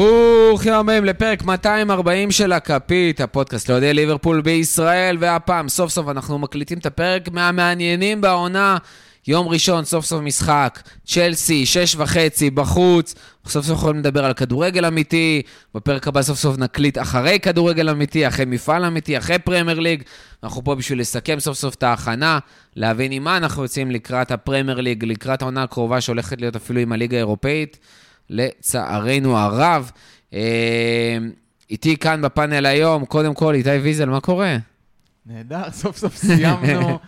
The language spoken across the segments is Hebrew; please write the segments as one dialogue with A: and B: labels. A: ברוכים הבאים לפרק 240 של הכפית, הפודקאסט לאוהדי ליברפול בישראל, והפעם, סוף סוף אנחנו מקליטים את הפרק מהמעניינים בעונה. יום ראשון, סוף סוף משחק, צ'לסי, שש וחצי, בחוץ, סוף סוף יכולים לדבר על כדורגל אמיתי, בפרק הבא סוף סוף נקליט אחרי כדורגל אמיתי, אחרי מפעל אמיתי, אחרי פרמייר ליג. אנחנו פה בשביל לסכם סוף סוף את ההכנה, להבין עם מה אנחנו יוצאים לקראת הפרמייר ליג, לקראת העונה הקרובה שהולכת להיות אפילו עם הליגה האירופאית, לצערנו הרב. אה, איתי כאן בפאנל היום, קודם כל, איתי ויזל, מה קורה?
B: נהדר, סוף סוף סיימנו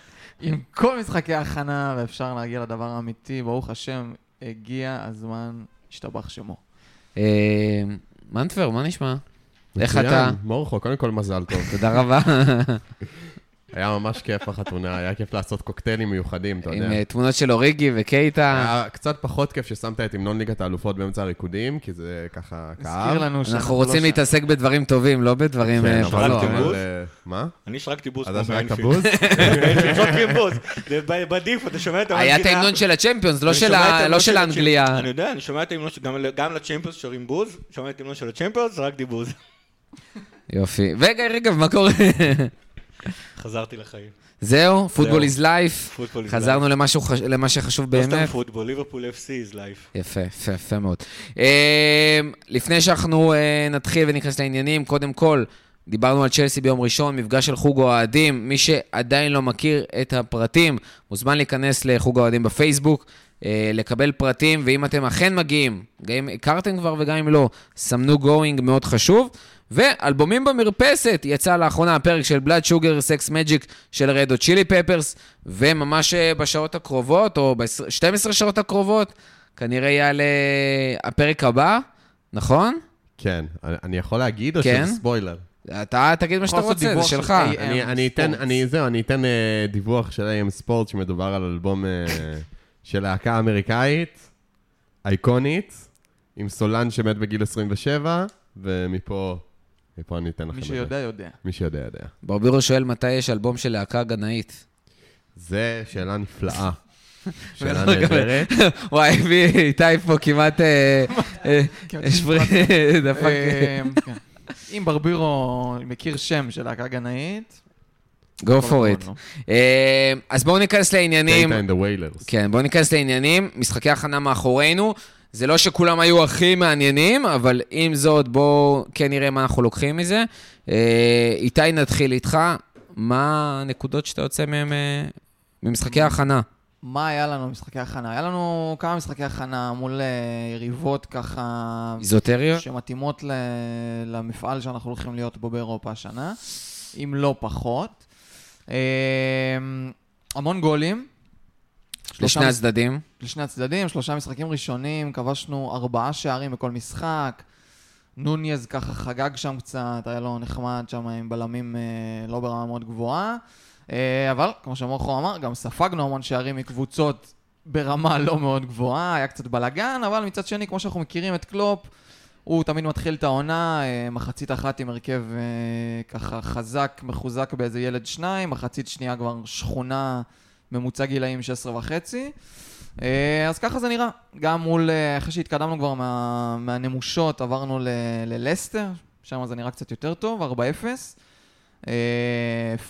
B: עם כל משחקי ההכנה, ואפשר להגיע לדבר האמיתי. ברוך השם, הגיע הזמן, השתבח שמו.
A: אה, מנטבר, מה נשמע? איך
C: מצוין,
A: אתה?
C: מורכו, קודם כל מזל טוב.
A: תודה רבה.
C: היה ממש כיף החתונה, היה כיף לעשות קוקטיילים מיוחדים, אתה יודע.
A: עם אה, תמונות של אוריגי
D: אה,
A: וקייטה.
C: היה קצת פחות כיף ששמת את המנון ליגת האלופות באמצע הריקודים, כי זה ככה
B: הזכיר
C: כאב.
B: לנו שאנחנו
A: אנחנו
B: לא
A: רוצים
B: שם.
A: להתעסק בדברים טובים, לא בדברים
C: כן,
A: אה,
C: אבל-
D: שלחתי
A: פחות.
C: אבל,
D: בוז.
C: אה, מה?
D: אני שרקתי בוז
C: אז
D: כמו
C: אז רק
D: באנפילד.
C: הבוז?
D: באנפילד שרקים בוז. זה ב- בדיפולט, אתה שומע את
A: אה, היה את
D: המנגינה.
A: ההמנון של הצ'מפיונס, לא
D: אני
A: של
D: שומע את
A: ה-
D: ההמנון
A: לא של האנגליה.
D: הצ'מפיונס. אני יודע, אני שומע את ההמנון, של- גם- גם לצ'מפיונס שרים בוז, שומע את ההמנון של הצ'מפיונס, זרקתי בוז.
A: יופי. רגע, רגע, מה קורה?
D: חזרתי לחיים.
A: זהו, פוטבול איז לייף.
D: Football is
A: חזרנו למשהו חש- למה שחשוב
D: לא סתם
A: באמת.
D: פוטבול, ליברפול FC is life.
A: יפה, יפה, יפה מאוד. אה, לפני שאנחנו אה, נתחיל וניכנס לעניינים, קודם כל, דיברנו על צ'לסי ביום ראשון, מפגש של חוג האוהדים. מי שעדיין לא מכיר את הפרטים, מוזמן להיכנס לחוג האוהדים בפייסבוק, אה, לקבל פרטים, ואם אתם אכן מגיעים, גם אם הכרתם כבר וגם אם לא, סמנו גואינג מאוד חשוב. ואלבומים במרפסת, יצא לאחרונה הפרק של בלאד שוגר סקס מג'יק של רדו צ'ילי פפרס, וממש אה, בשעות הקרובות, או ב-12 שעות הקרובות, כנראה יעלה הפרק הבא, נכון?
C: כן, אני אני יכול להגיד או
A: כן? אה,
C: שזה ספוילר?
A: אתה תגיד מה שאתה
B: יכול לעשות
A: רוצה, זה
B: דיווח של
A: שלך.
B: AI.
C: אני
B: AM
C: אני אתן,
B: Sports.
C: אני- זהו, אני אתן אה, דיווח של AM ספורט שמדובר על אלבום אה, של להקה אמריקאית, אייקונית, עם סולן שמת בגיל 27, ומפה מפה אני אתן לכם
B: מי
C: את זה.
B: שיודע, יודע.
C: מי שיודע, יודע.
A: ברבירו שואל מתי יש אלבום של להקה גנאית.
C: זה שאלה נפלאה. שאלה
B: לא,
A: ולא לקבל.
C: נהדרת.
A: וואי, הביא איתי פה כמעט... אה, אה,
B: כמעט
A: שפרי- דפק.
B: אה, כן. אם ברבירו מכיר שם של להקה גנאית...
A: Go
B: כל
A: for
B: הכבוד
A: it.
B: לו.
A: אה, אז בואו ניכנס לעניינים.
C: Data and the Wailers.
A: כן, בואו ניכנס לעניינים. משחקי הכנה מאחורינו. זה לא שכולם היו הכי מעניינים, אבל עם זאת, בואו כן נראה מה אנחנו לוקחים מזה. אה, איתי, נתחיל איתך. מה הנקודות שאתה יוצא מהם אה, ממשחקי ההכנה?
B: מה היה לנו במשחקי הכנה? היה לנו כמה משחקי הכנה מול אה, יריבות ככה...
A: איזוטריות?
B: שמתאימות ל... למפעל שאנחנו הולכים להיות בו באירופה השנה, אם לא פחות. אמ, המון גולים. שלושה
A: לשני
B: מש-
A: הצדדים?
B: לשני הצדדים, שלושה משחקים ראשונים, כבשנו ארבעה שערים בכל משחק. נוניז ככה חגג שם קצת, היה לו נחמד שם עם בלמים אה, לא ברמה מאוד גבוהה. אה, אבל, כמו שמורכו אמר, גם ספגנו המון שערים מקבוצות ברמה לא מאוד גבוהה, היה קצת בלאגן, אבל מצד שני, כמו שאנחנו מכירים את קלופ, הוא תמיד מתחיל את העונה, אה, מחצית אחת עם הרכב אה, ככה חזק, מחוזק באיזה ילד שניים, מחצית שנייה כבר שכונה ממוצע גילאים 16 וחצי. אה, אז ככה זה נראה. גם מול, אה, אחרי שהתקדמנו כבר מה, מהנמושות, עברנו ל- ללסטר, שם זה נראה קצת יותר טוב, 4-0. אה,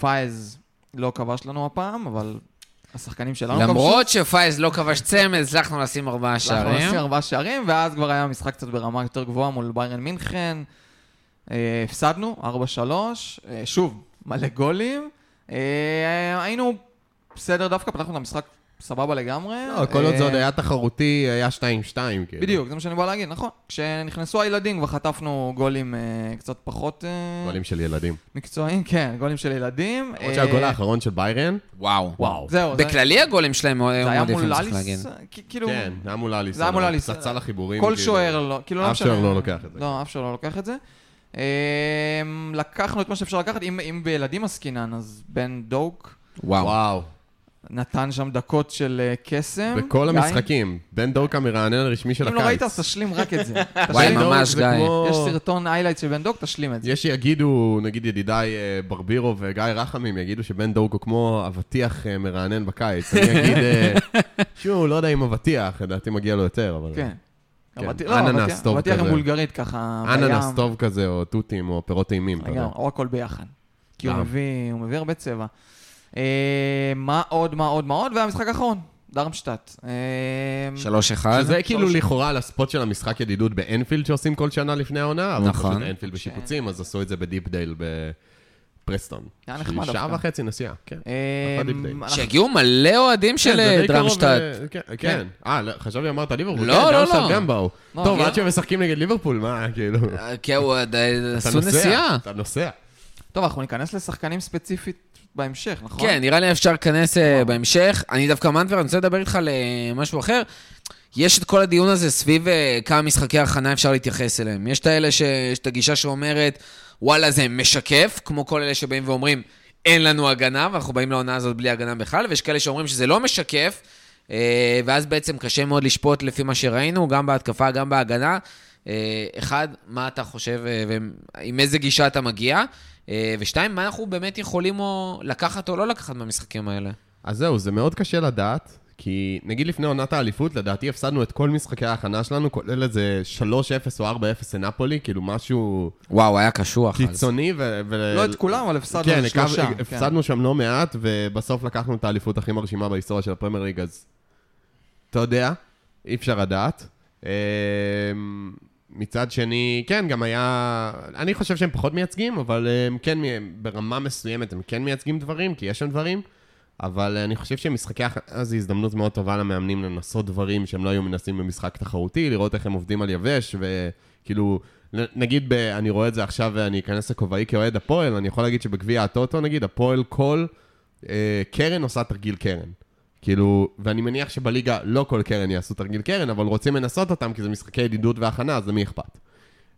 B: פאיז לא כבש לנו הפעם, אבל השחקנים שלנו כבשו.
A: למרות שפייז לא כבש צמד, הצלחנו לשים ארבעה
B: אנחנו
A: שערים.
B: נשים ארבעה שערים, ואז כבר היה משחק קצת ברמה יותר גבוהה מול ביירן מינכן. אה, הפסדנו, 4-3, אה, שוב, מלא גולים. אה, היינו בסדר דווקא, פתחנו את המשחק סבבה לגמרי.
C: לא, כל עוד זה עוד
B: אה,
C: היה תחרותי, היה 2-2, כאילו.
B: בדיוק, זה מה שאני בא להגיד, נכון. כשנכנסו הילדים כבר חטפנו גולים אה, קצת פחות אה,
C: גולים של ילדים.
B: מקצועיים, כן, גולים של ילדים.
C: למרות
B: אה,
C: שהגול האחרון של ביירן,
A: וואו.
C: וואו.
B: זהו, זה-
A: בכללי הגולים שלהם מאוד
B: זה היה
A: מאוד יפים,
B: מול
A: צריך להגיד.
B: אליס, כ- כאילו,
C: כן, זה היה מול אליס.
B: זה היה מול אליס.
C: פצצה לחיבורים.
B: כל
C: כאילו.
B: שוער לא, כאילו לא
C: אף
B: משנה.
C: שוער לא לוקח את זה.
B: לא, אף שוער לא לוקח את זה. אמ, לקחנו את מה שאפשר לקחת, אם אם בילדים עסקינן, אז בן דוק
A: וואו.
C: וואו.
B: נתן שם דקות של אה, קסם.
C: בכל
B: גיא,
C: המשחקים. בן דורק המרענן הרשמי של
B: אם
C: הקיץ.
B: לא ראית, אז תשלים רק את זה.
A: וואי,
B: תשלים.
C: בן דורק
A: ממש,
C: זה
A: גיא.
C: כמו-
B: יש סרטון איילייט של בן דוק, תשלים את זה.
C: יש שיגידו, נגיד ידידיי אה, ברבירו וגיא רחמים, יגידו שבן דורק הוא כמו אבטיח אה, מרענן בקיץ. אני אגיד, אה, שוב, לא יודע אם אבטיח, לדעתי מגיע לו יותר, אבל...
B: כן.
C: כן.
B: אבטיח-
C: אננס טוב
B: אבטיח עם
C: כזה.
B: בולגרית ככה. בים.
C: אננס טוב כזה, או תותים, או פירות טעימים. אתה יודע.
B: לגמרי, או הכל ביחד. כי הוא
C: גם.
B: מביא, הוא מביא הרבה צבע. אה, מה עוד, מה עוד, מה עוד? והמשחק האחרון, דרמשטאט. אה,
A: 3-1.
C: שזה כאילו לכאורה על הספוט של המשחק ידידות באנפילד שעושים כל שנה לפני העונה, אבל
A: נכון.
C: פשוט אנפילד בשיפוצים, אז עשו את זה בדיפדייל בפרסטון.
B: היה נחמד
C: שהיא שעה
B: דווקא.
C: וחצי נסיעה, כן.
B: אה,
C: אחלה דיפ-דיי.
B: אנחנו-
A: שהגיעו מלא אוהדים
C: כן,
A: של
C: זה
A: אה,
C: די קרוב
A: דרמשטאט.
C: ל- כן, כן. אה, לא, חשבתי אמרת ליברפול.
A: לא,
C: כן,
A: לא,
C: דרמשטאט
A: לא.
C: גם באו.
B: לא,
C: טוב,
B: כן.
C: עד שהם משחקים נגד ליברפול, מה, כאילו... אתה
A: אה, כן, הוא עד- עשו
C: נוסע,
A: נסיעה.
C: אתה נוסע.
B: טוב, אנחנו ניכנס לשחקנים ספציפית בהמשך, נכון?
A: כן, נראה לי אפשר להיכנס אה, בהמשך. אני דווקא מנטבר, אני רוצה לדבר איתך על אה, משהו אחר. יש את כל הדיון הזה סביב אה, כמה משחקי הכנה אפשר להתייחס אליהם. יש את האלה ש... יש את הגישה שאומרת, וואלה, זה משקף, כמו כל אלה שבאים ואומרים, אין לנו הגנה, ואנחנו באים לעונה הזאת בלי הגנה בכלל, ויש כאלה שאומרים שזה לא משקף, אה, ואז בעצם קשה מאוד לשפוט לפי מה שראינו, גם בהתקפה, גם בהגנה. אה, אחד, מה אתה חושב אה, ועם איזה גישה אתה מגיע? אה, ושתיים, מה אנחנו באמת יכולים או לקחת או לא לקחת מהמשחקים האלה?
C: אז זהו, זה מאוד קשה לדעת, כי נגיד לפני עונת האליפות, לדעתי הפסדנו את כל משחקי ההכנה שלנו, כולל איזה 3-0 או 4-0 לנפולי, כאילו משהו
A: וואו, היה קשוח. אז.
C: קיצוני ו... ו-
B: לא את כולם, אבל הפסדנו
C: כן,
B: איזה שלושה.
C: הקו- הפסדנו שם לא מעט, ובסוף לקחנו את האליפות הכי מרשימה בהיסטוריה של הפרמייר ליג, אז אתה יודע, אי אפשר לדעת. אמ, מצד שני, כן, גם היה... אני חושב שהם פחות מייצגים, אבל הם כן, מ- ברמה מסוימת הם כן מייצגים דברים, כי יש שם דברים, אבל אני חושב שמשחקי הכנה זו הזדמנות מאוד טובה למאמנים לנסות דברים שהם לא היו מנסים במשחק תחרותי, לראות איך הם עובדים על יבש, וכאילו, נ- נגיד, ב, אני רואה את זה עכשיו ואני אכנס לכובעי כאוהד הפועל, אני יכול להגיד שבגביע הטוטו, נגיד, הפועל כל אה, קרן עושה תרגיל קרן. כאילו, ואני מניח שבליגה לא כל קרן יעשו תרגיל קרן, אבל רוצים לנסות אותם כי זה משחקי ידידות והכנה, אז למי אכפת?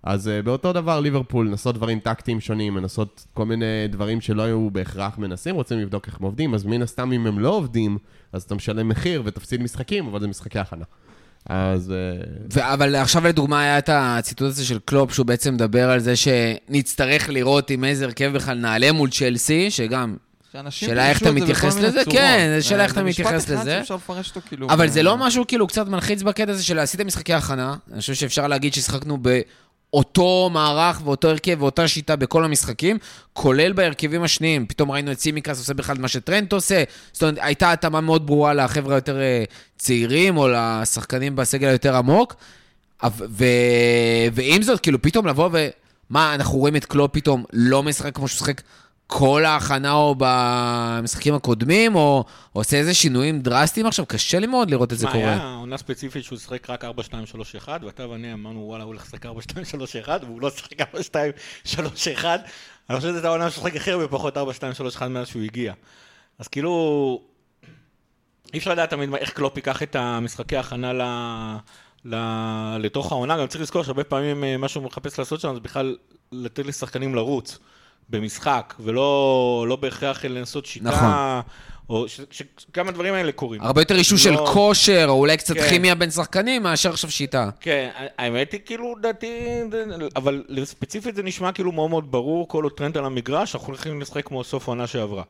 C: אז אה, באותו דבר ליברפול, לנסות דברים טקטיים שונים, לנסות כל מיני דברים שלא היו בהכרח מנסים, רוצים לבדוק איך הם עובדים, אז מן הסתם אם הם לא עובדים, אז אתה משלם מחיר ותפסיד משחקים, אבל זה משחקי הכנה. אז... אה,
A: ו- אבל עכשיו לדוגמה היה את הציטוט הזה של קלופ, שהוא בעצם מדבר על זה שנצטרך לראות עם איזה הרכב בכלל נעלה מול צ'לסי, שגם...
B: שאנשים
A: שאלה איך
B: פירשו
A: אתה
B: את זה בכל
A: מתייחס
B: מיני
A: לזה?
B: צורות.
A: כן, זה שאלה
B: אה,
A: איך אתה מתייחס
B: זה משפט
A: לזה.
B: אחד שאפשר לפרש אותו כאילו...
A: אבל זה
B: אה,
A: לא משהו כאילו קצת מלחיץ בקטע הזה של עשיתם משחקי הכנה. אני חושב שאפשר להגיד ששיחקנו באותו מערך ואותו הרכב ואותה שיטה בכל המשחקים, כולל בהרכבים השניים. פתאום ראינו את סימיקס עושה בכלל את מה שטרנט עושה. זאת אומרת, הייתה התאמה מאוד ברורה לחבר'ה היותר אה, צעירים או לשחקנים בסגל היותר עמוק. אב- ו... ועם זאת, כאילו, פתאום לבוא ו... מה, אנחנו רואים את קלופ פתאום לא משחק כמו שהוא שחק כל ההכנה או במשחקים הקודמים, או עושה איזה שינויים דרסטיים עכשיו? קשה לי מאוד לראות את זה
D: מה,
A: קורה.
D: היה עונה ספציפית שהוא שיחק רק 4-2-3-1, ואתה ואני אמרנו, וואלה, הוא הולך לשחק 4-2-3-1, והוא לא שיחק 4-2-3-1. אני חושב שזו העונה שהוא שיחק הכי הרבה פחות 4-2-3-1 מאז שהוא הגיע. אז כאילו, אי אפשר לדעת תמיד מה- איך קלופ ייקח את המשחקי ההכנה ל... ל... לתוך העונה, גם צריך לזכור שהרבה פעמים אה, מה שהוא מחפש לעשות שם זה בכלל לתת לשחקנים לרוץ במשחק, ולא לא בהכרח לנסות שיטה,
A: נכון.
D: או ש... ש... גם הדברים האלה קורים.
A: הרבה יותר אישו של
D: לא-
A: כושר, או אולי קצת
D: כן.
A: כימיה בין שחקנים, מאשר עכשיו שיטה.
D: כן, האמת היא כאילו, לדעתי, זה- אבל ספציפית זה נשמע כאילו מאוד מאוד ברור, כל עוד טרנד על המגרש, אנחנו הולכים לשחק כמו סוף העונה שעברה.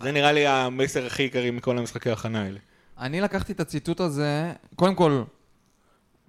D: זה נראה לי המסר הכי עיקרי מכל המשחקי ההכנה האלה.
B: אני לקחתי את הציטוט הזה, קודם כל,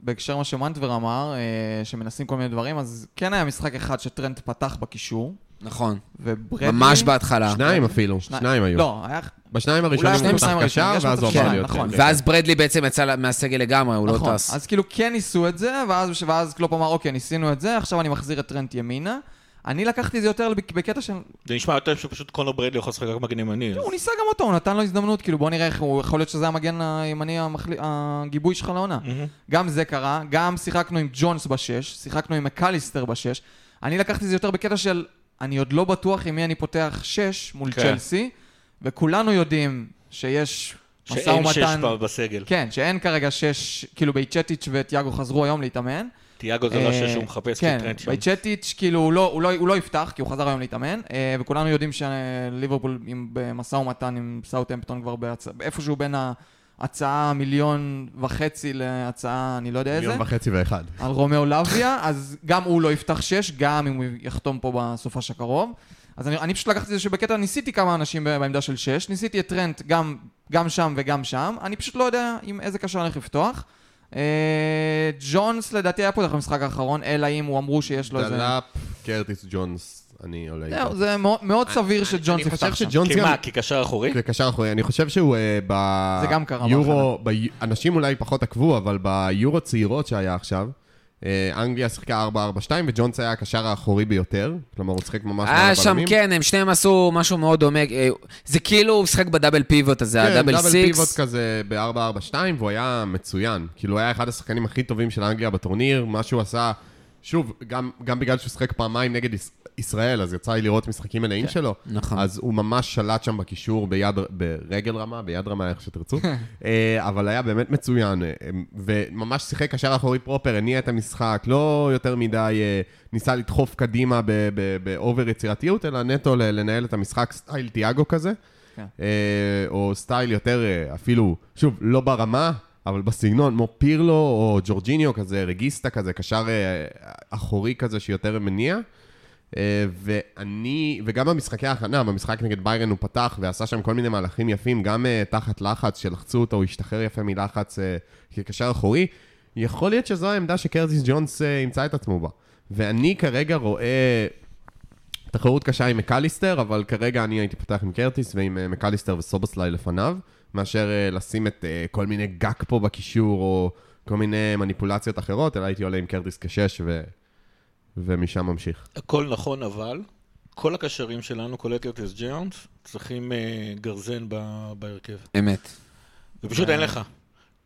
B: בהקשר מה שמנטבר אמר, אה, שמנסים כל מיני דברים, אז כן היה משחק אחד שטרנט פתח בקישור,
A: נכון.
B: וברדלי...
A: ממש בהתחלה.
C: שניים אפילו,
B: אה, שני-
C: שניים היו.
B: לא, היה...
C: בשניים הראשונים
B: אולי אפילו
C: הוא פתח
B: בשניים הראשונים,
C: קשר,
B: יש
C: ואז
B: מצב
C: הוא עבר
B: שכן,
C: להיות...
B: נכון.
C: כן.
A: ואז ברדלי בעצם יצא לה- מהסגל לגמרי, הוא
B: נכון.
A: לא טס.
B: אז כאילו כן ניסו את זה, ואז, ואז קלופ אמר, אוקיי, ניסינו את זה, עכשיו אני מחזיר את טרנט ימינה. אני לקחתי את זה יותר בק- בקטע של...
D: זה נשמע יותר שפשוט קונר ברדלי יכול לשחק רק מגן ימני. אז-
B: הוא ניסה גם אותו, הוא נתן לו הזדמנות, כאילו בוא נראה איך הוא... יכול להיות שזה המגן הימני המחלי... הגיבוי שלך לעונה.
D: מהמם.
B: גם זה קרה, גם שיחקנו עם ג'ונס בשש, שיחקנו עם מקליסטר בשש. אני לקחתי את זה יותר בקטע של, אני עוד לא בטוח עם מי אני פותח שש מול
D: כן.
B: צ'לסי, וכולנו יודעים שיש משא
D: שאין שש
B: ומתן...
D: ב- בסגל.
B: כן, שאין כרגע שש, כאילו בייצ'טיץ' וטיאגו חזרו היום להתאמן.
D: תיאגו זה לא
B: אה,
D: שש שהוא מחפש, כי
B: כן,
D: טרנד שם.
B: בייצ'טיץ', כאילו, הוא לא, הוא, לא, הוא לא יפתח, כי הוא חזר היום להתאמן, אה, וכולנו יודעים שליברפול עם- במשא ומתן עם סאוטהמפטון כבר בהצ... איפשהו בין ההצעה מיליון וחצי להצעה, אני לא יודע איזה,
C: מיליון וחצי ואחד.
B: על רומאו לאביה, אז גם הוא לא יפתח שש, גם אם הוא יחתום פה בסופש הקרוב. אז אני, אני פשוט לקחתי את זה שבקטע ניסיתי כמה אנשים ב- בעמדה של שש, ניסיתי את טרנט גם, גם שם וגם שם, אני פשוט לא יודע עם איזה קשר אני הולך לפתוח. אה, ג'ונס לדעתי היה פותח במשחק האחרון, אלא אם הוא אמרו שיש לו איזה...
C: דלאפ, קרטיס ג'ונס, אני עולה
B: לא, זהו,
C: איתו.
B: זה מאוד- מאוד סביר שג'ונס
C: אני חושב
B: יפתח שם.
C: שג'ונס
D: כי
C: גם...
D: מה, כי קשר אחורי?
B: כן.
C: זה קשר אחורי, אני חושב שהוא אה, ב...
B: זה גם קרה
C: יורו, ב... אנשים אולי פחות עקבו, אבל ביורו צעירות שהיה עכשיו, אה, אנגליה שיחקה 4-4-2 וג'ונס היה הקשר האחורי ביותר, כלומר הוא שיחק ממש מעל
A: היה שם,
C: הבלמים.
A: כן, הם שניהם עשו משהו מאוד דומה. אה, זה כאילו הוא משחק בדאבל פיבוט הזה, הדאבל
C: כן, דאבל פיבוט
A: סיקס.
C: כזה ב-4-4-2, והוא היה מצוין. כאילו, הוא היה אחד השחקנים הכי טובים של אנגליה בטורניר, מה שהוא עשה, שוב, גם, גם בגלל שהוא שיחק פעמיים נגד יש, ישראל, אז יצא לי לראות משחקים מלאים שלו.
A: נכון.
C: אז הוא ממש שלט שם בקישור ביד, ברגל רמה, ביד רמה, איך שתרצו. אה, אבל היה באמת מצוין, אה, וממש שיחק קשר אחורי פרופר, הניע את המשחק, לא יותר מדי אה, ניסה לדחוף קדימה ב- ב- באובר יצירתיות, אלא נטו ל- לנהל את המשחק סטייל תיאגו כזה.
B: כן.
C: אה, או סטייל יותר אה, אפילו, שוב, לא ברמה, אבל בסגנון, כמו פירלו או ג'ורג'יניו כזה, רגיסטה כזה, קשר אה, אחורי כזה שיותר מניע. אה, ואני, וגם במשחקי ההכנה, במשחק נגד ביירן הוא פתח ועשה שם כל מיני מהלכים יפים, גם אה, תחת לחץ, שלחצו אותו, הוא השתחרר יפה מלחץ אה, כקשר אחורי. יכול להיות שזו העמדה שקרזיס ג'ונס אה, ימצא את עצמו בה. ואני כרגע רואה תחרות קשה עם מקליסטר, אבל כרגע אני הייתי פותח עם קרטיס ועם אה, מקליסטר וסובסליי לפניו, מאשר אה, לשים את אה, כל מיני גאק פה בקישור, או כל מיני מניפולציות אחרות, אלא הייתי עולה עם קרטיס כשש, ו... ומשם ממשיך.
D: הכל נכון, אבל כל הקשרים שלנו, כולל קרטיס ג'יונס, צריכים אה, גרזן ב- בהרכב.
A: אמת.
D: ופשוט אין לך.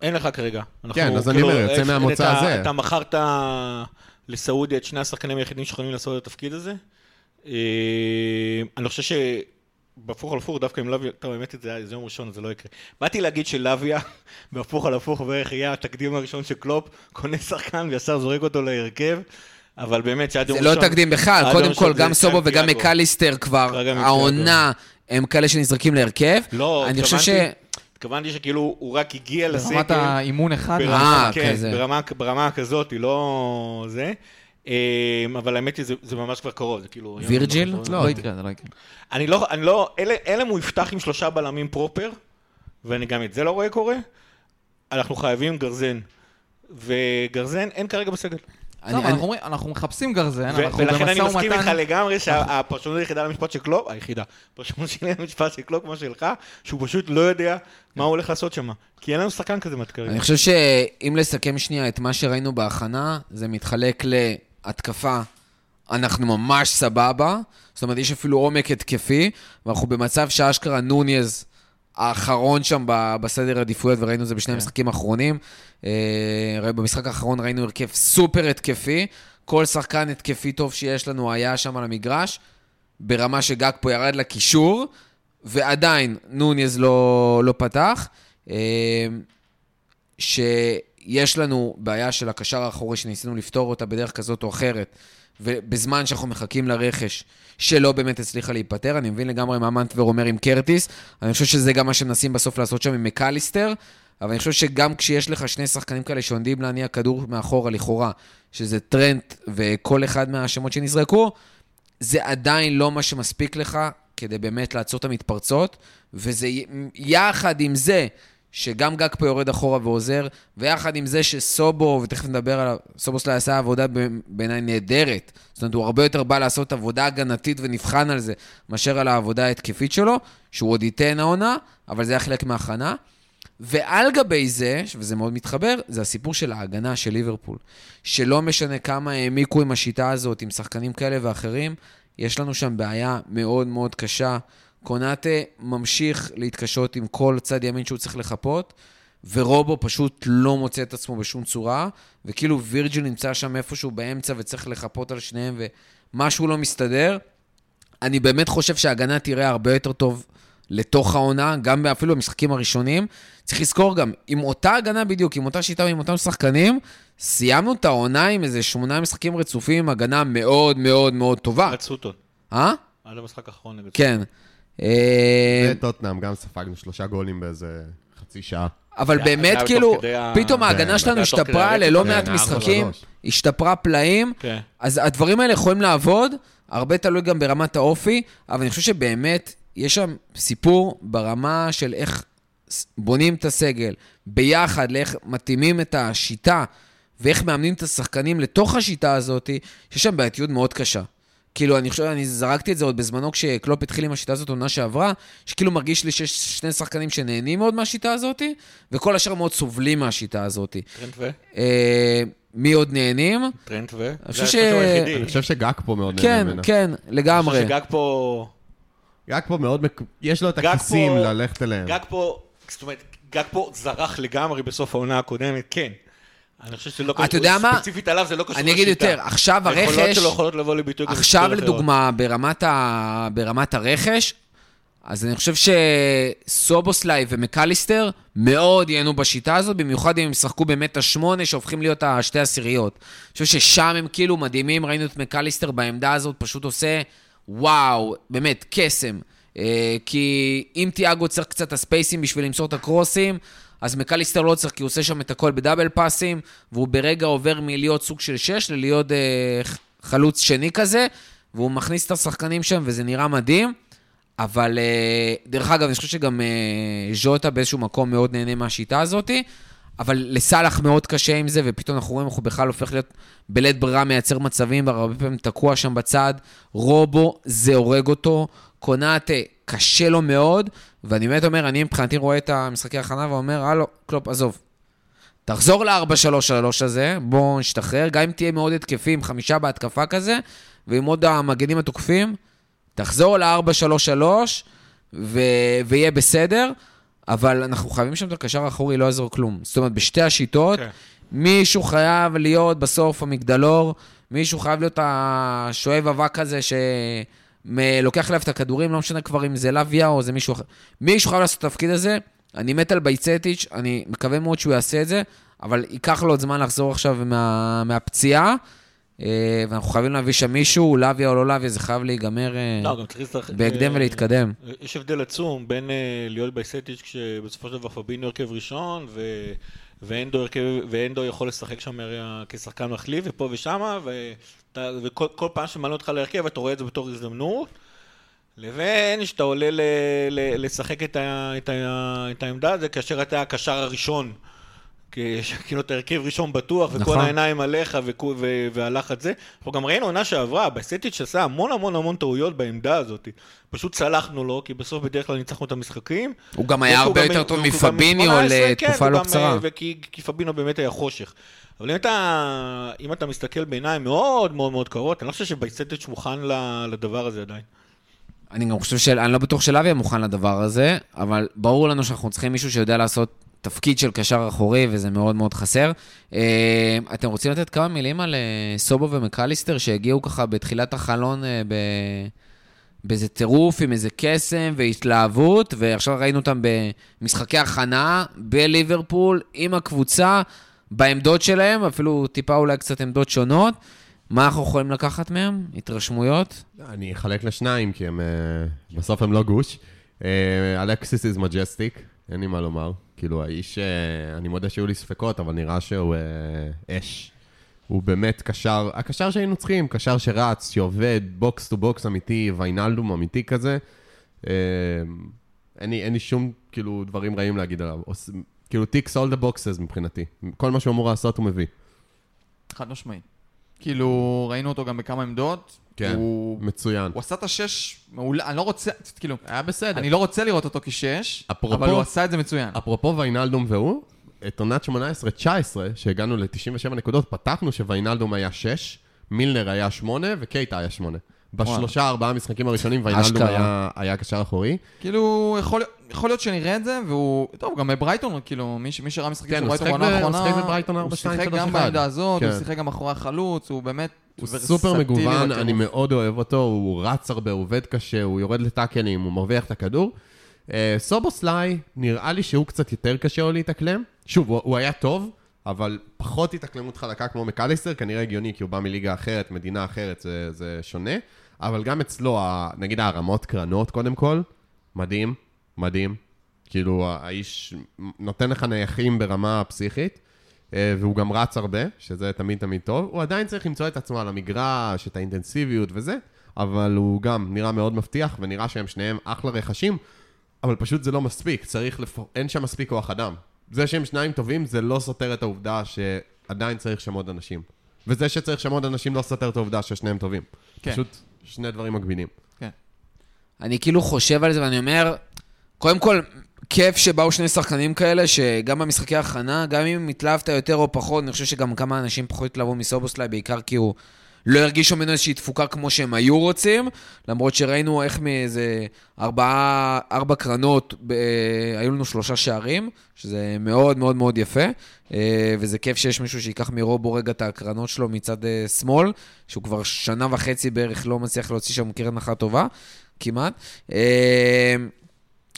D: אין לך כרגע. אנחנו
C: כן, אז אני
D: כאילו,
C: אומר, יוצא
D: יש-
C: מהמוצא
D: אתה-
C: הזה.
D: אתה מכרת לסעודיה את שני השחקנים היחידים שיכולים לעשות את התפקיד הזה. אה, אני חושב שבהפוך על הפוך, דווקא עם לוויה, טוב, האמת היא, זה היה- זה יום ראשון, אז זה לא יקרה. באתי להגיד שלוויה, בהפוך על הפוך, בערך יהיה התקדים הראשון של קלופ, קונה שחקן וישר זורק אותו להרכב, אבל באמת, שעד יום
A: זה
D: ראשון...
A: לא תקדים בכלל,
D: עד יום
A: קודם כל,
D: ראשון זה כן,
A: גם סובו וגם
D: סנטיאגו.
A: מקליסטר כבר,
D: כרגע מקליסטר.
A: העונה, הם כאלה שנזרקים להרכב.
D: לא,
A: אני חושב ש...
D: התכוונתי- התכוונתי שכאילו, הוא רק הגיע לסגל.
C: כאילו
B: ברמת האימון אחד,
A: אה,
D: ברמה, כן,
A: כזה.
D: ברמה, ברמה כזאת, היא לא זה. אמ, אבל האמת היא, זה, זה ממש כבר קרוב, זה כאילו... יום
A: וירג'יל?
D: נורא.
B: לא יקרה, זה לא יקרה.
D: אני לא, אני לא, אלא אלא אם הוא יפתח עם שלושה בלמים פרופר, ואני גם את זה לא רואה קורה, אנחנו חייבים גרזן. וגרזן אין כרגע בסגל.
A: אני-
B: טוב,
A: אני-
B: לא, אנחנו אומרים- אנחנו מחפשים גרזן,
D: ו-
B: אנחנו
D: ולכן אני
B: במשא
D: מסכים איתך
B: ומתן.
D: לגמרי שהפרשנות היחידה למשפט של קלופ, היחידה, הפרשנות שלי למשפט של קלופ כמו שלך, שהוא פשוט לא יודע מה הוא הולך לעשות שם. כי אין לנו שחקן כזה מתקרב.
A: אני חושב שאם לסכם שנייה את מה שראינו בהכנה, זה מתחלק להתקפה, אנחנו ממש סבבה, זאת אומרת, יש אפילו עומק התקפי, ואנחנו במצב שאשכרה נוניז האחרון שם ב- בסדר עדיפויות, וראינו את זה בשני המשחקים האחרונים. אה, ראי- במשחק האחרון ראינו הרכב סופר התקפי, כל שחקן התקפי טוב שיש לנו היה שם על המגרש, ברמה שגג פה ירד לקישור, ועדיין נוניז לא, לא פתח. אה, שיש לנו בעיה של הקשר האחורי שניסינו לפתור אותה בדרך כזאת או אחרת, ובזמן שאנחנו מחכים לרכש שלא באמת הצליחה להיפתר, אני מבין לגמרי מה מנטבר אומר עם קרטיס, אני חושב שזה גם מה שמנסים בסוף לעשות שם עם מקליסטר, אבל אני חושב שגם כשיש לך שני שחקנים כאלה שעומדים להניע כדור מאחורה לכאורה, שזה טרנט וכל אחד מהשמות שנזרקו, זה עדיין לא מה שמספיק לך כדי באמת לעצור את המתפרצות, וזה י- יחד עם זה שגם גג פה יורד אחורה ועוזר, ויחד עם זה שסובו, ותכף נדבר עליו, סובו שלה עשה עבודה ב- בעיניי נהדרת. זאת אומרת, הוא הרבה יותר בא לעשות עבודה הגנתית ונבחן על זה, מאשר על העבודה ההתקפית שלו, שהוא עוד ייתן העונה, אבל זה היה חלק מההכנה. ועל גבי זה, וזה מאוד מתחבר, זה הסיפור של ההגנה של ליברפול. שלא משנה כמה העמיקו עם השיטה הזאת, עם שחקנים כאלה ואחרים, יש לנו שם בעיה מאוד מאוד קשה. קונאטה ממשיך להתקשות עם כל צד ימין שהוא צריך לחפות, ורובו פשוט לא מוצא את עצמו בשום צורה, וכאילו וירג'יל נמצא שם איפשהו באמצע וצריך לחפות על שניהם, ומשהו לא מסתדר. אני באמת חושב שההגנה תראה הרבה יותר טוב לתוך העונה, גם אפילו במשחקים הראשונים. צריך לזכור גם, עם אותה הגנה בדיוק, עם אותה שיטה ועם אותם שחקנים, סיימנו את העונה עם איזה שמונה משחקים רצופים, עם הגנה מאוד מאוד מאוד טובה.
D: עד סוטון,
A: אה?
D: עד המשחק האחרון נגד
A: כן. אה,
C: וטוטנאם גם ספגנו שלושה גולים באיזה חצי שעה.
A: אבל
D: זה
A: באמת,
D: היה תוך
A: כאילו,
D: כדי ה-
A: פתאום ההגנה
C: כן,
D: זה
A: שלנו
D: היה תוך כדי
A: השתפרה
D: הרצף,
A: ללא
C: כן,
A: מעט
C: ארבע
A: משחקים,
C: שלוש.
A: השתפרה פלאים.
D: כן.
A: אז הדברים האלה יכולים לעבוד, הרבה תלוי גם ברמת האופי, אבל אני חושב שבאמת יש שם סיפור ברמה של איך ס- בונים את הסגל ביחד, לאיך מתאימים את השיטה ואיך מאמנים את השחקנים לתוך השיטה הזאת, שיש שם בעייתיות מאוד קשה. כאילו, אני חושב, אני זרקתי את זה עוד בזמנו כשקלופ התחיל עם השיטה הזאת עונה שעברה, שכאילו מרגיש לי שיש שני שחקנים שנהנים מאוד מהשיטה הזאת, וכל השאר מאוד סובלים מהשיטה הזאת.
D: טרנט ו?
A: אה, מי עוד נהנים?
D: טרנט ו?
A: אני
D: זה
A: חושב ש-
D: ההפסד שלו היחידי.
C: אני חושב שגג פה מאוד נהנה
A: כן,
C: ממנה.
A: כן,
D: אני חושב
A: לגמרי.
D: שגג פה...
C: גג פה מאוד, מק- יש לו את
D: גג
C: הכיסים
D: פה-
C: ללכת אליהם.
D: גג פה, זאת אומרת, גג פה זרח לגמרי בסוף העונה הקודמת, כן. אני חושב שזה לא
A: אתה יודע מה?
D: ספציפית עליו זה לא קשור לשיטה.
A: אני אגיד יותר, עכשיו
D: היכולות
A: הרכש,
D: שלו יכולות לבוא לביטוי גם
A: עכשיו
D: בשיטות אחרות.
A: לדוגמה, ברמת, ה... ברמת הרכש, אז אני חושב שסובוסליי ומקליסטר מאוד ייהנו בשיטה הזאת, במיוחד אם הם ישחקו באמת את השמונה שהופכים להיות השתי עשיריות. אני חושב ששם הם כאילו מדהימים, ראינו את מקליסטר בעמדה הזאת, פשוט עושה וואו, באמת, קסם. אה, כי אם תיאגו צריך קצת את הספייסים בשביל למסור את הקרוסים, אז מקליסטר לא צריך, כי הוא עושה שם את הכל בדאבל פאסים, והוא ברגע עובר מלהיות סוג של שש ללהיות אה, ח- חלוץ שני כזה, והוא מכניס את השחקנים שם, וזה נראה מדהים. אבל אה, דרך אגב, אני חושב שגם אה, ז'וטה באיזשהו מקום מאוד נהנה מהשיטה הזאתי, אבל לסאלח מאוד קשה עם זה, ופתאום אנחנו רואים איך הוא בכלל הופך להיות בלית ברירה מייצר מצבים, והרבה פעמים תקוע שם בצד. רובו, זה הורג אותו. קונאטה, קשה לו מאוד, ואני באמת אומר, אני מבחינתי רואה את המשחקי ההכנה ואומר, הלו, קלופ, עזוב. תחזור ל-4-3-3 הזה, בואו נשתחרר, גם אם תהיה מאוד התקפי עם חמישה בהתקפה כזה, ועם עוד המגנים התוקפים, תחזור ל-4-3-3 ו... ויהיה בסדר, אבל אנחנו חייבים שם את הקשר האחורי, לא יעזור כלום. זאת אומרת, בשתי השיטות,
D: כן.
A: מישהו חייב להיות בסוף המגדלור, מישהו חייב להיות השואב אבק הזה ש... מ- לוקח אליו את הכדורים, לא משנה כבר אם זה לוויה או זה מישהו אחר. מישהו חייב לעשות את התפקיד הזה, אני מת על בייצטיץ', אני מקווה מאוד שהוא יעשה את זה, אבל ייקח לו עוד זמן לחזור עכשיו מה, מהפציעה, אה, ואנחנו חייבים להביא שם מישהו, לוויה או לא לוויה, זה חייב להיגמר אה,
D: לא, גם צריך להצטרך...
A: בהקדם
D: אה,
A: ולהתקדם.
D: יש הבדל עצום בין אה, להיות בייסטיץ' כשבסופו של דבר פבינו הרכב ראשון ו- ואנדו, הרכב, ואנדו יכול לשחק שם הרי כשחקן מחליף ופה ושמה ואתה- וכל כל פעם שמעלה אותך להרכב אתה רואה את זה בתור הזדמנות לבין שאתה עולה ל- ל- לשחק את, ה- את, ה- את העמדה הזה כאשר אתה הקשר הראשון כי- כאילו אתה הרכב ראשון בטוח,
A: נכון.
D: וכל העיניים עליך וכו- ו- והלחץ זה. אנחנו גם ראינו עונה שעברה, בסטיץ' עשה המון המון המון טעויות בעמדה הזאת. פשוט סלחנו לו, כי בסוף בדרך כלל ניצחנו את המשחקים.
A: הוא גם היה
D: והוא
A: הרבה
D: גם-
A: יותר טוב
D: והוא גם
A: מפביניו
D: 18, כן,
A: לתקופה
D: הוא
A: לא
D: גם,
A: קצרה.
D: אה, וכי כי פביניו באמת היה חושך. אבל אם אתה, אם אתה מסתכל בעיניים מאוד מאוד מאוד קרות, אני לא חושב שבייסטיץ' מוכן ל- לדבר הזה עדיין.
A: אני גם חושב ש... אני לא בטוח שלאבי מוכן לדבר הזה, אבל ברור לנו שאנחנו צריכים מישהו שיודע לעשות תפקיד של קשר אחורי, וזה מאוד מאוד חסר. אה, אתם רוצים לתת כמה מילים על אה, סובו ומקליסטר, שהגיעו ככה בתחילת החלון אה, ב... באיזה טירוף, עם איזה קסם והתלהבות, ועכשיו ראינו אותם במשחקי הכנה בליברפול, עם הקבוצה, בעמדות שלהם, אפילו טיפה אולי קצת עמדות שונות. מה אנחנו יכולים לקחת מהם? התרשמויות?
C: לא, אני אחלק לשניים, כי הם... אה, בסוף הם לא גוש. אה, אלקסיס איז מג'סטיק, אין לי מה לומר. כאילו, האיש, אה, אני מודה שהיו לי ספקות, אבל נראה שהוא אה, אש. הוא באמת קשר, הקשר שהיינו צריכים, קשר שרץ, שעובד, בוקס טו בוקס אמיתי, ויינלדום אמיתי כזה. אה, אין לי, אין לי שום, כאילו, דברים רעים להגיד עליו. עוש- כאילו, טיקס all the boxes מבחינתי. כל מה שהוא אמור לעשות הוא מביא.
B: חד משמעי. כאילו, ראינו אותו גם בכמה עמדות.
C: כן.
B: הוא,
C: מצוין.
B: הוא עשה את השש מעולה, אני לא רוצה, כאילו,
C: היה אה, בסדר.
B: אני לא רוצה לראות אותו כשש,
C: אפרופו-
B: אבל הוא עשה את זה מצוין.
C: אפרופו ויינלדום והוא, את עונת 18-19, שהגענו ל-97 נקודות, פתחנו שוויינלדום היה 6, מילנר היה 8 וקייטה היה 8. בשלושה, ארבעה המשחקים הראשונים ויינלדום
A: אשכרה.
C: היה, היה קשר אחורי.
B: כאילו, יכול, יכול להיות שנראה את זה, והוא... טוב, גם בברייטון, כאילו, מי, ש- מי שראה משחקים
C: כן,
B: של
C: הוא
B: ברייטון
C: שיחק
B: בעונה
C: ב- הוא
B: האחרונה...
C: שיחק בברייטון ארבע, שתיים,
B: הוא
C: שלוש,
B: שיחק גם
C: אחד.
B: בעמדה הזאת, הוא
C: כן.
B: שיחק גם מאחורי החלוץ, הוא באמת...
C: הוא
B: ורסטילי
C: סופר מגוון,
B: בטירוף.
C: אני מאוד אוהב אותו, הוא רץ הרבה, הוא עובד קשה, הוא יורד לטאקלים, הוא מרוויח את הכדור. אה, סובוסליי, נראה לי שהוא קצת יותר קשה לו להתאקלם. שוב, הוא, הוא היה טוב, אבל פחות התאקלמות חלקה כמו מקליסטר, כנראה הגיוני, כי הוא בא מליגה אחרת, מדינה אחרת, זה, זה שונה. אבל גם אצלו, ה- נגיד הרמות קרנות קודם כל, מדהים, מדהים. כאילו, ה- האיש נותן לך נייחים ברמה הפסיכית. אה, והוא גם רץ הרבה, שזה תמיד תמיד טוב. הוא עדיין צריך למצוא את עצמו על המגרש, את האינטנסיביות וזה, אבל הוא גם נראה מאוד מבטיח, ונראה שהם שניהם אחלה רכשים. אבל פשוט זה לא מספיק, צריך לפ... אין שם מספיק כוח אדם. זה שהם שניים טובים, זה לא סותר את העובדה שעדיין צריך שם עוד אנשים. וזה שצריך שם עוד אנשים לא סותר את העובדה ששניהם טובים.
B: כן.
C: כן. פשוט שני דברים מקבילים.
A: אני כאילו חושב על זה ואני אומר, קודם כל, כיף שבאו שני שחקנים כאלה, שגם במשחקי הכנה, גם אם התלהבת יותר או פחות, אני חושב שגם כמה אנשים פחות התלהבו מסובוסליי, בעיקר כי הוא לא הרגיש ממנו איזושהי תפוקה כמו שהם היו רוצים, למרות שראינו איך מאיזה ארבעה, ארבע קרנות, ב, אה, היו לנו שלושה שערים, שזה מאוד מאוד מאוד יפה, אה, וזה כיף שיש מישהו שייקח מרובו רגע את הקרנות שלו מצד אה, שמאל, שהוא כבר שנה וחצי בערך לא מצליח להוציא שם קרן אחת טובה, כמעט. אה,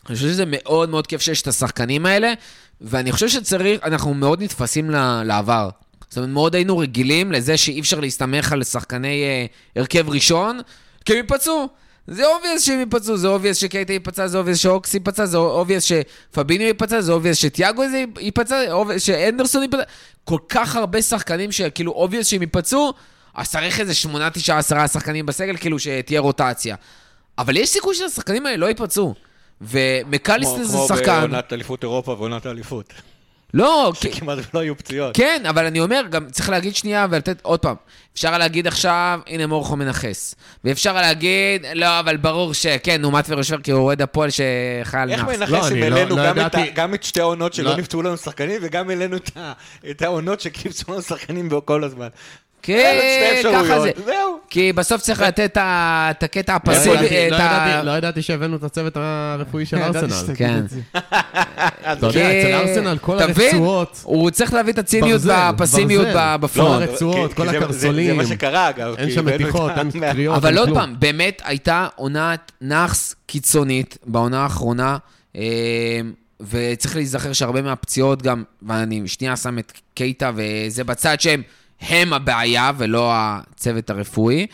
A: אני חושב שזה מאוד מאוד כיף שיש את השחקנים האלה, ואני חושב שצריך, אנחנו מאוד נתפסים ל- לעבר. זאת אומרת, מאוד היינו רגילים לזה שאי אפשר להסתמך על שחקני אה, הרכב ראשון, כי הם ייפצעו. זה אובייס שהם ייפצעו, זה אובייס שקייטה ייפצע, זה אובייס שאוקס ייפצע, זה אובייס שפביניו ייפצע, זה אובייס שתיאגו איזה ייפצע, זה obvious שאנדרסון ייפצע. כל כך הרבה שחקנים שכאילו אובייס שהם ייפצעו, אז צריך איזה שמונה, תשעה, עשרה שחקנים בסגל, כאילו שתהיה רוטציה. אבל יש סיכוי שהשחקנים האלה לא ייפצעו. ומקליסטר זה
D: כמו
A: שחקן.
D: בעונת אליפות אירופה ועונת האליפות.
A: לא,
C: כן.
A: כי-
D: שכמעט ולא היו פציעות.
A: כן, אבל אני אומר, גם צריך להגיד שנייה ולתת עוד פעם. אפשר להגיד עכשיו, הנה מורכו מנכס. ואפשר להגיד, לא, אבל ברור שכן, נו, מאטבר יושב כי הוא אוהד הפועל שחייל
D: איך
A: נאף.
C: לא,
D: מנחש אם
C: אני לא-
D: העלינו
C: לא
D: גם את ה-
C: ידעתי-
D: גם את שתי העונות שלא
C: לא.
D: נפצעו לנו שחקנים, וגם העלינו את ה- את העונות שקיבצו לנו שחקנים בו כל הזמן.
C: אה,
D: אלו שתי
A: כן, ככה זה.
D: אפשרויות, זהו.
A: כי בסוף צריך לתת את ה- את הקטע
C: לא
A: הפסיבי,
C: ידעתי-
A: את
C: לא
A: ה...
C: ידעתי- לא ידעתי שהבאנו את הצוות הרפואי של
B: ידעתי
C: ארסנל.
B: שתגיד
A: כן.
B: את זה.
C: אתה יודע,
D: אוקיי.
A: כי-
C: אצל ארסנל כל
A: אתה מבין?
C: הרצועות,
A: הוא צריך להביא את הציניות
C: ברזל,
A: והפסימיות
C: ברזל.
A: ב- בפרונט.
C: לא, הרצועות,
D: כי-
C: כל
D: כי זה- זה- זה
C: הקרסולים.
D: מה שקרה, אגב.
C: אין
D: כי
C: שם
D: הבאנו
C: מתיחות,
D: את ה-
C: אין
D: מה-
C: קריאות.
A: אבל
C: אין
A: עוד
C: כן, כלום.
A: פעם, באמת הייתה עונת נאחס קיצונית בעונה האחרונה, אה, וצריך להיזכר שהרבה מהפציעות גם, ואני שנייה שם את קייטה וזה בצד שהם הם הבעיה ולא הצוות הרפואי.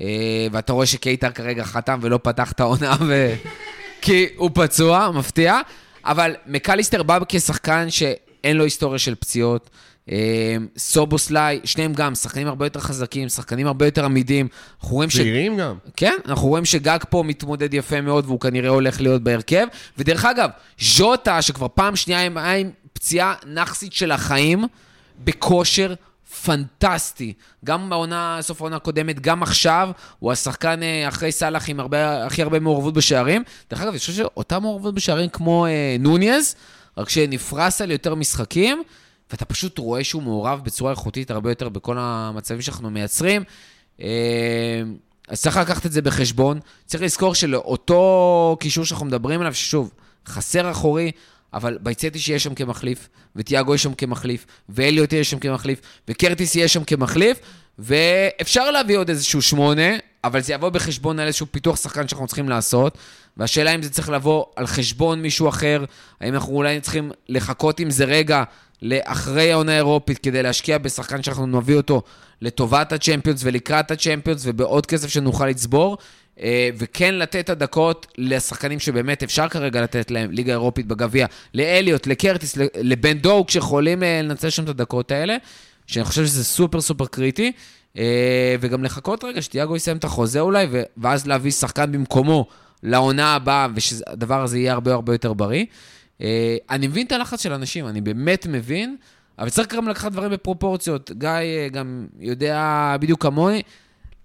A: אה, ואתה רואה שקייטה כרגע חתם ולא פתח את העונה, ו... כי הוא פצוע, מפתיע. אבל מקליסטר בא כשחקן שאין לו היסטוריה של פציעות. אה, סובוסליי, שניהם גם, שחקנים הרבה יותר חזקים, שחקנים הרבה יותר עמידים. אנחנו רואים ש...
C: צעירים גם.
A: כן, אנחנו רואים שגג פה מתמודד יפה מאוד, והוא כנראה הולך להיות בהרכב. ודרך אגב, ז'וטה, שכבר פעם שנייה עם, עם פציעה נאחסית של החיים, בכושר פנטסטי. גם בעונה, סוף העונה הקודמת, גם עכשיו, הוא השחקן אה, אחרי סאלח עם הרבה, הכי הרבה מעורבות בשערים. דרך אגב, אני חושב שאותה מעורבות בשערים כמו אה, נוניז, רק שנפרס על יותר משחקים, ואתה פשוט רואה שהוא מעורב בצורה איכותית הרבה יותר בכל המצבים שאנחנו מייצרים. אה, אז צריך לקחת את זה בחשבון. צריך לזכור שלאותו קישור שאנחנו מדברים עליו, ששוב, חסר אחורי, אבל בייצטי שיהיה שם כמחליף, וטיאגו יהיה שם כמחליף, ואליוט יהיה שם כמחליף, וקרטיס יהיה שם כמחליף, ואפשר להביא עוד איזשהו שמונה, אבל זה יבוא בחשבון על איזשהו פיתוח שחקן שאנחנו צריכים לעשות, והשאלה אם זה צריך לבוא על חשבון מישהו אחר, האם אנחנו אולי צריכים לחכות עם זה רגע לאחרי העונה האירופית כדי להשקיע בשחקן שאנחנו נביא אותו לטובת הצ'מפיונס ולקראת הצ'מפיונס ובעוד כסף שנוכל לצבור, אה, וכן לתת את הדקות לשחקנים שבאמת אפשר כרגע לתת להם, ליגה אירופית בגביע, לאליוט, לקרטיס, ל- לבן דוג, שיכולים אה, לנצל שם את הדקות האלה, שאני חושב שזה סופר סופר קריטי, אה, וגם לחכות רגע שתיאגו יסיים את החוזה אולי, ו- ואז להביא שחקן במקומו לעונה הבאה, ושהדבר הזה יהיה הרבה הרבה יותר בריא. אה, אני מבין את הלחץ של אנשים, אני באמת מבין, אבל צריך גם לקחת דברים בפרופורציות. גיא אה, גם יודע בדיוק כמוני.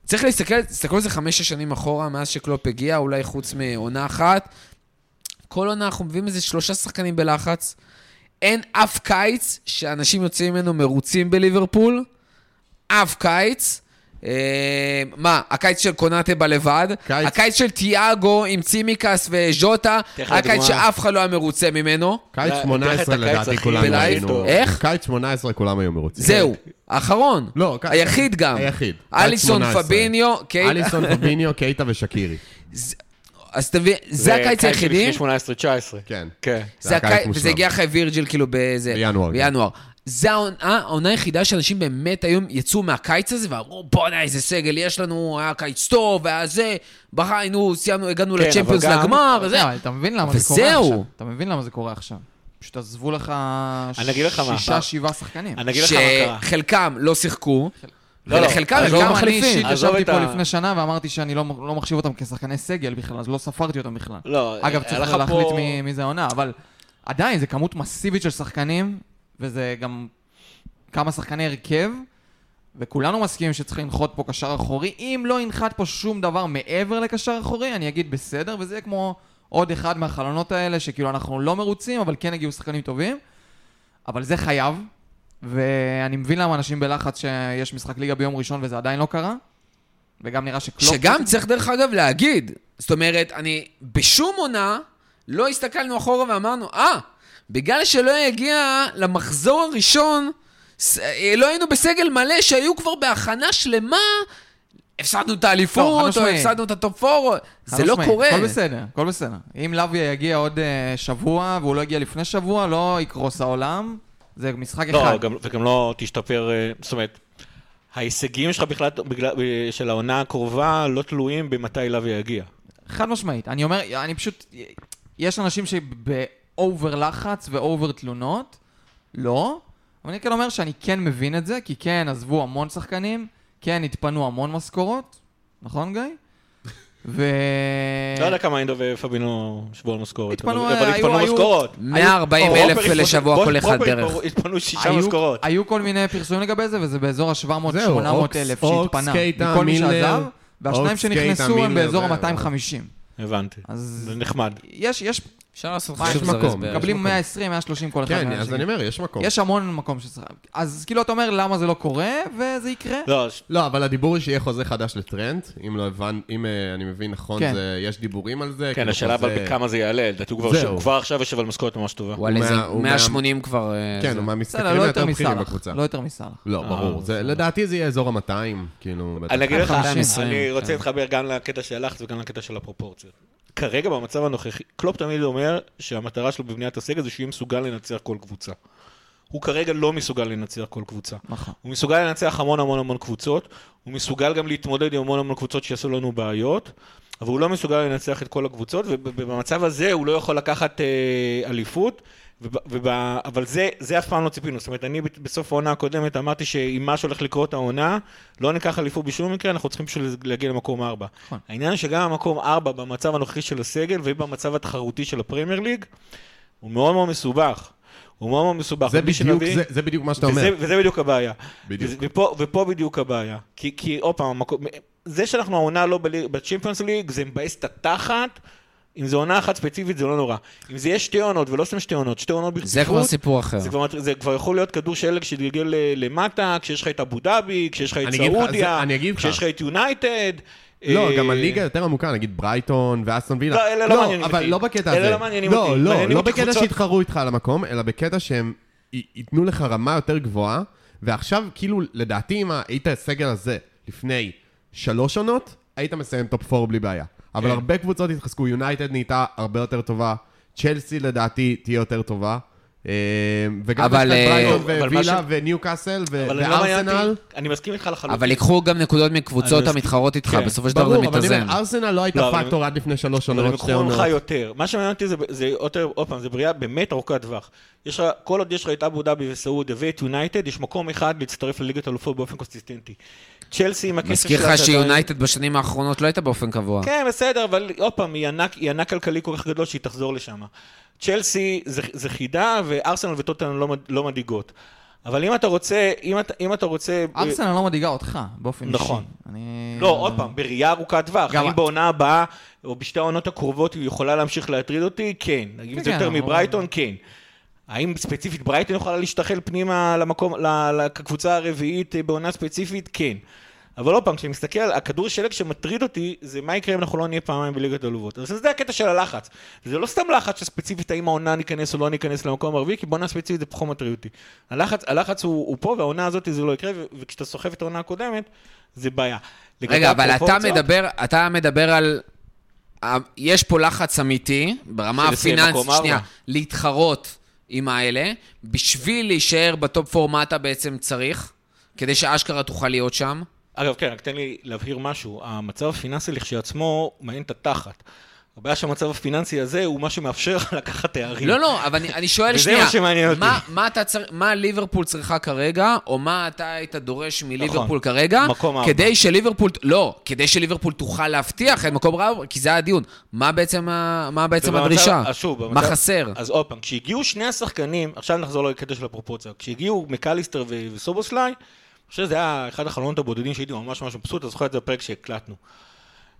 A: צריך להסתכל, תסתכלו על זה חמש-שש שנים אחורה, מאז שקלופ הגיע, אולי חוץ מעונה אחת. כל עונה אנחנו מביאים איזה שלושה שחקנים בלחץ. אין אף קיץ שאנשים יוצאים ממנו מרוצים בליברפול. אף קיץ. אה, מה, הקיץ של קונאטה בא לבד,
C: קיץ.
A: הקיץ של תיאגו עם צימקס וז'וטה,
D: תכף
A: הקיץ
D: הדוגמה.
A: שאף אחד לא היה מרוצה ממנו.
C: קיץ
D: לא, תכף
C: 18
D: הקיץ
C: לדעתי
D: הכי
C: כולם
D: בלייב
C: היינו...
D: טוב.
A: איך?
C: קיץ 18 כולם היו מרוצים.
A: זהו, האחרון.
C: כן. לא, ק-
A: היחיד גם.
C: היחיד.
A: אליסון,
C: קיץ 18.
A: פביניו, אוקיי. קייט.
C: אליסון, פביניו, קייטה ושקירי.
A: אז אתה מבין, זה הקיץ היחידי.
D: לפני 18-19.
C: כן.
D: כן.
A: זה
C: זה היה
A: הקיץ,
C: קיץ מושלם.
A: וזה הגיע אחרי וירג'יל, כאילו, באיזה...
C: בינואר, כן.
A: בינואר. זה העונה, אה, העונה היחידה שאנשים באמת היום יצאו מהקיץ הזה ואמרו, בואנה, איזה סגל יש לנו, היה קיץ טוב, היה זה, בחיינו, סיימנו, הגענו
D: כן, אבל
A: לצ'מפיונס
D: גם-
A: לגמר, זה.
B: זהו,
C: אה,
B: אתה מבין למה אה, זה קורה
A: וזהו.
B: עכשיו. אתה מבין למה זה קורה עכשיו. פשוט עזבו לך
D: אני אגיד לך מה,
B: שישה,
D: אבל-
B: שבעה שחקנים.
D: אני אגיד לך מה קרה.
A: שחלקם לא שיחקו,
D: לא, לא.
A: ולחלקם,
B: אז
A: חלקם
B: לא
A: אני
B: מחליפים.
A: אישית
D: עזוב
B: ישבתי
D: את
B: פה
D: ה-
B: לפני שנה ואמרתי שאני לא לא מחשיב אותם כשחקני סגל בכלל, אז לא ספרתי אותם בכלל.
D: לא,
B: אגב,
D: היה
B: צריך
D: לך
B: להחליט
D: פה-
B: מי- מי זה העונה, אבל עדיין, זו כמות מסיבית של שחקנים, וזה גם כמה שחקני הרכב, וכולנו מסכימים שצריך לנחות פה קשר אחורי. אם לא ינחת פה שום דבר מעבר לקשר אחורי, אני אגיד בסדר, וזה יהיה כמו עוד אחד מהחלונות האלה, שכאילו אנחנו לא מרוצים, אבל כן הגיעו שחקנים טובים. אבל זה חייב, ואני מבין למה אנשים בלחץ שיש משחק ליגה ביום ראשון וזה עדיין לא קרה, וגם נראה
C: לא
B: שקלופ...
A: שגם צריך, דרך אגב, להגיד. זאת אומרת, אני בשום עונה לא הסתכלנו אחורה ואמרנו, אה, בגלל שלא הגיע למחזור הראשון, ס- אה, לא היינו בסגל מלא, שהיו כבר בהכנה שלמה, הפסדנו את
B: לא, חד
A: האליפות, או
B: משמעית.
A: הפסדנו את הטופ פור,
B: חד
A: זה לא
B: משמעית,
A: קורה.
B: הכל בסדר, הכל בסדר. אם לוי יגיע עוד אה, שבוע, והוא לא הגיע לפני שבוע, לא יקרוס העולם, זה משחק אחד.
D: לא, גם, וגם לא תשתפר, אה, זאת אומרת, ההישגים שלך בכלל, בגלל, אה, של העונה הקרובה, לא תלויים במתי לוי יגיע.
B: חד משמעית. אני אומר, אני פשוט... יש אנשים שבאובר לחץ ואובר תלונות, לא. אבל אני כן אומר שאני כן מבין את זה, כי כן עזבו המון שחקנים, כן התפנו המון משכורות, נכון גיא? ו...
D: לא יודע כמה אינדו ופבינו שבו על משכורת, אבל
B: אה. התפנו,
D: אבל
B: היו-
D: התפנו
B: היו-
D: משכורות.
A: 140
B: היו-
A: אלף
D: פרופר התפנו-
A: לשבוע
D: בוא-
A: כל אחד
D: פרופר
A: בערך.
D: התפנו שישה
B: היו-
D: משכורות.
B: היו כל מיני פרסומים לגבי זה, וזה באזור ה-700-800
C: זהו, אוקס-
B: אלף
C: אוקס,
B: שהתפנה.
C: קייטה,
B: מכל מי שעזב,
C: מילנר,
B: והשניים
C: אוקס, קייטה,
B: שנכנסו
C: מילנר,
B: הם באזור
C: זה-
B: ה-250.
D: הבנתי,
B: אז
D: זה נחמד.
B: יש, יש,
A: אפשר לעשות
B: יש
A: חישוב זריז
C: מקום,
A: בערך.
B: מקבלים
C: מקום.
B: 120, 130 כל אחד.
C: כן,
B: מהאנשים.
C: אז אני אומר, יש מקום.
B: יש המון מקום שצריך... אז כאילו אתה אומר למה זה לא קורה, וזה יקרה.
D: לא, ש-
C: לא, אבל הדיבור הוא שיהיה חוזה חדש לטרנט, אם לא הבנ... אם אה, אני מבין נכון,
B: כן.
C: זה... יש דיבורים על זה.
D: כן,
C: כאילו
D: השאלה אבל
C: חוזה-
D: בכמה זה יעלה, לדעתי הוא כבר-
C: זהו.
D: הוא כבר עכשיו יושב על משכורת ממש טובה.
A: וואלה,
C: הוא
A: זה
C: מה- הוא
A: 180 כבר... אה,
C: כן,
A: זה.
C: הוא מהמשתכרים
B: בסדר, לא יותר
C: היותר בכירים
B: מסאלח.
C: בקבוצה.
B: לא אה, יותר מסאלח.
C: לא, ברור. זה- לדעתי זה יהיה אזור ה-200, כאילו... בטח.
D: אני אגיד לך,
A: 250,
D: אני רוצה
A: כן.
D: להתחבר גם לקטע של הלחץ וגם לקטע של הפרופורציות. כרגע במצב הנוכחי, קלופ תמיד אומר שהמטרה שלו בבניית הסגל זה שיהיה מסוגל לנצח כל קבוצה. הוא כרגע לא מסוגל לנצח כל קבוצה.
B: נכון.
D: הוא מסוגל לנצח המון המון המון קבוצות, הוא מסוגל גם להתמודד עם המון המון קבוצות שיעשו לנו בעיות, אבל הוא לא מסוגל לנצח את כל הקבוצות, ובמצב הזה הוא לא יכול לקחת אה, אליפות, וב, וב, אבל זה, זה אף פעם לא ציפינו. זאת אומרת, אני ב- בסוף העונה הקודמת אמרתי שאם משהו הולך לקרות העונה, לא ניקח אליפות בשום מקרה, אנחנו צריכים פשוט להגיע למקום ארבע.
B: נכון.
D: העניין הוא שגם המקום ארבע במצב הנוכחי של הסגל ובמצב התחרותי של הפרמייר ליג, הוא מאוד מאוד מסובך. הוא מאוד מאוד מסובך.
C: זה
D: ומי
C: בדיוק-
D: שנביא-
C: זה- זה בדיוק מה שאתה אומר.
D: וזה, וזה בדיוק הבעיה.
C: בדיוק.
D: וזה- ופה, ופה בדיוק הבעיה. כי, כי עוד פעם, המקום, זה שאנחנו העונה לא בלי- בצ'מפיונס ליג, זה מבאס את התחת. אם זו עונה אחת ספציפית, זה לא נורא. אם זה יהיה שתי עונות, ולא סתם שתי עונות, שתי עונות
A: זה כבר
D: ברציפות,
A: סיפור אחר.
D: זה, כבר- זה כבר יכול להיות כדור שלג שתגלגל אה, למטה, כשיש לך את אבו דאבי, כשיש לך את
C: אני אגיד לך, זה-
D: סעודיה,
C: אני אגיד לך.
D: כשיש לך את יונייטד.
C: לא,
D: אה,
C: גם הליגה יותר עמוקה, נגיד ברייטון ואסטון וילה.
D: לא, אלה לא מעניינים אותי.
C: אבל לא בקטע הזה.
D: אלה לא מעניינים אותי.
C: לא, לא,
D: מעניינים
C: לא
D: אותי
C: בקטע
D: קבוצות-
C: שיתחרו איתך על המקום, אלא בקטע שהם י- ייתנו לך רמה יותר גבוהה, ועכשיו, כאילו, לדעתי, אם היית הסגל הזה לפני שלוש עונות, היית מסיים טופ 4 בלי בעיה. אבל
D: כן.
C: הרבה קבוצות התחזקו, יונייטד נהייתה הרבה יותר טובה, צ'לסי לדעתי תהיה יותר טובה. אה, וגם יש
A: אבל,
C: כאן
A: אה,
C: ברייטון
D: אבל מה
C: ווילה
D: ש-
C: וניו קאסל ו-
D: אבל אני לא מעניין
C: וארסנל.
D: אותי, אני מסכים איתך לחלוטין.
A: אבל ייקחו גם נקודות מקבוצות
D: אני-
A: המתחרות איתך,
D: כן.
A: בסופו של דבר
C: ברור,
A: זה
C: אבל אני
A: מתאזן.
C: אומר, ארסנל לא הייתה
D: לא, אבל-
C: פקטור עד לפני שלוש
D: אבל הם
C: עונות, שתי
D: יקחו ממך
C: עונות.
D: יותר. מה שמעניין אותי זה, זה יותר, עוד פעם, זה בריאה באמת ארוכת טווח. יש לך, כל עוד יש לך את אבו דאבי וסעודיה ואת יונייטד, יש מקום אחד להצטרף לליגת אלופות באופן קונסיסטנטי. צ'לסי עם הכסף
A: מזכיר
D: שלה
A: לך
D: שעדיין-
A: שיונייטד בשנים האחרונות לא הייתה באופן קבוע.
D: כן, בסדר, אבל עוד פעם, היא ענק, היא ענק כלכלי כל כך גדול שהיא תחזור לשם. צ'לסי זה, זה חידה, וארסנל וטוטנאם לא, מד- לא מדאיגות. אבל אם אתה רוצה, אם אתה, אם אתה רוצה...
B: ארסנל לא מדאיגה אותך, באופן אישי.
D: נכון.
B: אני...
D: לא, עוד פעם, בראייה ארוכת טווח.
B: גם-
D: האם בעונה הבאה, או בשתי העונות הקרובות, היא יכולה להמשיך להטריד אותי? כן.
B: כן,
D: אם זה יותר
B: אבל-
D: מברייטון? כן. האם ספציפית ברייטון יכולה להשתחל פנימה למקום, ל- לקבוצה הרביעית אה, בעונה ספציפית? כן. אבל עוד פעם, כשאני מסתכל, הכדור שלג שמטריד אותי, זה מה יקרה אם אנחנו לא נהיה פעמיים בליגת הלובות. אז זה הקטע של הלחץ. זה לא סתם לחץ שספציפית האם העונה ניכנס או לא ניכנס למקום הרביעי, כי בעונה ספציפית זה פחות מטריד אותי. הלחץ, הלחץ הוא, הוא פה, והעונה הזאת זה לא יקרה, ו- וכשאתה סוחב את העונה הקודמת, זה בעיה. לגבי
A: רגע, אבל אתה
D: הפרופורציות,
A: מדבר, אתה מדבר על... ה- יש פה לחץ אמיתי, ברמה
D: של לסיים
A: הפיננסית,
D: מקום
A: שנייה,
D: ארבע.
A: להתחרות עם האלה. בשביל להישאר בטופ פור, מה אתה בעצם צריך? כדי שאשכרה תוכל להיות שם?
D: אגב, כן, רק תן לי להבהיר משהו. המצב הפיננסי לכשעצמו מעניין את התחת. הבעיה שהמצב הפיננסי הזה הוא מה שמאפשר לך לקחת תארים.
A: לא, לא, אבל אני, אני שואל
D: וזה
A: שנייה.
D: מה שמעניין אותי.
A: מה, מה, אתה צר... מה ליברפול צריכה כרגע, או מה אתה היית דורש מליברפול
D: נכון.
A: כרגע,
D: מקום ארבע.
A: כדי שליברפול... לא, כדי שליברפול תוכל להבטיח את מקום רב, כי זה היה הדיון. מה בעצם, ה... מה בעצם
D: ובמצב-
A: הדרישה?
D: אז שוב,
A: מה
D: במצב-
A: חסר?
D: אז עוד פעם, כשהגיעו שני השחקנים, עכשיו נחזור לקטע של הפרופורציה, כשהגיעו מקליסטר ו- וסובוסליי, אני חושב שזה היה אחד החלונות הבודדים שהייתי ממש ממש מבסוט, אתה זוכר את זה בפרק שהקלטנו.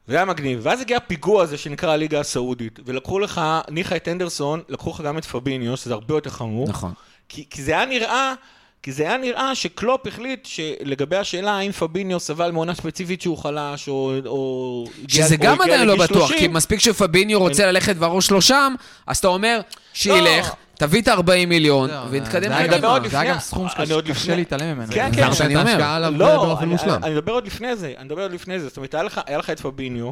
D: זה היה מגניב, ואז הגיע הפיגוע הזה שנקרא הליגה הסעודית, ולקחו לך, ניחא את הנדרסון, לקחו לך גם את פביניו, שזה הרבה יותר חמור.
A: נכון.
D: כי, כי זה היה נראה... כי זה היה נראה שקלופ החליט שלגבי השאלה האם פביניו סבל מעונה ספציפית שהוא חלש, או... או
A: שזה
D: או
A: גם
D: הגיע
A: עדיין לא
D: לגיל
A: בטוח,
D: 30,
A: כי מספיק שפביניו רוצה ללכת והראש לא שם, אז אתה
D: לא.
A: אומר, שילך, תביא את ה-40 מיליון,
B: לא,
A: ונתקדם
B: זה היה
D: נדבר
B: גם-
A: קדימה.
D: עוד
B: זה היה
D: לפני-
B: גם סכום
D: אני עוד
B: שקשה
D: לפני-
B: להתעלם ממנו.
D: כן,
A: זה
D: כן.
A: מה שאני
C: את
A: אומר.
C: ההשקעה עליו
D: לא,
C: באופן
D: אני,
C: מושלם.
D: אני, אני מדבר עוד לפני זה, אני מדבר עוד לפני זה. זאת אומרת, היה לך, היה לך את פביניו,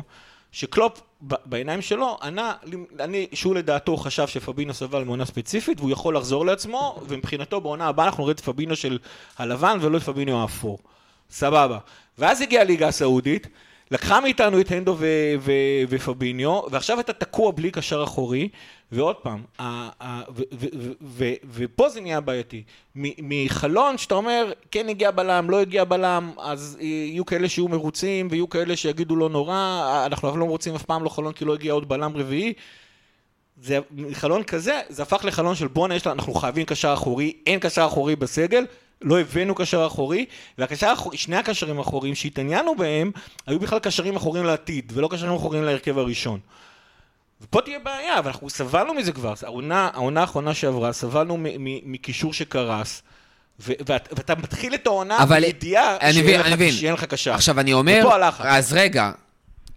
D: שקלופ ב, בעיניים שלו ענה, לי- אני, שהוא לדעתו חשב שפביניו סבל מעונה ספציפית, והוא יכול לחזור לעצמו, ומבחינתו בעונה הבאה אנחנו נראה את פביניו של הלבן ולא את פביניו האפור. סבבה. ואז הגיעה הליגה הסעודית, לקחה מאיתנו את הנדו ו- ו- ופביניו, ועכשיו אתה תקוע בלי קשר אחורי, ועוד פעם, ה- ה- ו- ו- ו- ו- ופה זה נהיה בעייתי. מ- מחלון שאתה אומר, כן הגיע בלם, לא הגיע בלם, אז יהיו כאלה שיהיו מרוצים, ויהיו כאלה שיגידו לא נורא, אנחנו אבל לא מרוצים אף פעם לא חלון כי לא הגיע עוד בלם רביעי. זה חלון כזה, זה הפך לחלון של בואנה, יש לנו- אנחנו חייבים קשר אחורי, אין קשר אחורי בסגל, לא הבאנו קשר אחורי, והקשר, האחור- שני הקשרים האחוריים שהתעניינו בהם, היו בכלל קשרים אחוריים לעתיד, ולא קשרים אחוריים להרכב הראשון. ופה תהיה בעיה, אבל אנחנו סבלנו מזה כבר, העונה, העונה האחרונה שעברה, סבלנו מ- מ- מקישור שקרס, ו- ואת- ואתה מתחיל את העונה
A: אבל-
D: בידיעה
A: אני
D: שאין
A: מבין,
D: לך-
A: אני מבין.
D: שאין לך קשר.
A: עכשיו, אני אומר,
D: ופה הלחץ.
A: אז רגע,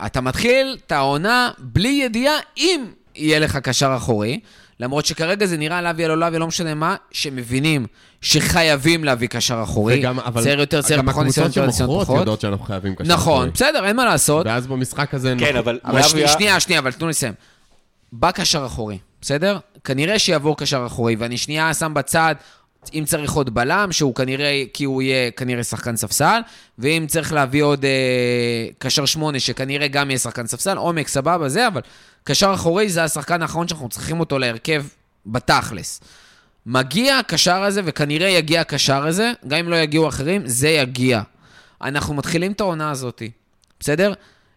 A: אתה מתחיל את העונה בלי ידיעה אם יהיה לך קשר אחורי, למרות שכרגע זה נראה לאבי על לאבי, לא משנה מה, שמבינים שחייבים להביא קשר אחורי.
C: וגם, אבל...
A: צעיר יותר, צעיר
C: גם
A: פחות, ניסיון יותר,
C: הקבוצות
A: ניסיון
C: שמוכרות
A: פחות.
C: יודעות שאנחנו חייבים קשר.
A: נכון,
C: אחורי.
A: בסדר, אין מה לעשות.
C: ואז במשחק הזה...
D: כן,
C: אנחנו-
D: אבל
A: אבל שני,
D: לאבי-
A: שנייה, שנייה, אבל תנו לי לסיים. בא קשר אחורי, בסדר? כנראה שיעבור קשר אחורי, ואני שנייה שם בצד אם צריך עוד בלם, שהוא כנראה, כי הוא יהיה כנראה שחקן ספסל, ואם צריך להביא עוד אה, קשר שמונה, שכנראה גם יהיה שחקן ספסל, עומק סבבה, זה, אבל קשר אחורי זה השחקן האחרון שאנחנו צריכים אותו להרכב בתכלס. מגיע הקשר הזה, וכנראה יגיע הקשר הזה, גם אם לא יגיעו אחרים, זה יגיע. אנחנו מתחילים את העונה הזאת, בסדר?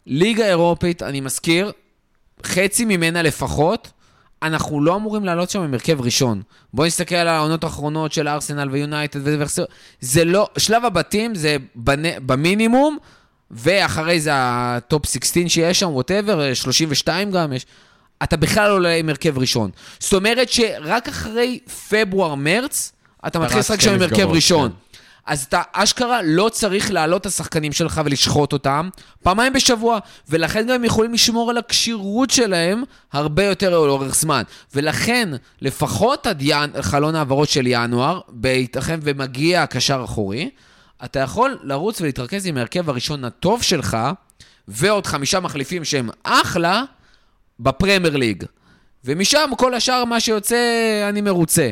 A: ליגה אירופית, אני מזכיר, חצי ממנה לפחות, אנחנו לא אמורים לעלות שם עם הרכב ראשון. בואו נסתכל על העונות האחרונות של ארסנל ויונייטד וזה והחסר. זה לא, שלב הבתים זה בנ- במינימום, ואחרי זה הטופ 16 שיש שם, ווטאבר, 32 גם יש. אתה בכלל לא עולה עם הרכב ראשון. זאת אומרת שרק אחרי פברואר-מרץ, אתה מתחיל
C: רץ
A: לשחק
C: שתי
A: שם עם הרכב
C: מסגרות,
A: ראשון.
C: כן.
A: אז אתה אשכרה לא צריך להעלות את השחקנים שלך ולשחוט אותם פעמיים בשבוע, ולכן גם הם יכולים לשמור על הכשירות שלהם הרבה יותר לאורך זמן. ולכן, לפחות עד ין... חלון העברות של ינואר, בהתאכן ומגיע הקשר אחורי, אתה יכול לרוץ ולהתרכז עם ההרכב הראשון הטוב שלך, ועוד חמישה מחליפים שהם אחלה, בפרמייר ליג. ומשם כל השאר מה שיוצא, אני מרוצה.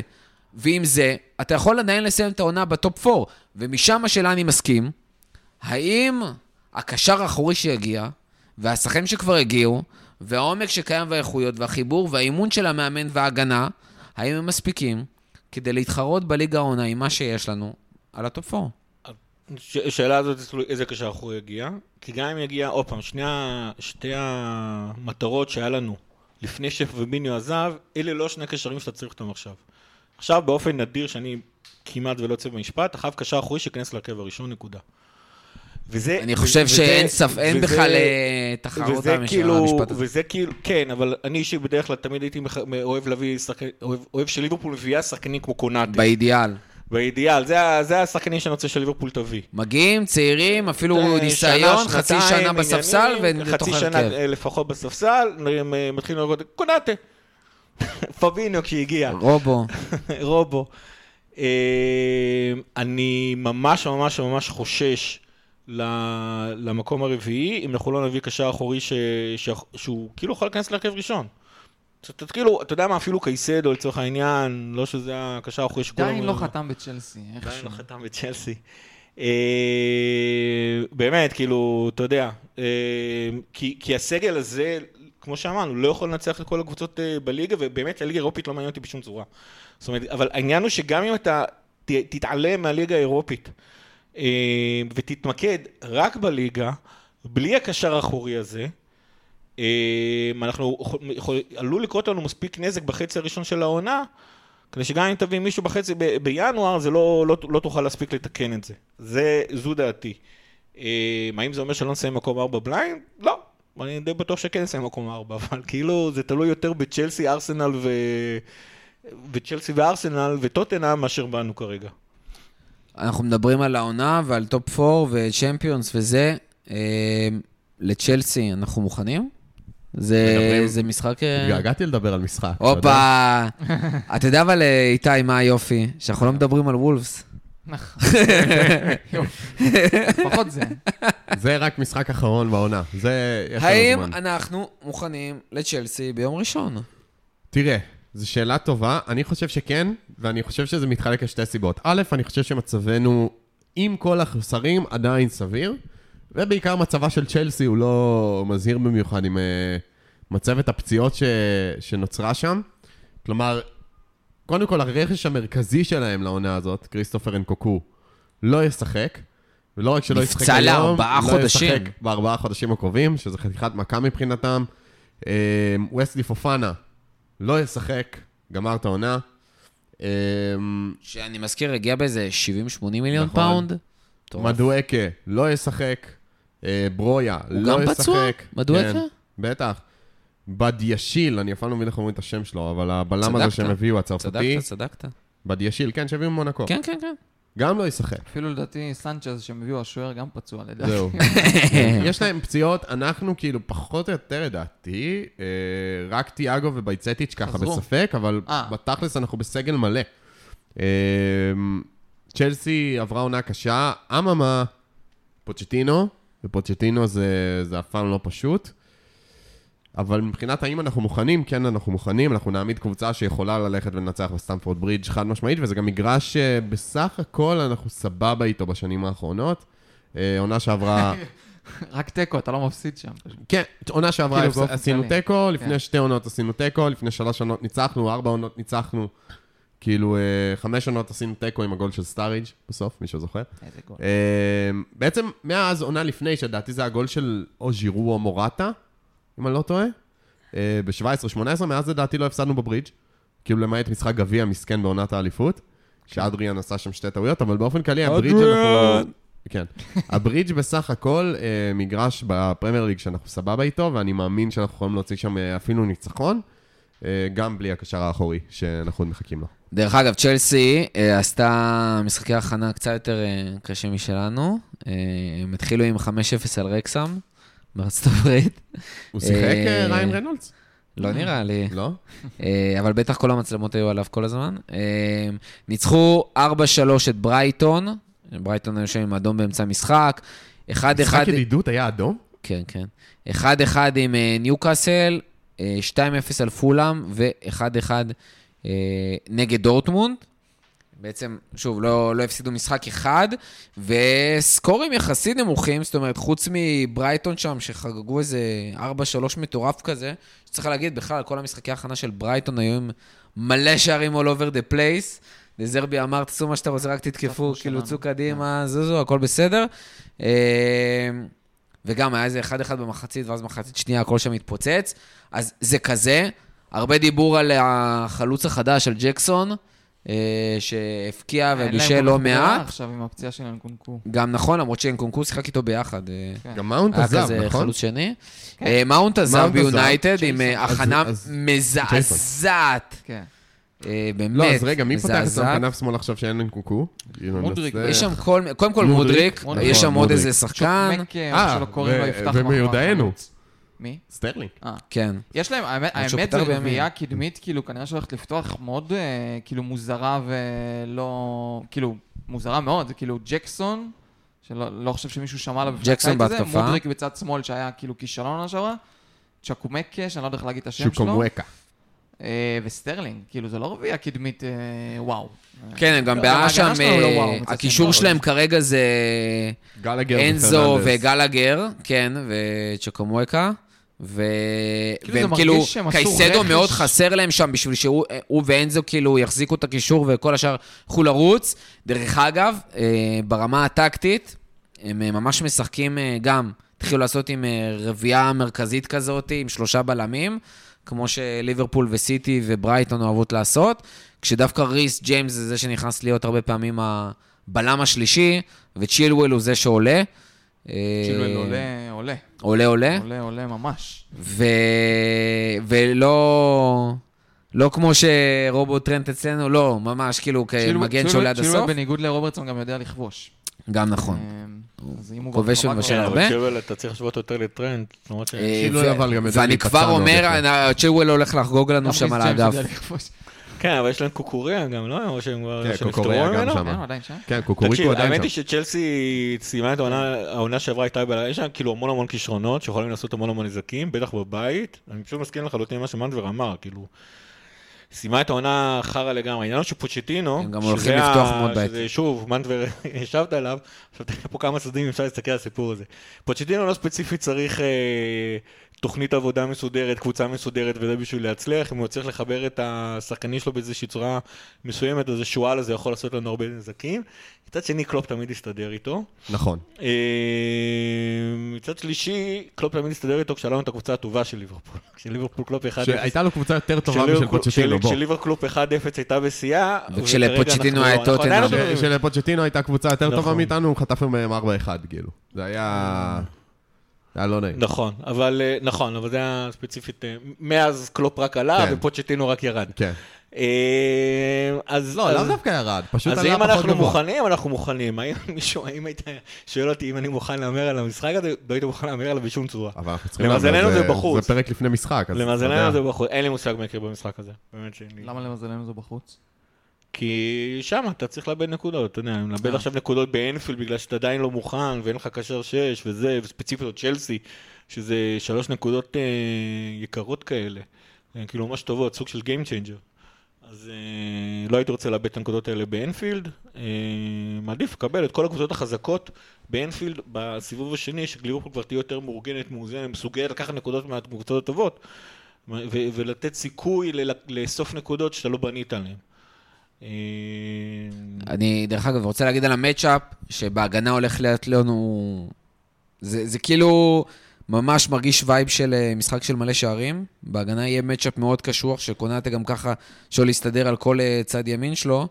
A: ועם זה, אתה יכול עדיין לסיים את העונה בטופ 4. ומשם השאלה אני מסכים, האם הקשר האחורי שיגיע, והשחקנים שכבר הגיעו, והעומק שקיים והאיכויות, והחיבור, והאימון של המאמן וההגנה, האם הם מספיקים כדי להתחרות בליגה העונה עם מה שיש לנו על הטופ 4?
D: ש- השאלה הזאת, זה תלוי איזה קשר אחורי יגיע, כי גם אם יגיע, עוד פעם, שני ה- שתי המטרות שהיה לנו לפני שפביניו עזב, אלה לא שני קשרים שאתה צריך אותם עכשיו. עכשיו, באופן נדיר שאני כמעט ולא יוצא במשפט, אחריו קשר אחורי שייכנס להרכב הראשון, נקודה. וזה...
A: אני
D: ו-
A: חושב
D: וזה-
A: שאין ספ... אין
D: וזה-
A: בכלל אה, תחרות
D: וזה
A: על המשפט
D: כאילו,
A: הזה.
D: וזה כאילו, כן, אבל אני אישית בדרך כלל תמיד הייתי מח- אוהב להביא, שחקנים- אוהב- אוהב שליברפול מביאה שחקנים כמו קונאטי,
A: באידיאל.
D: באידיאל, זה ה- זה השחקנים שאני רוצה שליברפול תביא.
A: מגיעים, צעירים, אפילו
D: אה, שנה,
A: ניסיון, חצי
D: שנתיים,
A: שנה בספסל
D: עניינים,
A: ולתוך
D: חצי שנה
A: הרכב.
D: אה, לפחות בספסל, נראים, אה, מתחילים לראות, קונאטה. פבינו כשהגיע,
A: רובו.
D: רובו. אה, אני ממש ממש ממש חושש ל- למקום הרביעי, אם אנחנו לא נביא קשר אחורי ש- ש- שהוא כאילו יכול להיכנס להרכב ראשון. זאת אומרת, כאילו, אתה יודע מה, אפילו קייסדו לצורך העניין, לא שזה הקשר האחורי שכולם...
B: עדיין לא
D: אומרים.
B: חתם בצ'לסי,
D: עדיין
B: איכשהו.
D: לא חתם בצ'לסי. אה, באמת, כאילו, אתה יודע, אה, כי, כי הסגל הזה, כמו כמו שאמרנו, לא יכול לנצח את כל הקבוצות אה, בליגה, ובאמת הליגה האירופית לא מעניינת אותי בשום צורה. זאת אומרת, אבל העניין הוא שגם אם אתה ת, תתעלם מהליגה האירופית אה, ותתמקד רק בליגה, בלי הקשר האחורי הזה, אה, אנחנו, יכול- יכול- עלול לקרות לנו מספיק נזק בחצי הראשון של העונה, כדי שגם אם תביא מישהו בחצי ב- בינואר, זה לא, לא, לא תוכל להספיק לתקן את זה. זה זו דעתי. אה, האם זה אומר שלא נסיים מקום ארבע בליינד? לא. אני די בטוח שכן נסיים מקום ארבע, אבל כאילו זה תלוי יותר בצ'לסי, ארסנל ו... וצ'לסי וארסנל וטוטנאם מאשר בנו כרגע.
A: אנחנו מדברים על העונה ועל טופ 4 וצ'מפיונס וזה. אה, לצ'לסי אנחנו מוכנים? זה,
C: מדברים-
A: זה משחק... אה,
C: התגעגעתי לדבר על משחק. אתה יודע?
A: הופה. אתה יודע אבל, אה, איתי, מה היופי? שאנחנו
C: אה.
A: לא מדברים על וולפס.
B: נכון. יופי. לפחות זה.
C: זה רק משחק אחרון בעונה. זה... יש לנו
A: האם
C: זמן.
A: אנחנו מוכנים לצ'לסי ביום ראשון?
C: תראה, זו שאלה טובה, אני חושב שכן, ואני חושב שזה מתחלק לשתי סיבות. א', אני חושב שמצבנו, עם כל החסרים, עדיין סביר, ובעיקר מצבה של צ'לסי הוא לא מזהיר במיוחד עם uh, מצבת הפציעות ש... שנוצרה שם. כלומר, קודם כל הרכש המרכזי שלהם לעונה הזאת, כריסטופר אנקוקו, לא ישחק. ולא רק שלא ישחק
A: נפצע
C: היום,
A: לארבעה
C: לא
A: חודשים.
C: ישחק בארבעה חודשים הקרובים, שזה חתיכת מכה מבחינתם. אה, וסלי פופנה לא ישחק, גמר את העונה. אה,
A: שאני מזכיר, הגיע באיזה 70-80 מיליון
C: נכון.
A: פאונד. מטורף.
C: מדואקה לא ישחק. אה, ברויה לא
A: גם
C: ישחק.
A: פצוע? מדואקה?
C: כן, בטח. בדיאשיל, אני אף פעם לא מבין איך אומרים את השם שלו, אבל הבלם הזה
A: צדקת.
C: שהם הביאו, הצרפתי,
A: צדקת, צדקת.
C: בדיאשיל, כן, שהביאו ממונקו,
A: כן, כן, כן.
C: גם לא ישחק.
B: אפילו לדעתי סנצ'ז שהם הביאו השוער גם פצוע לדעתי.
C: זהו. יש להם פציעות, אנחנו כאילו פחות או יותר, לדעתי, אה, רק תיאגו ובייצטיץ' ככה
B: חזרו.
C: בספק, אבל
B: אה.
C: בתכלס אנחנו בסגל מלא. אה, צ'לסי עברה עונה קשה, אממה, פוצ'טינו, ופוצ'טינו זה זה אף פעם לא פשוט. אבל מבחינת האם אנחנו מוכנים, כן, אנחנו מוכנים, אנחנו נעמיד קבוצה שיכולה ללכת ולנצח בסטמפורד ברידג' חד משמעית, וזה גם מגרש שבסך הכל אנחנו סבבה איתו בשנים האחרונות. אה, עונה שעברה,
B: רק תיקו, אתה לא מפסיד שם.
C: כן, עונה שעברה
B: כאילו
C: הפס-
B: באופן
C: עשינו
B: כללי.
C: תיקו,
B: כן.
C: לפני שתי עונות עשינו תיקו, לפני שלוש עונות ניצחנו, ארבע עונות ניצחנו, כאילו אה, חמש עונות עשינו תיקו עם הגול של סטאריג' בסוף, מישהו זוכר?
B: איזה גול.
C: אה, בעצם, מאז עונה לפני, שלדעתי זה הגול של או ז'ירו או מורטה, אם אני לא טועה, אה, ב-17-18, מאז לדעתי לא הפסדנו בברידג', כאילו למעט משחק גביע מסכן בעונת האליפות, שאדריאן עשה שם שתי טעויות, אבל באופן כללי הברידג'
A: אדריאן!
C: אנחנו... כן. הברידג' בסך הכל אה, מגרש בפרמייר ליג שאנחנו סבבה איתו, ואני מאמין שאנחנו יכולים להוציא שם אה, אפילו ניצחון, אה, גם בלי הקשר האחורי שאנחנו עוד מחכים לו.
A: דרך אגב, צ'לסי אה, עשתה משחקי הכנה קצת יותר אה, קשים משלנו. אה, הם התחילו עם 5-0 על רקסם בארצות הברית.
C: הוא שיחק
A: אה,
C: אה, ריין רנולדס?
A: לא נראה לי.
C: לא?
A: אה, אבל בטח כל המצלמות היו עליו כל הזמן. אה, ניצחו 4-3 את ברייטון. ברייטון היו שם עם אדום באמצע המשחק. 1-1...
C: משחק ידידות היה אדום?
A: כן, כן. 1-1 עם אה, ניוקאסל, אה, 2-0 על פולאם ו-1-1 אה, נגד דורטמונד. בעצם, שוב, לא, לא הפסידו משחק אחד, וסקורים יחסית נמוכים, זאת אומרת, חוץ מברייטון שם, שחגגו איזה 4-3 מטורף כזה, שצריך להגיד, בכלל, כל המשחקי ההכנה של ברייטון היו עם מלא שערים all over the place. דזרבי אמר, תעשו מה שאתה רוצה, רק תתקפו,
B: כמו
A: כאילו,
B: שלנו.
A: צאו קדימה, זוזו, הכל בסדר. אה, וגם היה איזה 1-1 במחצית, ואז מחצית שנייה הכל שם התפוצץ. אז זה כזה. הרבה דיבור על החלוץ החדש, על ג'קסון, אה, שהפקיע
B: אין להם
A: ובישל
B: כל
A: לא
B: כך ברירה
A: מעט.
B: עכשיו עם הפציעה של אנקונקו.
A: גם נכון, למרות שאנקונקו שיחק איתו ביחד. אה,
B: כן.
C: גם מאונט
A: היה
C: עזב,
A: כזה
C: נכון?
A: חלוץ שני. אה, מאונט עזב
C: מאונט עזב,
A: ביונייטד עם אה,
C: אז-
A: הכנה
C: אז-
A: מזעזעת.
B: כן.
A: אה, באמת,
C: לא, אז רגע, מי פותח אצלם
A: מזעזעת.
C: כנף שמאל עכשיו שאין להם קוקו? כאילו,
B: מודריק,
C: נעשה-
A: יש שם כל... מ- קודם כל
C: מודריק,
A: מודריק,
B: מודריק.
A: יש שם
C: נכון,
A: עוד
C: מודריק.
A: איזה שחקן.
B: שוקמק, אה,
C: אה,
B: שלא קוראים לו
C: ו-
B: יפתח מחמד.
C: ומיודענו,
B: מי?
C: סטרלינג.
B: אה.
A: כן.
B: יש להם, האמת,
A: אבל שהוא
B: האמת
A: פתח
B: זו
A: בימין.
B: רביעייה קדמית, כאילו, כנראה שהולכת לפתוח מאוד, אה, כאילו, מוזרה ולא... כאילו, מוזרה מאוד, זה כאילו ג'קסון, שלא לא חושב שמישהו שמע עליו לפני
A: ג'קסון
B: הקיץ הזה,
A: בהתקפה.
B: מודריק בצד שמאל, שהיה כאילו כישלון עונה שעברה, צ'קומקה, שאני לא יודע איך להגיד את השם שלו,
C: שוקומואקה.
B: אה, וסטרלינג, כאילו, זה לא רביעייה קדמית, אה, וואו.
A: כן, הם גם
B: לא,
A: בעיה
B: ההגנה
A: שם,
B: שלנו לא
A: אה,
B: וואו, מצד
A: הקישור
B: שני.
A: שלהם כרגע זה
C: גלגר
A: אנזו
C: ופרננדס.
A: וגלגר, כן, וצ'קומואקה. ו...
B: כאילו זה
A: והם
B: מרגיש
A: כאילו,
B: שהם עשו
A: קייסדו
B: רכש.
A: מאוד חסר להם שם בשביל שהוא אה, הוא ואנזו כאילו יחזיקו את הקישור וכל השאר ילכו לרוץ. דרך אגב, אה, ברמה הטקטית, הם אה, ממש משחקים אה, גם, התחילו לעשות עם אה, רביעייה מרכזית כזאת, עם שלושה בלמים, כמו שליברפול וסיטי וברייטון אוהבות לעשות, כשדווקא ריס ג'יימס זה זה שנכנס להיות הרבה פעמים הבלם השלישי, וצ'ילואל הוא זה שעולה. אה,
B: צ'ילואל כאילו, עולה, עולה,
A: עולה, עולה.
B: עולה, עולה ממש.
A: ו... ולא לא כמו שרובו טרנט אצלנו, לא, ממש כאילו
B: צ'ילואל-
A: כמגן
B: צ'ילואל-
A: שעולה עד
B: צ'ילואל
A: הסוף.
B: בניגוד לרוברטסון גם יודע לכבוש.
A: גם נכון.
B: אה, אז אם הוא
A: כובש
B: ברחבה
A: ומבשל
B: כבר-
D: כן, אבל
A: הרבה.
D: צ'ילואל, אתה צריך לשבות יותר לטרנד, למרות ש...
A: אה,
C: צ'ילואל
A: ו-
C: אבל גם יודע
A: ואני
C: להיפצע
A: כבר
C: מאוד כן.
A: אומר,
C: יפה.
A: אה, צ'ילואל הולך לחגוג
B: גם
A: לנו שם
B: ריס
A: על
B: ג'יימס
A: האגף.
B: יודע לכבוש.
D: כן, אבל יש להם קוקוריה גם, לא? או שהם כבר...
C: כן,
D: שנפטרו
C: קוקוריה גם
D: ממנו?
C: שם.
B: כן, הוא עדיין שם?
C: כן,
D: תקשיב,
C: קוקוריקו
D: האמת
C: עדיין
D: היא
C: שם.
D: שצ'לסי סיימה את העונה, העונה שעברה הייתה ב... יש שם כאילו המון המון כישרונות שיכולים לעשות המון המון נזקים, בטח בבית. אני פשוט מסכים לחלוטין למה שמנדבר אמר, כאילו... סיימה את העונה חרא לגמרי. העניין הוא שפוצ'טינו,
A: הם גם
D: שזה
A: הולכים
D: ה-
A: לפתוח מאוד בעייתי.
D: שזה שוב, מנדבר, ישבת עליו, עכשיו תראה פה כמה צדדים אם אפשר להסתכל על הסיפור הזה. פוצ'טינו לא ספציפית צריך אה, תוכנית עבודה מסודרת, קבוצה מסודרת וזה בשביל להצליח, אם הוא יצליח לחבר את השחקנים שלו באיזושהי צורה מסוימת, אז השועל הזה יכול לעשות לנו הרבה נזקים. מצד שני, קלופ תמיד הסתדר איתו.
C: נכון.
D: אה, מצד שלישי, קלופ תמיד הסתדר איתו כשהיה לנו את הקבוצה הטובה של ליברפול. כשליברפול קלופ אחד...
C: שהייתה לו קבוצה יותר טובה
D: כשליבר-
C: משל פוצ'טינו,
D: כש-
C: בוא.
D: כשליברקלופ 1-0 הייתה בשיאה,
A: וכשלפוצ'טינו
D: וכרגע אנחנו-
A: היה את
D: אנחנו עדיין לא
A: טוטנהאם.
D: טובים.
C: ש- אה, של פוצ'טינו הייתה קבוצה יותר טובה
D: נכון.
C: מאיתנו, הוא חטף מהם 4-1, כאילו. זה היה... זה היה לא נעים.
D: נכון, אבל אה, נכון, אבל זה היה ספציפית, אה, מאז קלופ רק עלה
C: כן.
D: ופוצ'טינו רק ירד.
C: כן.
D: אה, אז...
C: לא, לאו
D: אז-
C: דווקא ירד, פשוט
D: אז
C: עלה
D: אם
C: פחות
D: אנחנו
C: גבוה.
D: מוכנים, אנחנו מוכנים. האם מישהו, האם היית שואל אותי אם אני מוכן להמר על המשחק הזה, לא הייתי מוכן להמר עליו בשום צורה.
C: אבל אנחנו צריכים...
D: למזלנו
C: להבין,
D: זה בחוץ.
C: זה פרק לפני משחק, אז... אתה
D: למזלנו
C: יודע.
D: זה בחוץ, אין לי מושג מה יקרה במשחק הזה, באמת שאין לי.
B: למה למזלנו זה בחוץ?
D: כי שם אתה צריך לאבד נקודות, אתה יודע, אם לאבד
B: אה.
D: עכשיו נקודות באנפילד בגלל שאתה עדיין לא מוכן ואין לך קשר 6 וזה, וספציפית עוד צ'לסי, שזה שלוש נקודות אה, יקרות כאלה, אה, כאילו ממש טובות, סוג של Game Changer. אז אה, לא הייתי רוצה לאבד את הנקודות האלה באנפילד, אה, מעדיף לקבל את כל הקבוצות החזקות באנפילד בסיבוב השני, שליברפול כבר תהיה יותר מאורגנת, מאוזנת, מסוגלת לקחת נקודות מהקבוצות הטובות, ו- ו- ולתת סיכוי ל- לאסוף נקודות שאתה לא בנית עליהן. אה,
A: אני, דרך אגב, רוצה להגיד על המצ'אפ, שבהגנה הולך להיות לנו... זה, זה כאילו ממש מרגיש וייב של אה, משחק של מלא שערים. בהגנה יהיה מצ'אפ מאוד קשוח, שקונאטה גם ככה שלא להסתדר על כל אה, צד ימין שלו,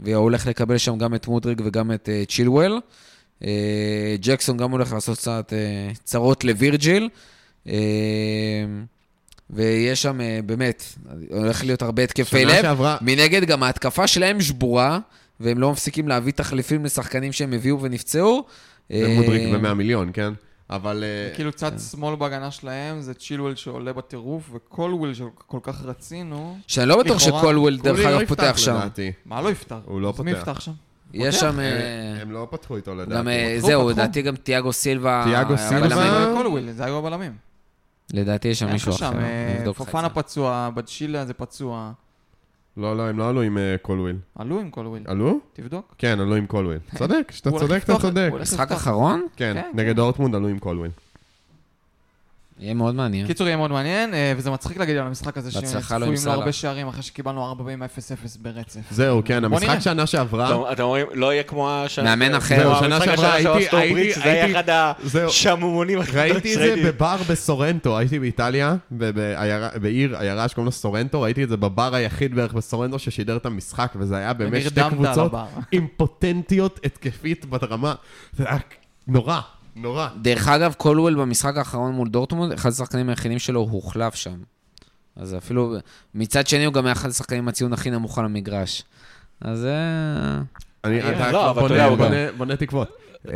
A: והוא הולך לקבל שם גם את מודריג וגם את אה, צ'ילואל. אה, ג'קסון גם הולך לעשות קצת אה, צרות לווירג'יל. אה, ויש שם, אה, באמת, הולך להיות הרבה התקפי
C: שנה
A: לב.
C: שעברה...
A: מנגד, גם ההתקפה שלהם שבורה, והם לא מפסיקים להביא תחליפים לשחקנים שהם הביאו ונפצעו.
C: ומודריק
A: אה,
C: ב-100 מיליון, כן? אבל... אה,
B: כאילו
A: כן.
B: צד שמאל בהגנה שלהם זה צ'ילואל שעולה בטירוף, וקולוויל שכל כך רצינו,
A: שאני לא בטוח
B: לכאורה,
A: שקולוול, דרך
C: קולי לא
A: אגב,
C: יפתח,
A: פותח שם.
C: לדעתי.
B: מה לא יפתח?
C: הוא לא
B: אז מי
C: פותח.
B: יפתח שם?
A: יש
B: פותח.
A: שם...
C: הם-
A: אה,
C: הם לא פתחו איתו
A: גם,
C: לדעתי.
A: אה,
B: פתחו,
A: זהו,
B: פתחו.
A: לדעתי גם תיאגו סילבה...
C: תיאגו
A: היה
C: סילבה.
B: זה
A: בלמים.
B: היה קולוויל, זה היו הבלמים.
A: לדעתי יש שם
B: היה לך
A: מישהו אחר,
B: שם, אה,
A: נבדוק לך את
B: פופנה
A: זה.
B: פצוע, בדשילה זה פצוע.
C: לא, לא, הם לא עלו עם אה, קולוויל.
B: עלו עם קולוויל,
C: עלו?
B: תבדוק.
C: כן, עלו עם קולוויל. צודק, כשאתה
B: הוא הולך
C: צודק, אתה
B: לפתוח-
C: צודק.
B: הוא הולך
A: משחק
B: לפתוח.
A: אחרון?
C: כן,
B: כן,
C: נגד דורטמונד עלו עם קולוויל.
A: יהיה מאוד מעניין.
B: קיצור, יהיה מאוד מעניין, אה, וזה מצחיק להגיד על המשחק הזה שהם
A: כן. בהצלחה לו עם
B: צפויים לו
A: סאלח.
B: הרבה שערים אחרי שקיבלנו 4-0-0 ברצף.
C: זהו, כן,
B: בוא
C: המשחק
B: נראה.
C: שנה שעברה...
D: אתם- אתם אומרים, לא יהיה כמו השנה...
A: מאמן
D: כמו
A: אחר.
D: המשחק
C: זהו, שנה
D: השנה
C: שעברה
D: שעברה
C: הייתי-
D: סטופריץ,
C: הייתי-
D: זה היה
C: הייתי-
D: אחד
C: זהו.
D: השעמומונים.
C: ראיתי את זה בבר בסורנטו, הייתי באיטליה, ב- בעיירה- בעיר, עיירה שקוראים לה סורנטו, ראיתי את זה בבר היחיד בערך בסורנטו ששידר את המשחק, וזה היה באמת שתי
B: ונרדמת על
C: קבוצות
B: הבר.
C: אימפוטנטיות התקפית ברמה, זה היה נורא, נורא.
A: דרך אגב, קולוול במשחק האחרון מול דורטמונד, אחד השחקנים היחידים שלו הוחלף שם. אז אפילו... מצד שני, הוא גם היה אחד השחקנים עם הציון הכי נמוך על המגרש. אז זה...
C: אני,
D: אה,
C: אתה
D: לא,
C: כבר
D: אבל אתה
C: בונה-
D: יודע, הוא גם-
C: בונה- בונה תקוות. אה,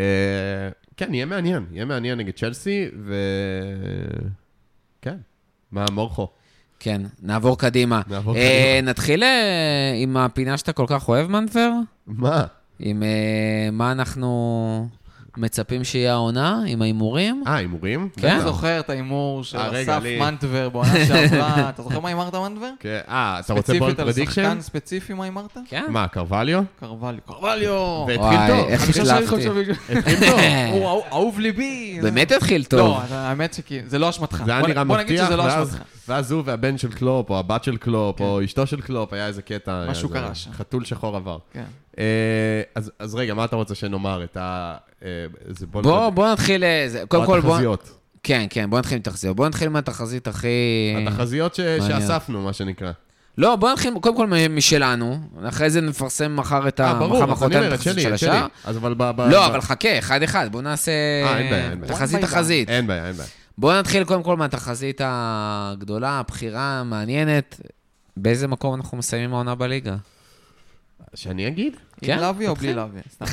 C: כן, יהיה מעניין, יהיה מעניין נגד צ'לסי, ו... כן. מה, מורכו?
A: כן, נעבור קדימה.
C: נעבור
A: אה, נתחיל אה, עם הפינה שאתה כל כך אוהב, מנפר?
C: מה?
A: עם אה, מה אנחנו... מצפים שיהיה העונה עם ההימורים?
C: אה, הימורים?
A: כן.
B: אני
C: בטח.
B: זוכר את ההימור של
C: אה, רגע,
B: אסף
C: לי.
B: מנטבר בעונה שעברה. אתה זוכר מה הימרת מנטבר?
C: כן. אה, אתה רוצה בולד
B: ספציפית על אה.
C: פרדיקשן?
B: שחקן ספציפי מה הימרת?
A: כן.
C: מה, קרווליו?
B: קרווליו. קרווליו!
C: והתחיל
A: וואי,
C: טוב.
A: איך
C: חמישה שערים,
A: החלפתי.
C: חמישה בישולים. התחיל טוב.
B: הוא אהוב- אהוב ליבי. זה-
A: באמת התחיל טוב.
B: לא, אתה- האמת שכאילו, זה לא אשמתך.
C: זה היה
B: בוא-
C: נראה
B: בוא נגיד
C: מבטיח,
B: שזה לא
C: ואז-
B: אשמתך.
C: ואז הוא והבן של קלופ, או הבת של קלופ, או אשתו של קלופ, היה איזה קטע. היה
B: משהו
C: איזה
B: קרה שם.
C: חתול שחור עבר.
B: כן.
C: אה, אז אז רגע, מה אתה רוצה שנאמר? את ה... אה, זה בולד
A: בוא, בוא נתחיל... אה, זה- קודם כל, בוא...
C: התחזיות.
A: כן, כן, בוא נתחיל עם תחזיות. בוא נתחיל מהתחזית הכי...
C: התחזיות ש-
A: אה, מעניין.
C: שאספנו, מה שנקרא.
A: לא, בוא נתחיל קודם כל מ- משלנו, אחרי זה נפרסם מחר את ה...
C: אה, ברור,
A: מחר
C: אז אני
A: מחרתיים
C: אומר, את
A: התחזית
C: שלי,
A: של
C: את שלי.
A: השאר.
C: אז אבל ב... ב-
A: לא,
C: ב-
A: אבל חכה, אחד-אחד, בוא נעשה...
C: אה, אין בעיה, אין בעיה.
A: תחזית
B: One by
A: תחזית.
C: אין בעיה, אין בעיה.
A: בואו נתחיל קודם כל מהתחזית הגדולה, הבחירה המעניינת. באיזה מקום אנחנו מסיימים העונה בליגה?
C: שאני אגיד?
A: כן,
B: עם לוי או בלי
A: תתחיל.
B: לוי? סתם.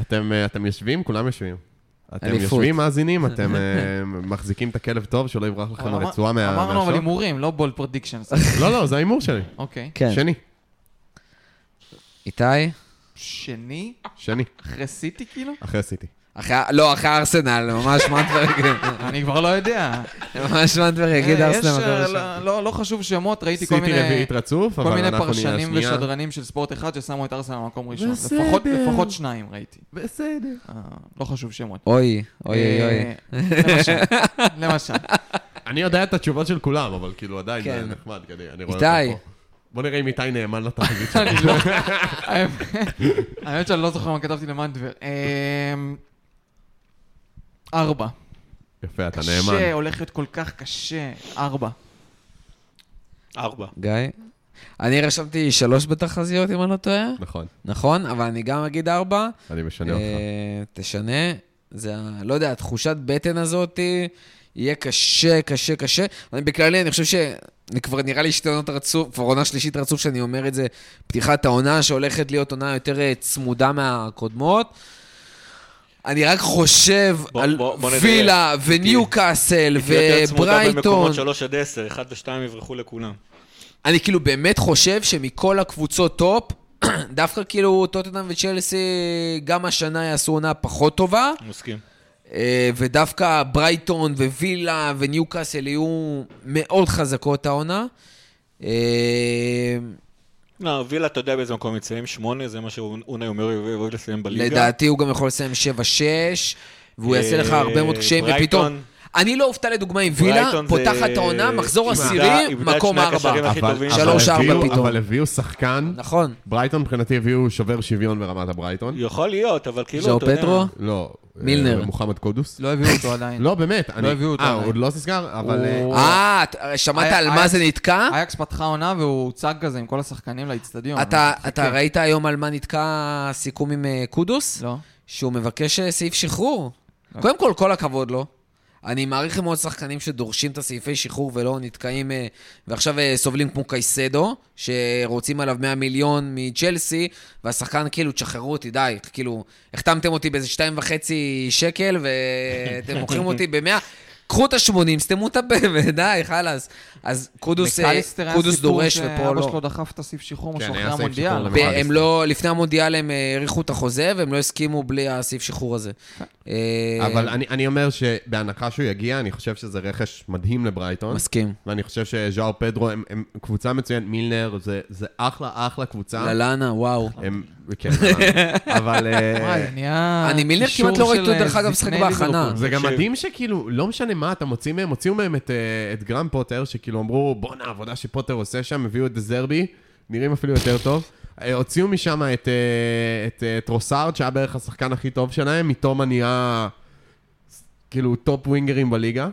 C: אתם, אה, אתם יושבים? כולם יושבים. אתם
A: אליפות.
C: יושבים, מאזינים, אתם אה, מחזיקים את הכלב טוב, שלא יברח לכם
B: אבל
C: הרצועה מה-
B: אמרנו אבל
C: מהשוק.
B: הימורים, לא בול פרדיקשן.
C: לא, לא, זה ההימור שלי.
B: אוקיי.
A: כן.
C: שני,
A: איתי?
B: שני,
C: שני,
B: אחרי סיטי כאילו?
C: אחרי סיטי.
A: אחרי, לא, אחרי ארסנל, ממש מנטברג,
B: אני כבר לא יודע.
A: ממש מנטברג, יגיד
B: אה,
A: ארסנל.
B: יש,
A: מקום
B: אה,
A: ראשון.
B: לא- לא חשוב שמות, ראיתי כל
C: סיטי
B: מיני...
C: רביעית רצוף,
B: כל
C: אבל
B: מיני
C: אנחנו נהיה
B: פרשנים
C: השנייה.
B: ושדרנים של ספורט אחד ששמו את ארסנל במקום ראשון.
C: בסדר.
B: לפחות- לפחות שניים ראיתי.
C: בסדר.
B: אה, לא חשוב שמות.
A: אוי, אוי אוי אוי.
B: אה, למשל, למשל.
C: אני יודע את התשובות של כולם, אבל כאילו עדיין
A: כן.
C: זה נחמד, כי אני אני רואה
A: איתי.
C: אותו פה. בוא נראה אם איתי נאמן לתחזית שלו.
B: אני לא- האמת- האמת שאני לא זוכר מה כתבתי למנדבר. אמ, ארבע.
C: יפה, אתה
B: קשה,
C: נאמן.
B: הולך להיות כל כך קשה. ארבע.
D: ארבע.
A: גיא? אני רשמתי שלוש בתחזיות, אם אני לא טועה.
C: נכון,
A: נכון, אבל אני גם אגיד ארבע.
C: אני משנה אותך.
A: אה, תשנה. זה, ה- לא יודע, התחושת בטן הזאת יהיה קשה, קשה, קשה. אני בכללי, אני חושב ש... אני כבר נראה לי שתי עונות רצוף, כבר עונה שלישית רצוף שאני אומר את זה, פתיחת העונה שהולכת להיות עונה יותר אה, צמודה מהקודמות. אני רק חושב
D: בוא-
A: על
D: בוא- בוא נדייק.
A: וילה וניוקאסל
D: יותר צמודה
A: וברייטון.
D: במקומות שלוש עד עשר, אחד ושתיים יברחו לכולם.
A: אני כאילו באמת חושב שמכל הקבוצות טופ, דווקא כאילו טוטנאם וצ'לסי גם השנה יעשו עונה פחות טובה.
D: מסכים.
A: אה, ודווקא ברייטון ווילה וניוקאסל יהיו מאוד חזקות העונה. אה,
D: לא, וילה, אתה יודע באיזה מקום יצאים, שמונה, זה מה שאונה אומר, הוא אוהב לסיים בליגה.
A: לדעתי הוא גם יכול לסיים 7-6, והוא יעשה לך
D: אה,
A: הרבה מאוד קשיים,
D: ברייטון-
A: ופתאום... אני לא אופתע לדוגמה עם וילה,
D: ברייטון זה-
A: פותחת העונה, מחזור
D: איבדה-
A: עשירי,
D: איבדה את
A: מקום
D: שני
A: ארבע.
D: הקשרים הכי
C: אבל-
D: טובים.
C: אבל
A: שלוש, ארבע
C: הביאו-
A: פתאום.
C: אבל הביאו שחקן,
A: נכון.
C: ברייטון מבחינתי הביאו שובר שוויון ברמת הברייטון.
D: יכול להיות, אבל כאילו,
A: זהו
D: אתה יודע...
A: פדרו?
C: לא. אה,
A: מילנר.
C: מוחמד קודוס.
B: לא הביאו אותו עדיין.
C: לא, באמת. אני-
B: הביאו אותו
C: אה,
B: עדיין.
C: עוד לא נסגר, אבל... אה,
B: הוא-
A: אה, אתה- שמעת
B: היה-
A: על
B: היה-
A: מה זה נתקע?
B: אייקס פתחה עונה והוא הוצג כזה עם כל השחקנים לאיצטדיון.
A: אתה-
B: אני
A: אתה
B: מחכה.
A: ראית היום על מה נתקע הסיכום עם אה, קודוס?
B: לא.
A: שהוא מבקש אה, סעיף שחרור.
B: אוקיי.
A: קודם כל, כל הכבוד לו. אני מעריך מאוד שחקנים שדורשים את הסעיפי שחרור ולא נתקעים, אה, ועכשיו אה, סובלים כמו קייסדו, שרוצים עליו 100 מיליון מצ'לסי, והשחקן כאילו, תשחררו אותי, די, כאילו, החתמתם אותי באיזה שתיים וחצי שקל, ואתם מוכרים אותי במאה. קחו את ה-80, סתמו את הפה, ודי, חלאס. אז קודוס, אה,
B: מקליסטר היה
A: קודוס
B: סיפור
A: דורש ופה
B: שאבא
A: לא.
B: שלו דחף את הסעיף שחרור
C: כן,
B: משהו
C: היה
B: אחרי
C: סעיף שחרור
B: המונדיאל.
A: ב-
C: למ- מה,
A: הם
C: בסדר.
A: לא, לפני המונדיאל הם אה, האריכו את החוזה, והם לא הסכימו בלי הסעיף שחרור הזה. אה,
C: כן. אבל אני, אני אומר שבהנחה שהוא יגיע, אני חושב שזה רכש מדהים לברייטון.
A: מסכים.
C: ואני חושב שז'או פדרו הם, הם קבוצה מצוינת, מילנר זה, זה אחלה
B: לא,
C: אחלה קבוצה.
A: ללאנה, וואו.
C: הם, כן, ללא. אבל אה,
B: וואי, נהיה...
A: אני מילנר
B: קישור
A: כמעט לא ראיתי
B: של,
A: אותו, דרך
B: אה,
A: אגב,
B: זקני
A: משחק בהכנה.
B: ליברפול.
C: זה גם
D: תקשיב.
C: מדהים שכאילו, לא משנה מה אתה מוציא מהם, הוציאו מהם את, אה, את גרם פוטר, שכאילו אמרו, בואנה, העבודה שפוטר עושה שם, הביאו את דזרבי, נראים אפילו יותר טוב. אה, הוציאו משם את, אה, את, אה, טרוסארד, שהיה בערך השחקן הכי טוב שלהם, מתומה נהיה כאילו טופ ווינגרים בליגה.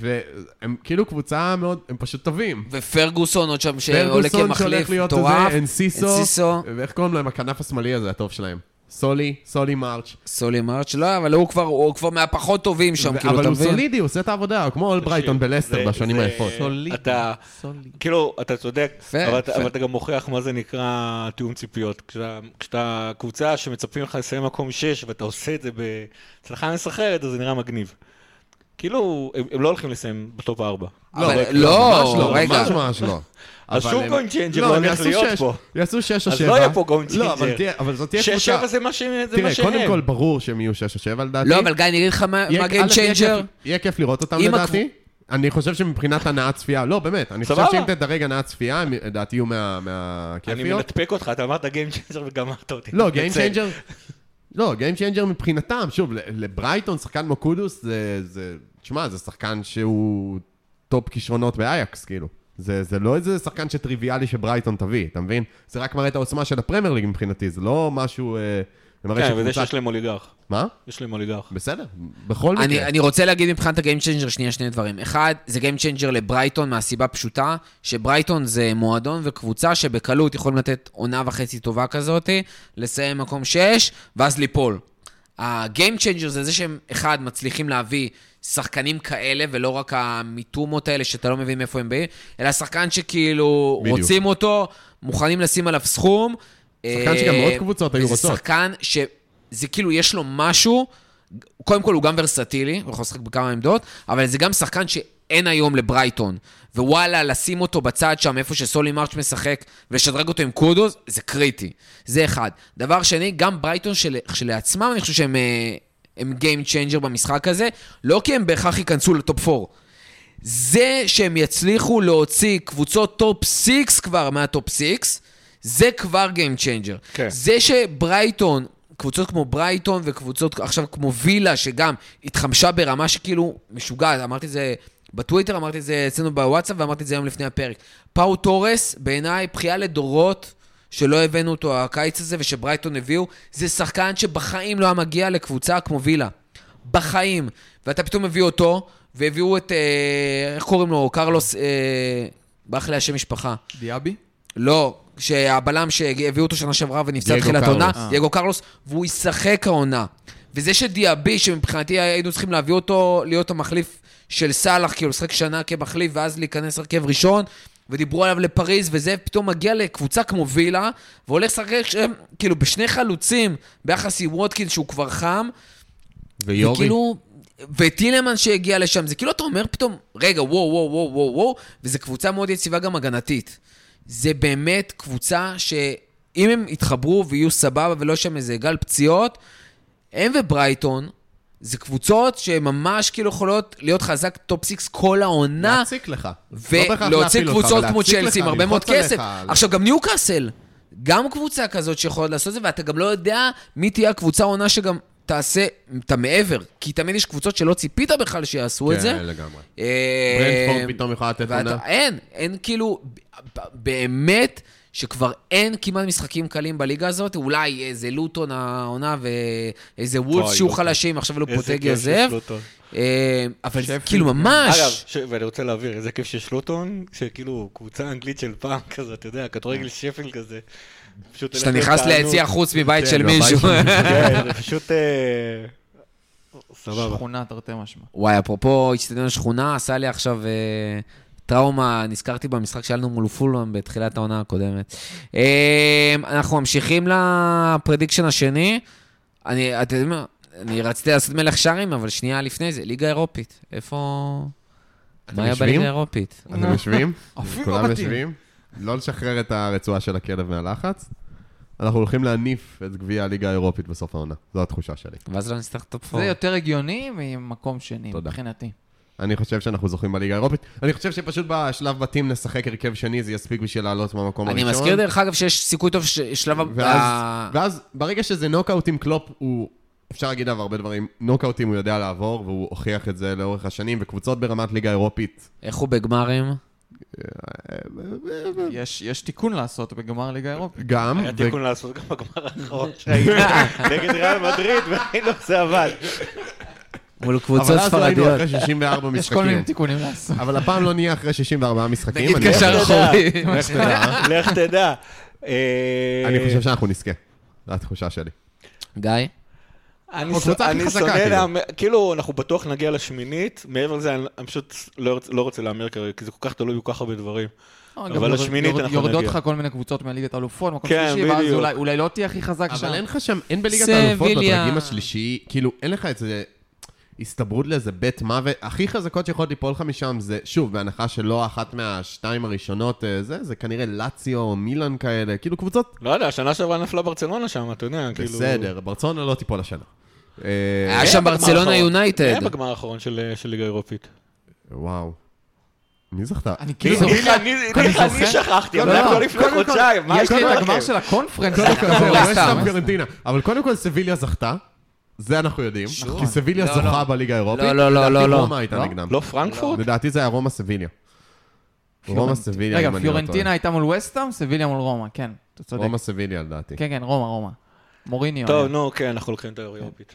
C: והם כאילו קבוצה מאוד, הם פשוט טובים.
A: ופרגוסון עוד שם, שעולה
C: פרגוסון
A: כמחליף,
C: שהולך להיות
A: מטורף.
C: הזה, אנסיסו,
A: אנסיסו.
C: ואיך קוראים להם? הכנף השמאלי הזה, הטוב שלהם. סולי, סולי מארץ'.
A: סולי מרץ', לא, אבל הוא כבר, הוא כבר מהפחות טובים שם, כאילו,
C: אבל
A: אתה
C: הוא
A: מבין?
C: סולידי, הוא עושה את העבודה, הוא כמו אול ברייטון בלסטר
D: זה-
C: בשנים
D: זה- לא,
C: היפות.
B: סולידי.
D: אתה-
B: סולידי.
D: כאילו, אתה צודק,
A: יפה,
D: אבל,
A: יפה.
D: אתה, אבל אתה גם מוכיח מה זה נקרא תיאום ציפיות. כשאתה, כשאתה קבוצה שמצפים לך לסיים מקום 6 ואתה עושה את זה בהצלחה מסחררת, אז זה נראה מגניב. כאילו, הם הם לא הולכים לסיים בטופ ארבע.
A: אבל
C: רגע,
A: לא,
C: ממש לא,
A: רגע.
C: ממש ממש לא.
D: אז
C: אבל
D: שום
C: הם-
D: גיים צ'יינג'ר
C: לא,
D: לא
C: הם
D: הולך
C: יעשו
D: להיות
C: שש-
D: פה.
C: יעשו שש או
D: אז
C: שבע.
D: לא יהיה פה גיים
C: לא, אבל
D: צ'יינג'ר.
C: תהיה- אבל זאת תהיה
D: שש
C: קבוצה...
D: שבע זה מה שהם. זה מה
C: תראה,
D: שהם.
C: קודם כל ברור שהם יהיו שש או שבע לדעתי.
A: לא, אבל גיא, אני אגיד לך מה
C: יהיה-
A: מה Game
C: א', יהיה
A: Changer.
C: כיף- יהיה כיף לראות אותם
A: אם
C: לדעתי. אני חושב שמבחינת הנעת צפייה, לא, באמת, אני חושב
D: סבבה.
C: שאם תדרג הנעת צפייה, הם לדעתי יהיו מה-
D: אני
C: מהכיפיות.
D: מנתפק אותך, אתה אמרת גיים צ'יינג'ר וגמרת אותי.
C: לא,
D: מתנצל.
C: גיים צ'יינג'ר... לא, גיים צ'יינג'ר מבחינתם, שוב, ל- לברייטון, שחקן כמו קודוס, זה... זה- תשמע, זה שחקן שהוא טופ כישרונות באייקס, כאילו. זה, זה לא איזה שחקן שטריוויאלי שברייטון תביא, אתה מבין? זה רק מראה את העוצמה של הפרמייר ליג מבחינתי, זה לא משהו... אה, זה מראה
D: כן,
C: שקבוצה-
D: וזה שיש להם אוליגרח.
C: מה?
D: יש להם אוליגרח.
C: בסדר, בכל מקרה.
A: אני, אני רוצה להגיד מבחינת הגיים צ'יינג'ר שנייה שני דברים. אחד, זה גיים צ'יינג'ר לברייטון מהסיבה פשוטה, שברייטון זה מועדון וקבוצה שבקלות יכולים לתת עונה וחצי טובה כזאת, לסיים מקום שש, ואז ליפול. הגיים צ'יינג'ר זה זה שהם, אחד, מצליחים להביא שחקנים כאלה, ולא רק המיתומות האלה שאתה לא מבין מאיפה הם באים, אלא שחקן שכאילו
C: בדיוק.
A: רוצים אותו, מוכנים לשים עליו סכום.
C: שחקן שגם
A: אה,
C: מאוד קבוצות היו
A: וזה
C: רוצות.
A: שחקן שזה כאילו, יש לו משהו, קודם כל הוא גם ורסטילי, הוא יכול לשחק בכמה עמדות, אבל זה גם שחקן שאין היום לברייטון. ווואלה, לשים אותו בצד שם, איפה שסולי מרץ' משחק, ולשדרג אותו עם קודוס, זה קריטי. זה אחד. דבר שני, גם ברייטון של, שלעצמם, אני חושב שהם אה, הם גיים צ'יינג'ר במשחק הזה, לא כי הם בהכרח ייכנסו לטופ 4. זה שהם יצליחו להוציא קבוצות טופ 6 כבר מהטופ 6, זה כבר גיים צ'יינג'ר.
D: כן.
A: זה שברייטון, קבוצות כמו ברייטון וקבוצות עכשיו כמו וילה, שגם התחמשה ברמה שכאילו משוגעת, אמרתי את זה בטוויטר, אמרתי את זה אצלנו בוואטסאפ ואמרתי את זה היום לפני הפרק. פאו תורס, בעיניי, בכייה לדורות. שלא הבאנו אותו הקיץ הזה ושברייטון הביאו, זה שחקן שבחיים לא היה מגיע לקבוצה כמו וילה. בחיים. ואתה פתאום מביא אותו, והביאו את, אה, איך קוראים לו? קרלוס, אה, ברח לי השם משפחה.
B: דיאבי?
A: לא, שהבלם שהביאו אותו שנה שעברה ונפצע
C: דייגו
A: תחילת
C: קרלוס.
A: העונה,
B: אה.
A: דייגו קרלוס, והוא ישחק העונה. וזה שדיאבי, שמבחינתי היינו צריכים להביא אותו, להיות המחליף של סאלח, כאילו לשחק שנה כמחליף, ואז להיכנס הרכב ראשון, ודיברו עליו לפריז, וזה פתאום מגיע לקבוצה כמו וילה, והולך לשחק שם, כאילו בשני חלוצים, ביחס עם ווטקינס שהוא כבר חם,
C: ויורי.
A: וכאילו, וטילמן שהגיע לשם, זה כאילו אתה אומר פתאום, רגע, וואו, וואו, וואו, וואו, וואו, וזו קבוצה מאוד יציבה גם הגנתית. זה באמת קבוצה שאם הם יתחברו ויהיו סבבה ולא שם איזה גל פציעות, הם וברייטון, זה קבוצות שממש כאילו יכולות להיות חזק טופ סיקס כל העונה,
C: להציק לך. לא בהכרח
A: ולהוציא
C: להפיל אותך,
A: קבוצות
C: אבל
A: כמו
C: להציק
A: צ'לסי עם
C: לך,
A: הרבה מאוד
C: ללחוץ
A: כסף.
C: עליך.
A: עכשיו, גם ניוקאסל, גם קבוצה כזאת שיכולה לעשות את זה, ואתה גם לא יודע מי תהיה הקבוצה העונה שגם תעשה את המעבר, כי תמיד יש קבוצות שלא ציפית בכלל שיעשו את זה.
C: כן, לגמרי.
A: אה,
C: ברנדפורד פתאום יכולה לתת
A: ואתה-
C: עונה.
A: אין, אין כאילו, ב- ב- באמת שכבר אין כמעט משחקים קלים בליגה הזאת, אולי איזה לוטון העונה ואיזה וולס
D: אוי,
A: שהוא
D: לוטון.
A: חלשים, עכשיו
D: איזה
A: לופוטגי
D: כיף
A: עוזב,
D: יש לוטון.
A: אה, אבל
B: שפי.
A: כאילו
D: אגב,
A: ממש,
D: ש- ואני רוצה להבהיר, איזה כיף שיש לוטון, שכאילו קבוצה אנגלית של פעם כזה, אתה יודע, כדורגל שפל כזה. פשוט
A: כשאתה
D: הולך
A: נכנס
D: לתענוג.
A: ליציע חוץ מבית
D: כן,
A: של
C: בבית
A: מישהו.
C: של
D: כן, זה פשוט... אה, סבבה.
B: שכונה תרתי משמע.
A: וואי, אפרופו אצטדיון השכונה, עשה לי עכשיו אה, טראומה, נזכרתי במשחק שהיה לנו מול פולאם בתחילת העונה הקודמת. אה, אנחנו ממשיכים לפרדיקשן השני. אני, אתם יודעים מה, אני רציתי לעשות מלך שערים, אבל שנייה לפני זה, ליגה אירופית. איפה... מה היה
C: יושבים?
A: בליגה האירופית?
C: אתם יושבים?
B: אפילו
C: כולם
B: מתאים.
C: יושבים? לא לשחרר את הרצועה של הכלב מהלחץ. אנחנו הולכים להניף את גביע הליגה האירופית בסוף העונה. זו התחושה שלי.
A: ואז לא נצטרך את הפור.
B: זה יותר הגיוני ממקום שני,
C: תודה.
B: מבחינתי.
C: אני חושב שאנחנו זוכים בליגה האירופית. אני חושב שפשוט בשלב בתים נשחק הרכב שני, זה יספיק בשביל לעלות מהמקום
A: אני
C: הראשון.
A: מזכיר אה. דרך אגב שיש סיכוי טוב ששלב... ה-
C: ואז,
A: ה-
C: ואז ברגע שזה נוקאוט עם קלופ, הוא, אפשר להגיד עליו הרבה דברים, נוקאוטים הוא יודע לעבור, והוא הוכיח את זה לאורך השנים, וקבוצות ברמת ליגה אירופית.
A: איך הוא בגמרים?
B: יש יש תיקון לעשות בגמר ליגה אירופית.
C: גם,
D: היה
C: ו-
D: תיקון לעשות גם בגמר האחרון שהיינו נגד ריאל מדריד, וראינו זה עבד.
A: מול
C: אבל
A: קבוצות
C: אז לא היינו
A: ספרדיות.
C: אחרי 64
B: יש כל מיני
C: משחקים.
B: תיקונים לעשות.
C: אבל הפעם לא נהיה אחרי 64 משחקים.
A: נגיד
C: אני- לא
A: קשר
D: איך
A: אחורי.
D: תדע? איך תדע? לך תדע. אה,
C: אני חושב שאנחנו נזכה. זו התחושה שלי.
A: גיא?
D: אני
C: אנחנו
D: ש-
C: קבוצה הכי
D: אני
C: חזקה,
D: שונא
C: כאילו.
D: להמר, כאילו, אנחנו בטוח נגיע לשמינית, מעבר לזה, אני אני פשוט לא רוצ- לא רוצה להמר כרגע, כי זה כל כך תלוי בכל כך הרבה דברים.
B: אבל
D: אבל השמינית אנחנו
B: יורדות
D: נגיע.
B: לך כל מיני קבוצות מהליגת האלופות, מקום
D: כן,
B: שלישי, ואז
D: בדיוק.
B: אולי- אולי לא תהיה הכי חזק שם.
C: אבל אין לך שם, אין בליגת
A: סביליה.
C: האלופות בדרגים השלישי, כאילו, אין לך את זה... הסתברות לאיזה בית מוות, הכי חזקות שיכולות ליפול לך משם זה, שוב, בהנחה שלא אחת מהשתיים הראשונות אה, זה, זה כנראה לאציו או מילאן כאלה, כאילו קבוצות
D: לא יודע, השנה שעברה נפלה ברצלונה שם, אתה יודע, כאילו...
C: בסדר, ברצונה לא תיפול השנה. אה,
A: היה שם
D: בגמר
A: ברצלונה
D: האחרון.
A: יונייטד.
D: מי היה בגמר האחרון של אה, של ליגה אירופית?
C: וואו. מי זכתה?
B: אני כאילו...
D: כאילו,
B: זוכר-
D: הנה, אני-
B: אני
D: הנה, אני
B: זוכר-
D: שכחתי, אבל
B: לא,
D: זה
B: לא,
D: היה לפני
B: קודם כל,
D: חודשיים, מה
B: יש
D: יש
B: לי את הגמר
D: לכם?
B: של הקונפרנס.
C: קודם כל,
A: זה
C: זהו,
A: ווסט
C: יש
A: האם.
C: שם פיורנטינה. אבל קודם כל סביליה זכתה, זה אנחנו יודעים,
B: נכון.
C: כי סביליה
A: לא,
C: זוכה
A: לא.
C: בליגה האירופית.
A: לא, לא, לא,
C: לדעתי
A: לא, לא.
C: רומא הייתה
B: לא?
C: נגדם.
D: לא פרנקפורט?
C: לדעתי זה היה רומא סביליה. רומא סביליה,
B: רגע,
C: אם אני לא
B: פיורנטינה הייתה מול וסטאם, סביליה מול רומא, כן, אתה
C: טועה.
B: צודק.
C: רומא סביליה לדעתי.
B: כן, כן, רומא, רומא. מוריניו.
D: טוב,
B: היה.
D: נו, כן, אנחנו לוקחים את האירופית.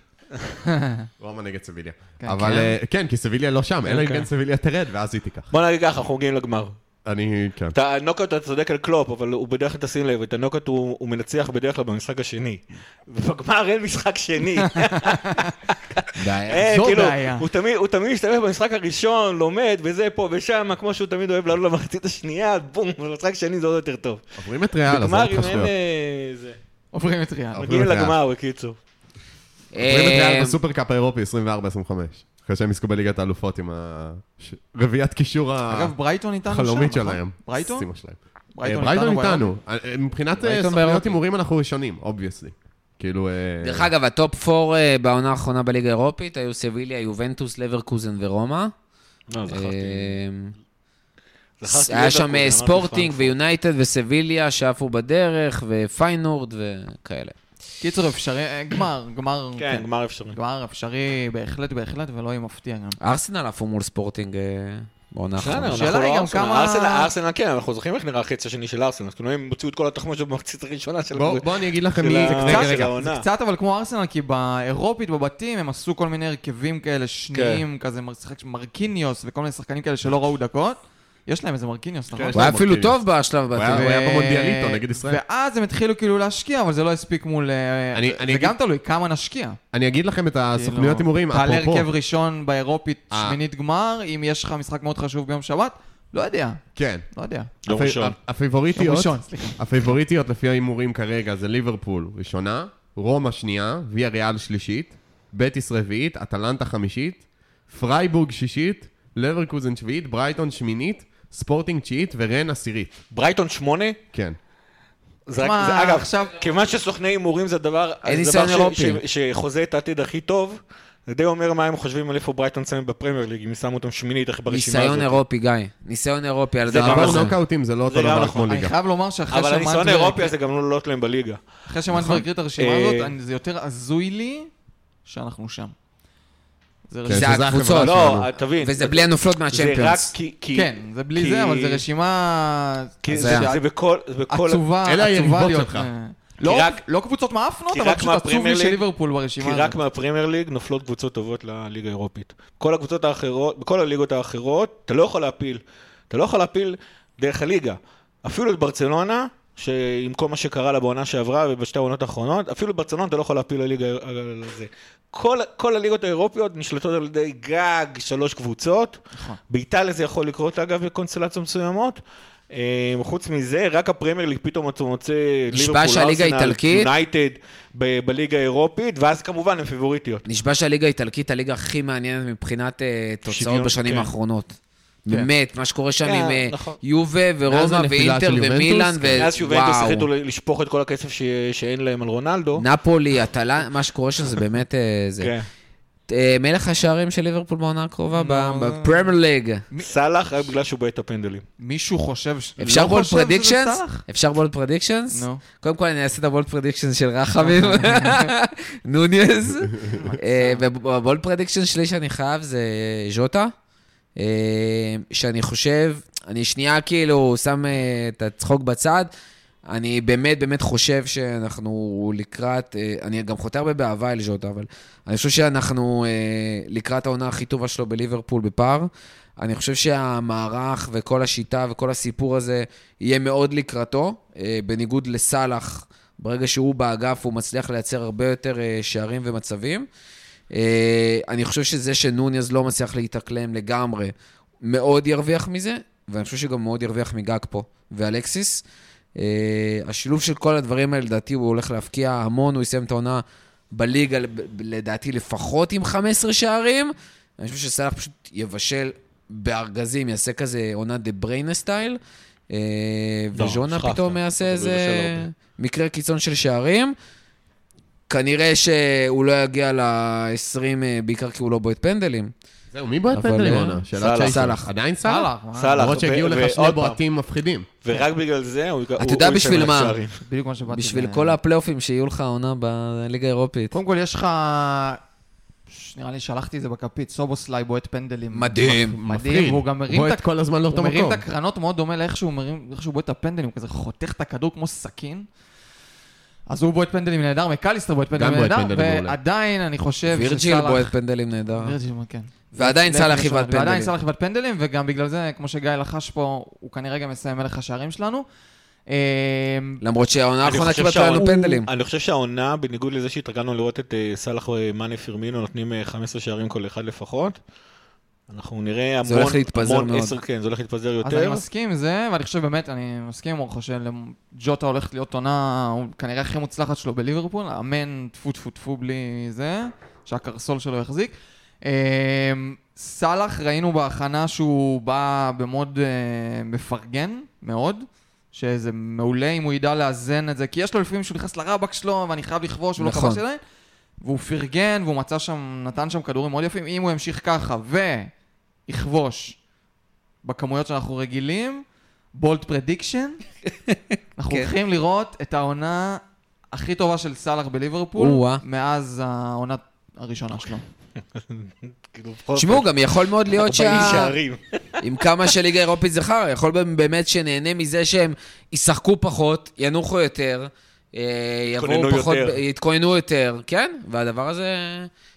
C: רומא נגד סביליה.
B: כן,
C: אבל
B: כן.
C: אה, כן, כי סביליה לא שם, אלא אם
D: אוקיי.
C: כן סביליה תרד, ואז היא תיקח.
D: בוא נגיד ככה, אנחנו מגיעים לגמר.
C: אני, כן.
D: את הנוקאוט אתה צודק על קלופ, אבל הוא בדרך כלל תשים לב, את הנוקאוט הוא הוא מנצח בדרך כלל במשחק השני. ובגמר אין משחק שני. אה,
B: זו
D: כאילו,
B: בעיה.
D: הוא תמיד- הוא תמיד משתמש במשחק הראשון, לומד, וזה פה ושם, כמו שהוא תמיד אוהב לעלות למחצית השנייה, בום, במשחק שני זה עוד יותר טוב.
C: עוברים את ריאל, עזוב
D: בגמר אם
C: אותך
D: אין...
C: שטויות.
D: אה, זה.
B: עוברים את ריאל.
C: אוקיי.
D: מגיעים
C: את ריאל.
D: לגמר, בקיצור.
C: עוברים את
A: אה,
C: ריאל בסופרקאפ האירופי 24-25. אחרי שהם יזכו בליגת האלופות עם ה- ש- רביעיית קישור ה...
B: אגב, ברייטון איתנו שם,
C: אה, חלומית
B: נכון?
C: שלהם.
B: ברייטון?
C: שימו שלהם.
B: ברייטון
C: אה, ברייטון
B: איתנו
C: איתנו. אה, מבחינת אה,
A: ברייטון
C: סוכניות
A: באירופה.
C: הימורים אנחנו ראשונים, אובייסלי. כאילו... אה,
A: דרך אגב, הטופ 4 בעונה האחרונה בליגה האירופית היו סביליה, יובנטוס, לברקוזן ורומא.
D: לא,
A: אה,
D: זכרתי
A: היה שם אה,
D: לברקוזן, אמרתי
A: ספורטינג
D: פרנקפורט.
A: ויונייטד וסביליה שעפו בדרך, ופיינורד וכאלה.
B: קיצור, אפשרי, אה, גמר, גמר.
D: כן, גמר אפשרי.
B: גמר אפשרי בהחלט בהחלט, ולא יהיה מפתיע גם.
A: ארסנל עפו מול ספורטינג אה, בעונה האחרונה.
D: בסדר,
B: השאלה
D: אנחנו
B: היא
D: לא
B: גם
D: ארסנל.
B: כמה-
D: ארסנל, ארסנל כן, אנחנו זוכרים איך נראה החצי השני של ארסנל, אז כאילו הם הוציאו את כל התחמושת במחצית הראשונה של
C: בואו בואו אני אגיד לכם
D: של
C: מי...
D: ה-
C: רגע,
D: של
C: רגע, רגע.
D: העונה.
B: זה קצת אבל כמו ארסנל, כי באירופית, בבתים, הם עשו כל מיני הרכבים כאלה שניים,
D: כן.
B: כזה משחק מרקיניוס וכל מיני שחקנים כאלה שלא ראו דקות. יש להם איזה מרקיניוס,
D: כן.
B: נכון?
C: יש
A: הוא היה
C: להם
A: אפילו
C: מרקיניוס.
A: טוב בשלב
C: הוא
A: הבא.
C: היה-
B: ו-
C: במונדיאליטו נגד ישראל.
B: ואז הם התחילו כאילו להשקיע, אבל זה לא הספיק מול... אה,
C: אני-
B: זה
C: אני
B: גם
C: אגיד-
B: תלוי כמה נשקיע.
C: אני אגיד לכם את הסוכנויות
B: כאילו,
C: הימורים,
B: תעלה
C: אפרופו.
B: הרכב ראשון באירופית,
C: אה.
B: שמינית גמר, אם יש לך משחק מאוד חשוב ביום שבת, לא יודע,
C: כן.
B: לא יודע.
D: יום
C: הפי-
D: ראשון.
C: ה- הפייבוריטיות,
B: יום ראשון, סליחה.
C: הפייבוריטיות לפי ההימורים כרגע זה ליברפול ראשונה, רומא שנייה, ויה ריאל שלישית, בטיס רביעית, אטלנטה חמישית, פרייבורג שישית, לברקוזן שביעית, ברייטון שמינית, ספורטינג תשיעית ורן עשירית.
D: ברייטון שמונה?
C: כן.
D: זה רק-
B: מה,
D: זה- אגב,
B: עכשיו-
D: כיוון שסוכני הימורים זה הדבר
A: אין
D: זה דבר
A: ניסיון
D: ש-
A: אירופי.
D: ש- שחוזה את העתיד הכי טוב, זה די אומר מה הם חושבים על איפה ברייטון שמים בפרמייר ליג, אם הם שמו אותם שמינית איך ברשימה הזאת.
A: ניסיון אירופי, גיא. ניסיון אירופי על
D: זה
A: הדבר
D: ברור.
C: אבל
A: הזה.
C: נוקאוטים זה לא אותו
D: זה גם
C: דבר
D: נכון.
C: כמו
B: אני
C: ליגה.
B: חייב לומר שאחרי
D: אבל הניסיון
B: שמנדבר-
D: האירופי הזה גם לא לעלות להם בליגה.
B: אחרי
C: נכון.
B: שמאן כבר הקריא את הרשימה
D: אה,
B: הזאת, אני- זה יותר הזוי לי שאנחנו שם. זה
C: כן,
B: רשימה...
A: זה
C: שזה החברה
A: הקבוצות. כאילו.
D: לא,
C: שלנו.
D: תבין.
A: וזה בלי הנופלות
D: זה רק
A: מהצ'מפיונס.
D: כי- כי...
B: כן, זה בלי
D: כי-
B: זה, אבל זה רשימה...
D: כי
A: זה-
D: זה זה בכל... זה בכל-
B: עצובה, עצובה
C: אלה היריבות
B: להיות...
C: שלך.
B: אה, לא-
D: כי רק-
B: לא קבוצות מאפנות,
D: כי
B: אבל
D: רק
B: פשוט עצוב לי
D: מהפרמייר ליג-
B: שליברפול ברשימה
D: כי רק
B: הזאת.
D: מהפרמייר ליג נופלות קבוצות טובות לליגה האירופית. כל הקבוצות האחרות, בכל הליגות האחרות, אתה לא יכול להפיל. אתה לא יכול להפיל דרך הליגה. אפילו את ברצלונה, שעם כל מה שקרה לה בעונה שעברה ובשתי העונות האחרונות, אפילו את ברצלונה אתה לא יכול להפיל לליגה על על זה. כל, כל הליגות האירופיות נשלטות על ידי גג שלוש קבוצות.
B: נכון.
D: באיטליה זה יכול לקרות אגב בקונסטלציות מסוימות. אה, חוץ מזה, רק הפרמייר ליג פתאום אתה מוצא ליברפול,
A: שהליגה האיטלקית-
D: יונייטד ב- בליגה האירופית, ואז כמובן הן פיבוריטיות.
A: נשבע שהליגה האיטלקית, הליגה הכי מעניינת מבחינת אה, תוצאות
D: שוויון,
A: בשנים
D: כן.
A: האחרונות. באמת, מה שקורה שם
D: כן,
A: עם אה,
D: נכון.
A: יובה
C: מאז
A: ורומא
C: הנפילה
A: ואינטר
C: של יובנטוס,
A: ומילאן,
C: כן.
A: ו-
D: מאז שיובנטוס החליטו ל- לשפוך את כל הכסף ש- שאין להם על רונלדו.
A: נפולי, אטלן, מה שקורה שם זה באמת... אה, זה.
D: כן.
A: אה, מלך השערים של ליברפול בעונה הקרובה בפרמייר ליג.
D: לא סאלח רק בגלל שהוא בועט את הפנדלים.
B: מישהו חושב... ש-
A: אפשר
B: לא
A: בולד
B: חושב שזה
A: פרדיקשנס?
B: סלאח?
A: אפשר בולד פרדיקשנס?
B: נו.
A: קודם כל אני אעשה את הבולד פרדיקשנס של רחמים, נוניז. אה, והבולד פרדיקשן שלי שאני חייב זה ז'וטה, אה, שאני חושב, אני שנייה כאילו שם אה, את הצחוק בצד. אני באמת באמת חושב שאנחנו לקראת, אה, אני גם חוטא הרבה באהבה אל ז'וטה, אבל אני חושב שאנחנו אה, לקראת העונה הכי טובה שלו בליברפול בפער. אני חושב שהמערך וכל השיטה וכל הסיפור הזה יהיה מאוד לקראתו, אה, בניגוד לסאלח, ברגע שהוא באגף הוא מצליח לייצר הרבה יותר אה, שערים ומצבים. אה, אני חושב שזה שנוניז לא מצליח להתאקלם לגמרי, מאוד ירוויח מזה, ואני חושב שגם מאוד ירוויח מגג פה ואלקסיס. אה, השילוב של כל הדברים האלה, לדעתי, הוא הולך להפקיע המון, הוא יסיים את העונה בליגה, ב- ב- לדעתי לפחות עם 15 שערים. אני חושב שסלח פשוט יבשל בארגזים, יעשה כזה עונת דה בריינה סטייל. אה,
D: לא,
A: וז'ונה
D: שכחת.
A: פתאום יעשה
D: אבל הוא
A: איזה
D: יבשל הרבה.
A: מקרה קיצון של שערים. כנראה שהוא לא יגיע ל-20, בעיקר כי הוא לא בועט פנדלים.
C: זהו, מי בועט
A: אבל,
C: פנדלים
A: אה,
C: עונה? שאלת
D: סאלח.
C: צ'ייסר.
A: סאלח.
C: עדיין סאלח?
A: אה,
B: מה?
D: סאלח.
C: למרות שהגיעו
D: ו-
C: לך
D: ועוד
C: שני
D: פעם.
C: בועטים מפחידים.
D: ורק בגלל זה הוא... הוא-
A: יודע
D: הוא
A: בשביל
D: יסיים
A: מה.
D: על השערים.
B: בדיוק מה שבאתי.
A: בשביל
B: ל-
A: כל הפלייאופים שיהיו לך עונה בליגה האירופית.
B: קודם כל, יש לך... ש- נראה לי שלחתי את זה בכפית, סובוסליי בועט פנדלים.
A: מדהים.
C: מפחיד.
B: והוא גם מרים את
C: בועט
B: ה-
C: כל הזמן לאותו
B: הוא מרים
C: מקום.
B: את הקרנות מאוד דומה לאיך שהוא מרים, איך שהוא בועט את הפנדלים, הוא כזה חותך את הכדור כמו סכין. אז הוא בועט פנדלים נהדר, מקליסטר בועט פנדלים
C: בועט
B: נהדר,
C: פנדלים מעולה.
B: ועדיין אני חושב
A: וירג'יל בועט פנדלים נהדר.
B: וירג'יל, כן.
A: ועדיין סאלח
B: לפני
A: יבעט
B: ראשון, ועדיין
A: פנדלים.
B: סאלח יבעט פנדלים, וגם בגלל זה, כמו שגיא לחש פה, הוא כנראה גם מסיים מלך השערים שלנו. אה,
A: למרות שהעונה
D: אני
A: האחרונה
D: חושב
A: קיבלת
D: שהעונה-
A: לנו פנדלים.
D: אני חושב שהעונה, בניגוד לזה שהתרגלנו לראות את אה, סאלח ומאנה פירמינו נותנים אה, 15 שערים כל אחד לפחות, אנחנו נראה המון...
A: זה הולך להתפזר
D: המון
A: מאוד.
D: עשר- כן, זה הולך להתפזר
B: אז אני
D: יותר.
B: מסכים עם זה, ואני חושב באמת, אני מסכים עם אורחו שג'וטה הולכת להיות עונה, הוא כנראה הכי מוצלחת שלו בליברפול, אמן טפו טפו טפו בלי זה, שהקרסול שלו יחזיק. אה, סאלח, ראינו בהכנה שהוא בא במוד אה, מפרגן, מאוד. שזה מעולה אם הוא ידע לאזן את זה, כי יש לו לפעמים שהוא נכנס לרבק שלו, ואני חייב לכבוש, הוא
A: נכון.
B: לא כבש עדיין. והוא פרגן, והוא מצא שם, נתן שם כדורים מאוד יפים. אם הוא ימשיך ככה ויכבוש בכמויות שאנחנו רגילים, בולט פרדיקשן, אנחנו
A: כן.
B: הולכים לראות את העונה הכי טובה של סאלח בליברפול,
A: או-אה.
B: מאז העונה הראשונה שלו.
D: כאילו, בכל
A: תשמעו,
D: זאת,
A: גם יכול מאוד להיות
D: 40
A: שה...
D: שערים.
A: עם כמה שליגה אירופית זה חרא, יכול באמת שנהנה מזה שהם ישחקו פחות, ינוחו יותר, אה, יבואו
D: יתכוננו
A: פחות,
D: יותר.
A: יתכוננו יותר, כן, והדבר הזה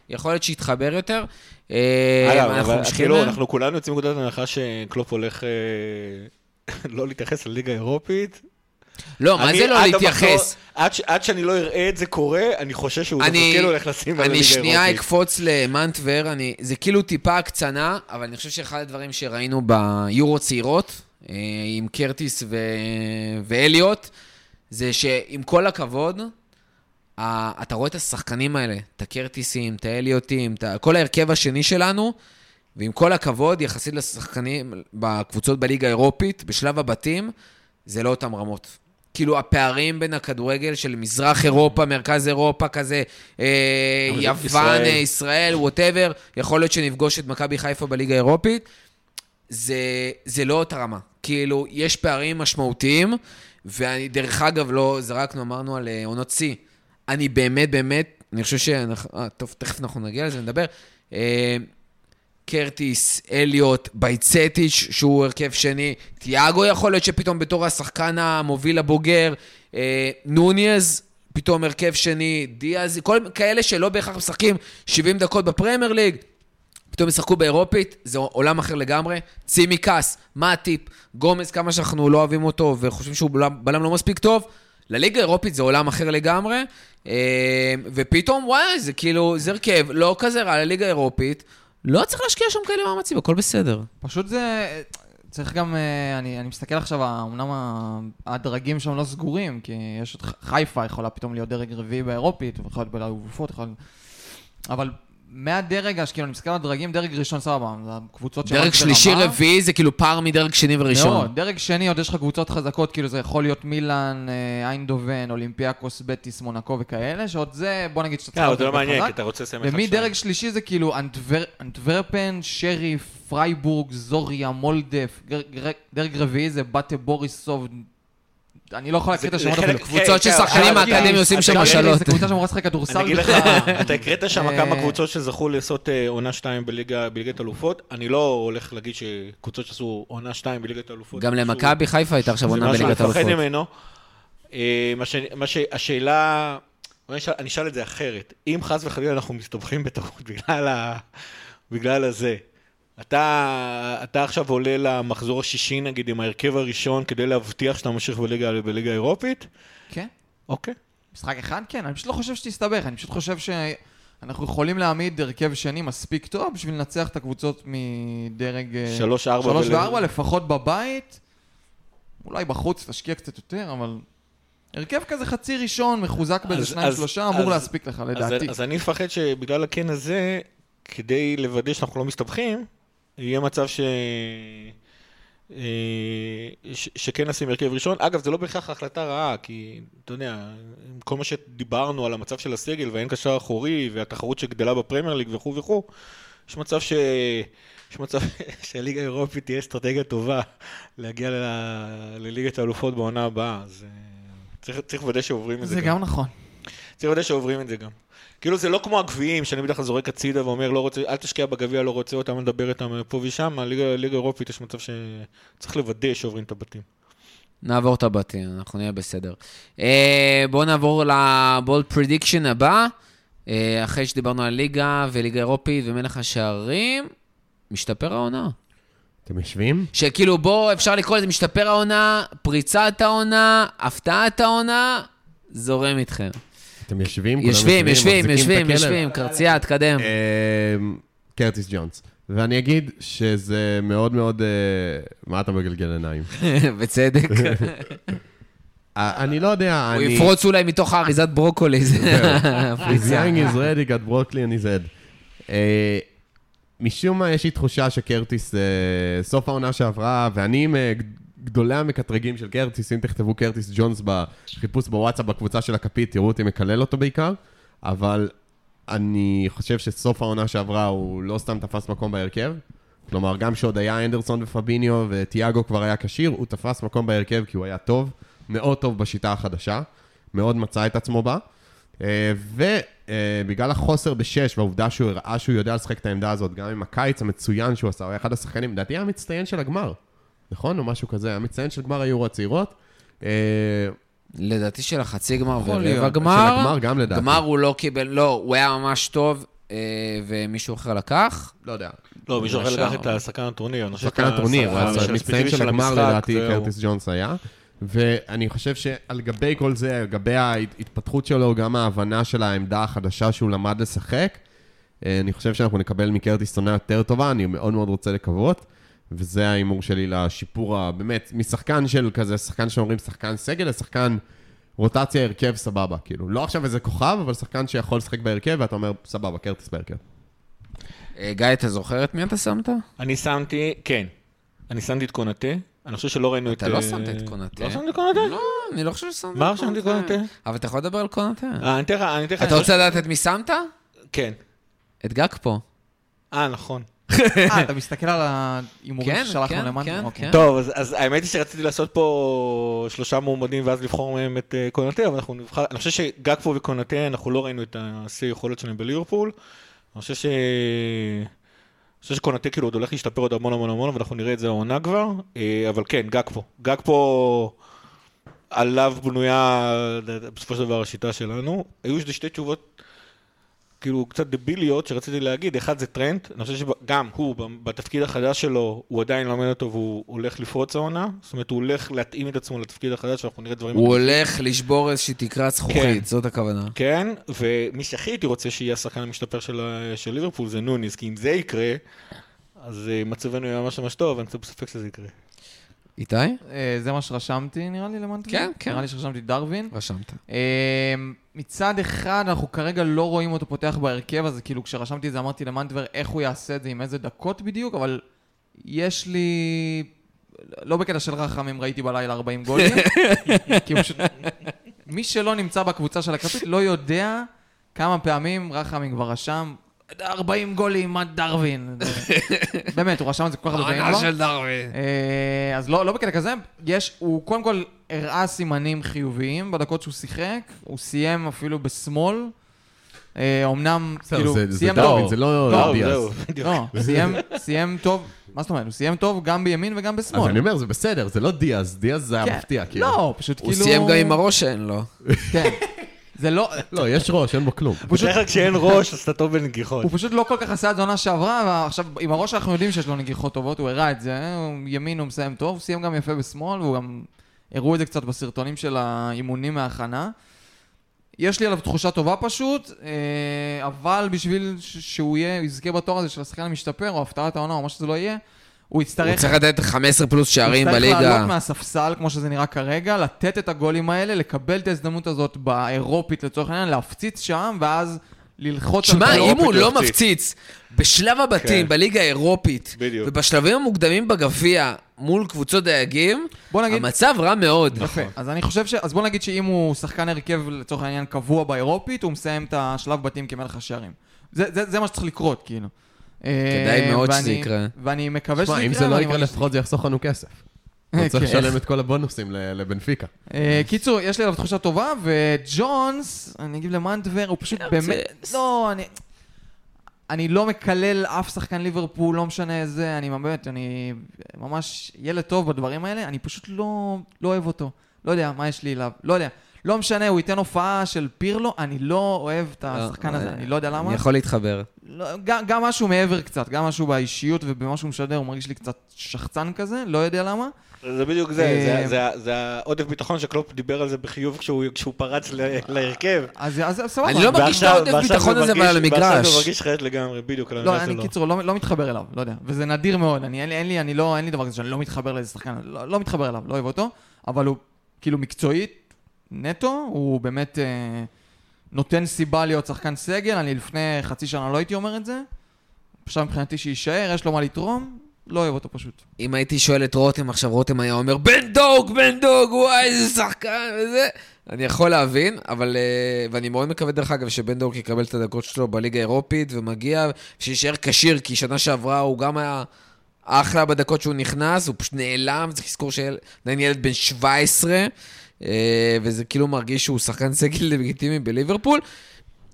A: יכול להיות שיתחבר יותר. אה,
D: אגב,
A: אנחנו
D: אבל
A: ממשיכים
D: כאילו,
A: להם?
D: אנחנו כולנו יוצאים מנקודת הנחה שקלופ הולך אה, לא להתייחס לליגה האירופית.
A: לא, מה
D: אני
A: זה לא
D: עד
A: להתייחס?
D: המחזור- עד ש- עד שאני לא אראה את זה קורה, אני חושש שהוא דווקא
A: אני-
D: כן הולך לשים על
A: אני
D: הליגה
A: שנייה
D: האירופית.
A: אקפוץ למנטבר, אני, זה כאילו טיפה הקצנה, אבל אני חושב שאחד הדברים שראינו ביורו צעירות, אה, עם קרטיס ו... ואליוט, זה שעם כל הכבוד, ה- אתה רואה את השחקנים האלה, את הקרטיסים, את האליוטים, את ה- כל ההרכב השני שלנו, ועם כל הכבוד, יחסית לשחקנים בקבוצות בליגה האירופית, בשלב הבתים, זה לא אותם רמות. כאילו הפערים בין הכדורגל של מזרח אירופה, מרכז אירופה כזה, אה,
D: אבל זה
A: יוון,
D: ישראל.
A: אה, ישראל, ווטאבר, יכול להיות שנפגוש את מכבי חיפה בליגה האירופית, זה, זה לא אותה רמה. כאילו, יש פערים משמעותיים, ודרך אגב, לא זרקנו, אמרנו על אה, עונות שיא. אני באמת, באמת, אני חושב שאנחנו... אה, טוב, תכף אנחנו נגיע לזה, נדבר. אה, קרטיס, אליוט, בייצטיץ', שהוא הרכב שני, תיאגו יכול להיות שפתאום בתור השחקן המוביל הבוגר, אה, נוניז, פתאום הרכב שני, דיאז, כל כאלה שלא בהכרח משחקים 70 דקות בפרמייר ליג, פתאום ישחקו באירופית, זה עולם אחר לגמרי. צימקס, מה הטיפ? גומז, כמה שאנחנו לא אוהבים אותו וחושבים שהוא בלם, בלם לא מספיק טוב, לליגה האירופית זה עולם אחר לגמרי. אה, ופתאום, וואי, זה כאילו, זה הרכב לא כזה רע לליגה האירופית. לא צריך להשקיע שם כאלה מאמצים, הכל בסדר.
B: פשוט זה... צריך גם, אה, אני, אני מסתכל עכשיו, אמנם ה- הדרגים שם לא סגורים, כי יש את ח- חיפה יכולה פתאום להיות דרג רביעי באירופית, יכול להיות בלילה ובפות, יכול להיות... אבל מהדרג, הש- כאילו, אני מסתכל על הדרגים, דרג ראשון סבבה, זה הקבוצות שרק
A: דרג
B: ברמה.
A: שלישי רביעי זה כאילו פער מדרג שני
B: מאוד,
A: וראשון.
B: דרג שני, עוד יש לך קבוצות חזקות, כאילו זה יכול להיות מילאן, אה, איינדובן, אולימפיאקוס, בטיס, מונקו וכאלה, שעוד זה, בוא נגיד שאתה
D: כן, אבל זה לא
B: להיות
D: מעניין,
B: חזק.
D: כי אתה רוצה לסיים אחד
B: ומדרג שלישי זה כאילו אנטבר, אנטוורפן, שרי, פרייבורג, זוריה, מולדף, גר, גר, דרג רביעי זה באטה בוריסוב, אני לא יכול להקריא את
D: זה- זה
B: השמות
D: חלק-
B: אפילו.
A: קבוצות של
D: כן,
A: שחקנים
D: אבל-
A: מהאקדמיה עושים
D: אז
A: שם
D: תגיד לי,
B: דרג רביעי
A: משלות.
B: זה קבוצה שאמורה לשחק כדורסל
D: אה, אני אגיד לך,
B: בכלל.
D: אתה הקראת שם
B: אה,
D: כמה קבוצות שזכו לעשות אה, עונה 2 בליגת אלופות. אני לא הולך להגיד שקבוצות שעשו עונה 2 בליגת אלופות.
A: גם
D: עשו-
A: למכבי חיפה הייתה עכשיו עונה בליגת
D: זה משהו
A: האלופות.
D: לפחד ממנו. אה, מה ש- מה שהשאלה, אני אשאל- אני אשאל את זה אחרת. אם חס וחלילה אנחנו מסתבכים בטעות בגלל ה... בגלל הזה, אתה, אתה עכשיו עולה למחזור השישי נגיד עם ההרכב הראשון כדי להבטיח שאתה ממשיך בליגה, בליגה האירופית?
B: כן?
D: אוקיי.
B: משחק אחד כן, אני פשוט לא חושב שתסתבך, אני פשוט חושב שאנחנו יכולים להעמיד הרכב שני מספיק טוב בשביל לנצח את הקבוצות מדרג... אה,
D: שלוש, ארבע.
B: שלוש
D: ול-
B: וארבע לפחות בבית, אולי בחוץ תשקיע קצת יותר, אבל הרכב כזה חצי ראשון, מחוזק באיזה
D: אז-
B: שניים
D: אז-
B: שלושה, אמור
D: אז-
B: להספיק לך, לדעתי.
D: אז, אז אני מפחד שבגלל הקן הזה, כדי לוודא שאנחנו לא מסתבכים, יהיה מצב ש... אה, ש, שכן נשים הרכב ראשון. אגב, זה לא בהכרח החלטה רעה, כי אתה יודע, עם כל מה שדיברנו על המצב של הסגל והאין קשר אחורי והתחרות שגדלה בפרמייר ליג וכו' וכו', יש מצב ש... יש מצב שהליגה האירופית תהיה אסטרטגיה טובה להגיע ל... לליגת האלופות בעונה הבאה, אז אה, צריך צריך לוודא שעוברים את זה.
B: זה גם נכון.
D: צריך לוודא שעוברים את זה גם. כאילו זה לא כמו הגביעים, שאני בדרך כלל זורק הצידה ואומר, לא רוצה, אל תשקיע בגביע, לא רוצה אותם, לדבר איתם פה ושם, הליגה ליגה האירופית יש מצב שצריך לוודא שעוברים את הבתים.
A: נעבור את הבתים, אנחנו נהיה בסדר. אה, בואו נעבור לבולד פרדיקשן הבא, אה, אחרי שדיברנו על ליגה וליגה אירופית ומלך השערים, משתפר העונה.
C: אתם יושבים?
A: שכאילו בוא, אפשר לקרוא לזה משתפר העונה, פריצת העונה, הפתעת העונה, זורם איתכם.
C: אתם יושבים? כולם
A: יושבים, יושבים,
C: מחזיקים את
A: יושבים,
C: הכלב.
A: יושבים, קרצייה, תקדם.
C: אמ, קרטיס ג'ונס. ואני אגיד שזה מאוד מאוד... אה, מה אתה מגלגל עיניים?
A: בצדק.
C: אה, אני לא יודע,
A: הוא
C: אני...
A: יפרוץ אולי מתוך האריזת ברוקולי, זה
C: He's
A: הפריצה.
C: young, he's ready, got Brooklyn, he's dead. אה, משום מה, יש לי תחושה שקרטיס, אה, סוף העונה שעברה, ואני עם אה, גדולי המקטרגים של קרטיס, אם תכתבו קרטיס ג'ונס בחיפוש בוואטסאפ בקבוצה של הכפית, תראו אותי מקלל אותו בעיקר, אבל אני חושב שסוף העונה שעברה הוא לא סתם תפס מקום בהרכב. כלומר, גם כשעוד היה אנדרסון ופביניו וטיאגו כבר היה כשיר, הוא תפס מקום בהרכב כי הוא היה טוב, מאוד טוב בשיטה החדשה, מאוד מצא את עצמו בה. אה, ובגלל החוסר בשש והעובדה שהוא הראה שהוא יודע לשחק את העמדה הזאת, גם עם הקיץ המצוין שהוא עשה, הוא היה אחד השחקנים, לדעתי היה המצטיין של הגמר, נכון? או משהו כזה, היה המצטיין של גמר היורו הצעירות. אה,
A: לדעתי של החצי גמר
B: יכול להיות.
A: ורבע גמר.
C: של הגמר גם לדעתי.
A: גמר הוא לא קיבל, לא, הוא היה ממש טוב, אה, ומישהו אחר לקח.
C: לא יודע.
D: לא, מישהו אחר לקח
A: ישר.
D: את השחקן הטורניר. אני חושב
C: שחקן
D: את
C: הטורניר, הוא היה
D: השחקן
C: מצטיין
D: הספציפי
C: של הגמר
D: המשחק,
C: לדעתי,
D: זהו.
C: קרטיס ג'ונס היה. ואני חושב שעל גבי כל זה, על גבי ההתפתחות שלו, גם ההבנה של העמדה החדשה שהוא למד לשחק, אה, אני חושב שאנחנו נקבל מקרטיס עונה יותר טובה, אני מאוד מאוד רוצה לקוות. וזה ההימור שלי לשיפור, ה- באמת, משחקן של כזה, שחקן שאומרים שחקן סגל, לשחקן רוטציה, הרכב, סבבה. כאילו, לא עכשיו איזה כוכב, אבל שחקן שיכול לשחק בהרכב, ואתה אומר, סבבה, קרטיס בהרכב.
A: אה, גיא, אתה זוכר את מי אתה שמת?
D: אני שמתי, כן, אני שמתי את קונטה, אני חושב שלא ראינו את...
A: אתה לא
D: אה,
A: שמת את קונטה.
D: לא שמתי את קונטה?
A: לא, אני לא חושב ששמת
D: מה רשמתי קונטה?
A: אבל אתה יכול לדבר על קונטה.
D: אה, אני אתן לך, אני אתן לך...
A: אתה רוצה לדעת את מי שמת?
D: כן.
A: את גג פה.
D: אה, נכון.
B: אה, אתה מסתכל על ההימורים
A: כן,
B: ששלחנו
A: כן,
B: למאני?
A: כן,
B: אוקיי.
A: כן.
D: טוב, אז, אז האמת היא שרציתי לעשות פה שלושה מועמדים ואז לבחור מהם את uh, קונטה, אבל אנחנו נבחר, אני חושב שגקפו וקונטה, אנחנו לא ראינו את השיא היכולת שלהם בליברפול. אני חושב ש... אני חושב שקונטה כאילו עוד הולך להשתפר עוד המון המון המון, ואנחנו נראה את זה העונה כבר, אה, אבל כן, גקפו. גקפו, עליו בנויה בסופו של דבר השיטה שלנו. היו שתי- שתי תשובות כאילו קצת דביליות שרציתי להגיד, אחד זה טרנד, אני חושב שגם הוא בתפקיד החדש שלו, הוא עדיין לומד אותו והוא הולך לפרוץ העונה, זאת אומרת הוא הולך להתאים את עצמו לתפקיד החדש ואנחנו נראה דברים...
A: הוא הולך לשבור איזושהי תקרת
D: כן.
A: זכוכית, זאת הכוונה.
D: כן, ומי שהכי הייתי רוצה שיהיה השחקן המשתפר של, ה- של ליברפול זה נוניס, כי אם זה יקרה, אז אה, מצבנו יהיה ממש ממש טוב, אני קצת בספק שזה יקרה.
A: איתי?
B: אה, זה מה שרשמתי, נראה לי, למאני?
A: כן, כן.
B: נראה לי שרשמתי דרווין.
A: רשמת.
B: אה, מצד אחד, אנחנו כרגע לא רואים אותו פותח בהרכב, אז כאילו כשרשמתי את זה אמרתי למנטבר איך הוא יעשה את זה, עם איזה דקות בדיוק, אבל יש לי... לא בקטע של רחמים ראיתי בלילה 40 גולים, כי הוא פשוט... מי שלא נמצא בקבוצה של הכרטיס לא יודע כמה פעמים רחמים כבר רשם 40 גולים עד דרווין. באמת, הוא רשם את זה כל כך הרבה פעמים. כבר.
A: דרווין.
B: אה, אז לא, לא בקטע כזה, יש, הוא קודם כל הראה סימנים חיוביים בדקות שהוא שיחק, הוא סיים אפילו בשמאל, אה, אומנם,
C: בסדר,
B: כאילו,
C: זה- זה
B: סיים
C: דרווין,
B: טוב.
C: זה לא
B: לא,
C: דיאז.
D: זהו, בדיוק.
B: לא, סיים, סיים טוב, מה זאת אומרת, הוא סיים טוב גם בימין וגם
C: אז
B: בשמאל.
C: אני אומר, זה בסדר, זה לא דיאז, דיאז זה
B: כן.
C: היה מפתיע, כאילו.
B: לא, פשוט
A: הוא
B: כאילו...
A: סיים גם עם הראש שאין לו.
B: כן. זה לא,
C: לא, יש ראש, אין בו כלום.
B: פשוט-
D: בדרך כלל כשאין ראש, אז אתה טוב בנגיחות.
B: הוא פשוט לא כל כך עשה את זה עונה שעברה, ועכשיו עם הראש אנחנו יודעים שיש לו נגיחות טובות, הוא הראה את זה, הוא ימין הוא מסיים טוב, הוא סיים גם יפה בשמאל, והוא גם... הראו את זה קצת בסרטונים של האימונים מההכנה. יש לי עליו תחושה טובה פשוט, אה, אבל בשביל ש- שהוא יהיה, הוא יזכה בתואר הזה של השחקן המשתפר, או הפתעת העונה, או מה שזה לא יהיה, הוא
A: הוא
B: יצטרך...
A: צריך לתת 15 פלוס שערים
B: הוא צריך לעלות
A: בליגה.
B: מהספסל, כמו שזה נראה כרגע, לתת את הגולים האלה, לקבל את ההזדמנות הזאת באירופית לצורך העניין, להפציץ שם, ואז ללחוץ
A: תשמע,
D: לא
A: אם הוא לא
D: מפציץ.
A: מפציץ בשלב הבתים,
D: כן.
A: בליגה האירופית,
D: בדיוק.
A: ובשלבים המוקדמים בגביע, מול קבוצות דייגים,
B: בוא נגיד-
A: המצב רע מאוד.
B: יפה,
C: נכון.
B: אז אני חושב ש... אז בוא נגיד שאם הוא שחקן הרכב לצורך העניין קבוע באירופית, הוא מסיים את השלב בתים כמלך השערים. זה, זה, זה מה שצריך לקרות, כאילו.
A: כדאי
B: אה,
A: מאוד
B: ואני-
A: שזה יקרה.
B: ואני מקווה שזה
C: תשמע,
B: יקרה.
C: אם זה לא
B: ואני
C: יקרה,
B: מרגיש-
C: לפחות זה יחסוך לנו כסף.
A: אה,
C: הוא צריך
B: כן.
C: לשלם את כל הבונוסים ל- לבנפיקה.
B: אה, קיצור, יש לי עליו תחושה טובה, וג'ונס, אני אגיב למנדבר, הוא פשוט באמת... לא, אני... אני לא מקלל אף שחקן ליברפול, לא משנה איזה, אני באמת, אני ממש ילד טוב בדברים האלה, אני פשוט לא, לא אוהב אותו. לא יודע, מה יש לי אליו? לא יודע. לא משנה, הוא ייתן הופעה של פירלו, אני לא אוהב את השחקן הזה, אני לא יודע למה.
A: אה, אני יכול להתחבר.
B: לא, גם, גם משהו מעבר קצת, גם משהו באישיות ובמה שהוא משדר, הוא מרגיש לי קצת שחצן כזה, לא יודע למה.
D: זה בדיוק
B: אה,
D: זה, זה- זה- זה העודף ביטחון שקלופ דיבר על זה בחיוב כשהוא כשהוא פרץ ל- להרכב.
B: אז, אז סבבה.
A: אני אה, לא מרגיש את
D: ועכשיו-
A: העודף
D: ועכשיו
A: ביטחון
D: הוא
A: הזה, אבל
D: מרגיש-
A: על
D: ועכשיו
A: המגרש.
D: הוא מרגיש חלק לגמרי, בדיוק, על
B: לא,
D: המגרש
B: אני
D: שלו.
B: קיצור, לא, לא מתחבר אליו, לא יודע. וזה נדיר מאוד, אני, אין לי, אין לי, אני לא, אין לי דבר כזה שאני לא מתחבר לאיזה שחקן, לא, לא מתחבר אליו, לא אוהב אותו, אבל הוא כאילו מקצועית, נטו, הוא באמת אה, נותן סיבה להיות שחקן סגל, אני לפני חצי שנה לא הייתי אומר את זה, עכשיו מבחינתי שיישאר, יש לו מה לתרום, לא אוהב אותו פשוט.
A: אם הייתי שואל את רותם עכשיו, רותם היה אומר, בן דוג, בן דוג, וואי, איזה שחקן וזה. אני יכול להבין, אבל... אה, ואני מאוד מקווה, דרך אגב, שבן דוג יקבל את הדקות שלו בליגה האירופית, ומגיע, שיישאר כשיר, כי שנה שעברה הוא גם היה אחלה בדקות שהוא נכנס, הוא פשוט נעלם, צריך לזכור שעדיין ילד בן 17, אה, וזה כאילו מרגיש שהוא שחקן סגל לגיטימי בליברפול.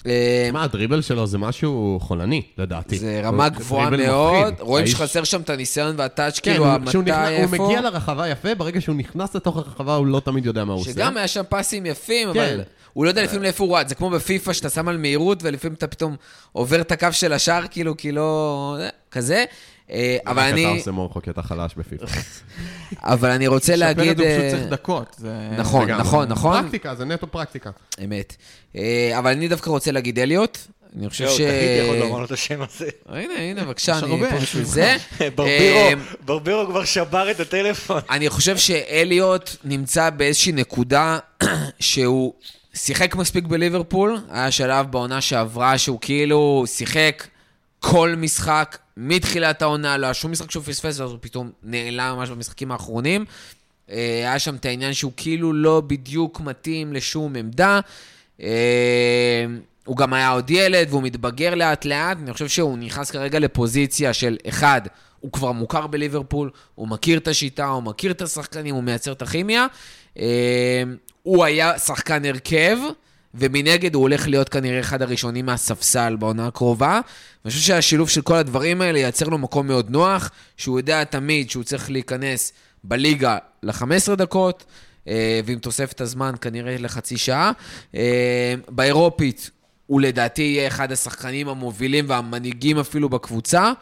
A: אה,
C: מה, הדריבל שלו זה משהו חולני, לדעתי.
A: זה רמה
C: הוא-
A: גבוהה
C: דריבל
A: מאוד,
C: מפחיד.
A: רואים
C: האיש-
A: שחסר שם את הניסיון והטאץ',
C: כן,
A: כאילו
C: הוא-
A: המתי,
C: כשהוא נכנס-
A: איפה.
C: הוא מגיע לרחבה יפה, ברגע שהוא נכנס לתוך הרחבה הוא לא תמיד יודע מה הוא עושה.
B: אה?
A: שגם היה שם פסים יפים,
C: כן.
A: אבל הוא לא יודע לפעמים לאיפה הוא רץ. זה כמו בפיפ"א שאתה שם על מהירות, ולפעמים אתה פתאום עובר את הקו של השער, כאילו, כי לא... כזה. אה, אבל
C: רק אתה
A: אני,
C: עושה מורכו, כי אתה חלש בפיפ"א.
A: אבל אני רוצה
B: שפרד
A: להגיד...
B: הוא פשוט
A: אה,
B: צריך דקות. זה...
A: נכון,
C: וגם-
A: נכון, נכון,
C: פרקטיקה, זה נטו פרקטיקה.
A: אמת. אה, אבל אני דווקא רוצה להגיד אליוט. אני חושב
D: זהו,
A: ש...
D: תחיתי יכול לומר לו לא את השם הזה.
A: הנה, הנה, בבקשה,
B: יש
A: אני
B: הרבה.
A: פה בשביל זה. אה,
D: ברבירו, ברבירו כבר שבר את הטלפון.
A: אני חושב שאליוט נמצא באיזושהי נקודה שהוא שיחק מספיק בליברפול. היה שלב בעונה שעברה שהוא כאילו שיחק כל משחק מתחילת העונה, לא היה שום משחק שהוא פספס, ואז הוא פתאום נעלם ממש במשחקים האחרונים. אה, היה שם את העניין שהוא כאילו לא בדיוק מתאים לשום עמדה. אה, הוא גם היה עוד ילד והוא מתבגר לאט לאט, אני חושב שהוא נכנס כרגע לפוזיציה של אחד, הוא כבר מוכר בליברפול, הוא מכיר את השיטה, הוא מכיר את השחקנים, הוא מייצר את הכימיה. אה, הוא היה שחקן הרכב, ומנגד הוא הולך להיות כנראה אחד הראשונים מהספסל בעונה הקרובה. אני חושב שהשילוב של כל הדברים האלה ייצר לו מקום מאוד נוח, שהוא יודע תמיד שהוא צריך להיכנס בליגה ל-15 דקות, אה, ועם תוספת הזמן כנראה לחצי שעה. אה, באירופית הוא לדעתי יהיה אחד השחקנים המובילים והמנהיגים אפילו בקבוצה,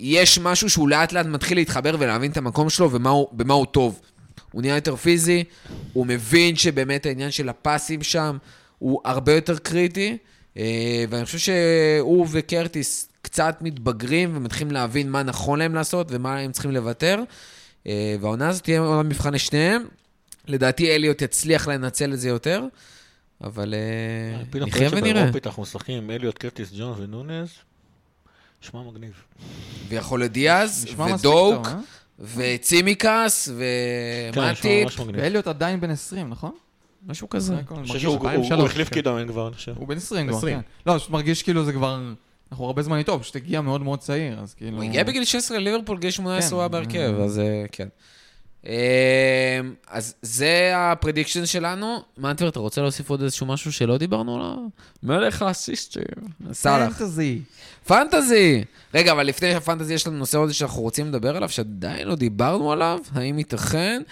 A: ויש משהו שהוא לאט לאט מתחיל להתחבר ולהבין את המקום שלו ומה הוא, במה הוא טוב. הוא נהיה יותר פיזי, הוא מבין שבאמת העניין של הפסים שם הוא הרבה יותר קריטי, אה, ואני חושב שהוא וקרטיס קצת מתבגרים ומתחילים להבין מה נכון להם לעשות ומה הם צריכים לוותר. אה, והעונה הזאת תהיה עונה מבחן לשניהם. לדעתי אליוט יצליח לנצל את זה יותר, אבל אה,
D: פתאום
A: נחיה
D: חושב
A: ונראה.
D: שבאירופית אנחנו משחקים עם אליוט קרטיס ג'ונס ונונז, שמע מגניב.
A: ויכול להיות דיאז,
B: נשמע מספיק
A: ודוק,
B: טוב, אה?
A: וצימקס, אה,
D: כן, שמע
A: ומטיפ,
D: ממש מגניב.
B: ואליוט עדיין בן 20, נכון?
A: משהו כזה.
B: אני
D: אני
B: מרגיש
D: חושב שהוא-
C: שבא עם
D: הוא- הוא
C: שלוש,
D: החליף
C: כן.
D: קידומן כבר, אני חושב.
B: הוא בן 20 כבר,
C: 20.
B: כן. לא, פשוט מרגיש כאילו זה כבר... אנחנו הרבה זמן איתו, פשוט הגיע מאוד מאוד צעיר, אז כאילו...
A: הוא הגיע בגיל 16 לליברפול, גיל 18 הוא היה
B: כן.
A: בהרכב, אז אה, כן. אה, אז זה הפרדיקשן שלנו. מנטבר, אתה רוצה להוסיף עוד איזשהו משהו שלא דיברנו עליו? מלך האסיסטים. סאלח.
B: פנטזי.
A: פנטזי! רגע, אבל לפני הפנטזי יש לנו נושא עוד שאנחנו רוצים לדבר עליו, שעדיין לא דיברנו עליו, האם ייתכן?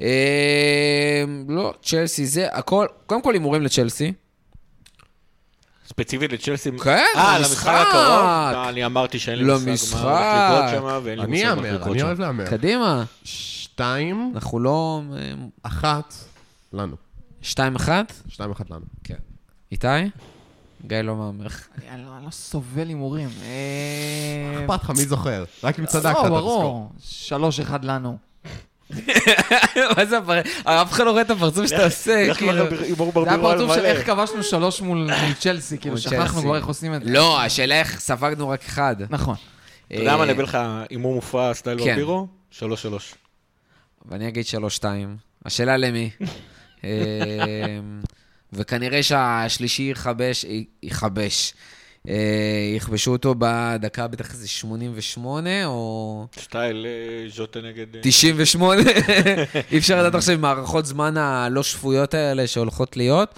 A: אה, לא, צ'לסי זה הכל. קודם כל הימורים לצ'לסי.
D: ספציפית לצ'לסי.
A: כן,
D: אה,
A: למשחק.
D: למשחק הקרוב? לא, אני אמרתי שאין לי מושג
A: למשחק.
D: מה הולך לקרות שם, ואין לי
C: אני
D: מושג מה הולך
C: אהמר,
D: לקרות
C: אני
D: שם.
C: אוהב להמר.
A: כן. קדימה,
C: שתיים,
A: אנחנו לא... אה,
C: אחת, לנו.
A: 2-1?
C: שתיים, אחת לנו.
A: איתי? גיא לא מהמר.
B: אני- אני לא- אני לא סובל הימורים. אה,
C: אכפת לך, מי זוכר? רק אם צדקת, אתה
B: לא,
C: תזכור.
B: ברור. שלוש אחד לנו.
A: מה זה הפרצוף? אף אחד לא רואה את הפרצוף שאתה עושה,
D: איך
A: כאילו.
D: כבר הימור
B: זה היה
D: ברבירו על
B: פרצוף של איך
D: מלא.
B: כבשנו שלוש מול מול צ'לסי, כאילו
A: מול
B: שכחנו
A: צ'לסי.
B: כבר איך עושים את זה.
A: לא, השאלה איך ספגנו רק אחד.
B: נכון.
D: אתה יודע מה,
A: אה,
D: אני אביא לך הימור מופרע סטייל
A: כן.
D: ברבירו? שלוש שלוש.
A: ואני אגיד שלוש-שתיים. השאלה למי. אמ, וכנראה שהשלישי יכבש, י- יכבש. אה, יכבשו אותו בדקה בטח איזה 88 או
D: סטייל אה, ז'וטה נגד... אה,
A: 98. אי אפשר לדעת עכשיו עם מערכות זמן הלא שפויות האלה שהולכות להיות.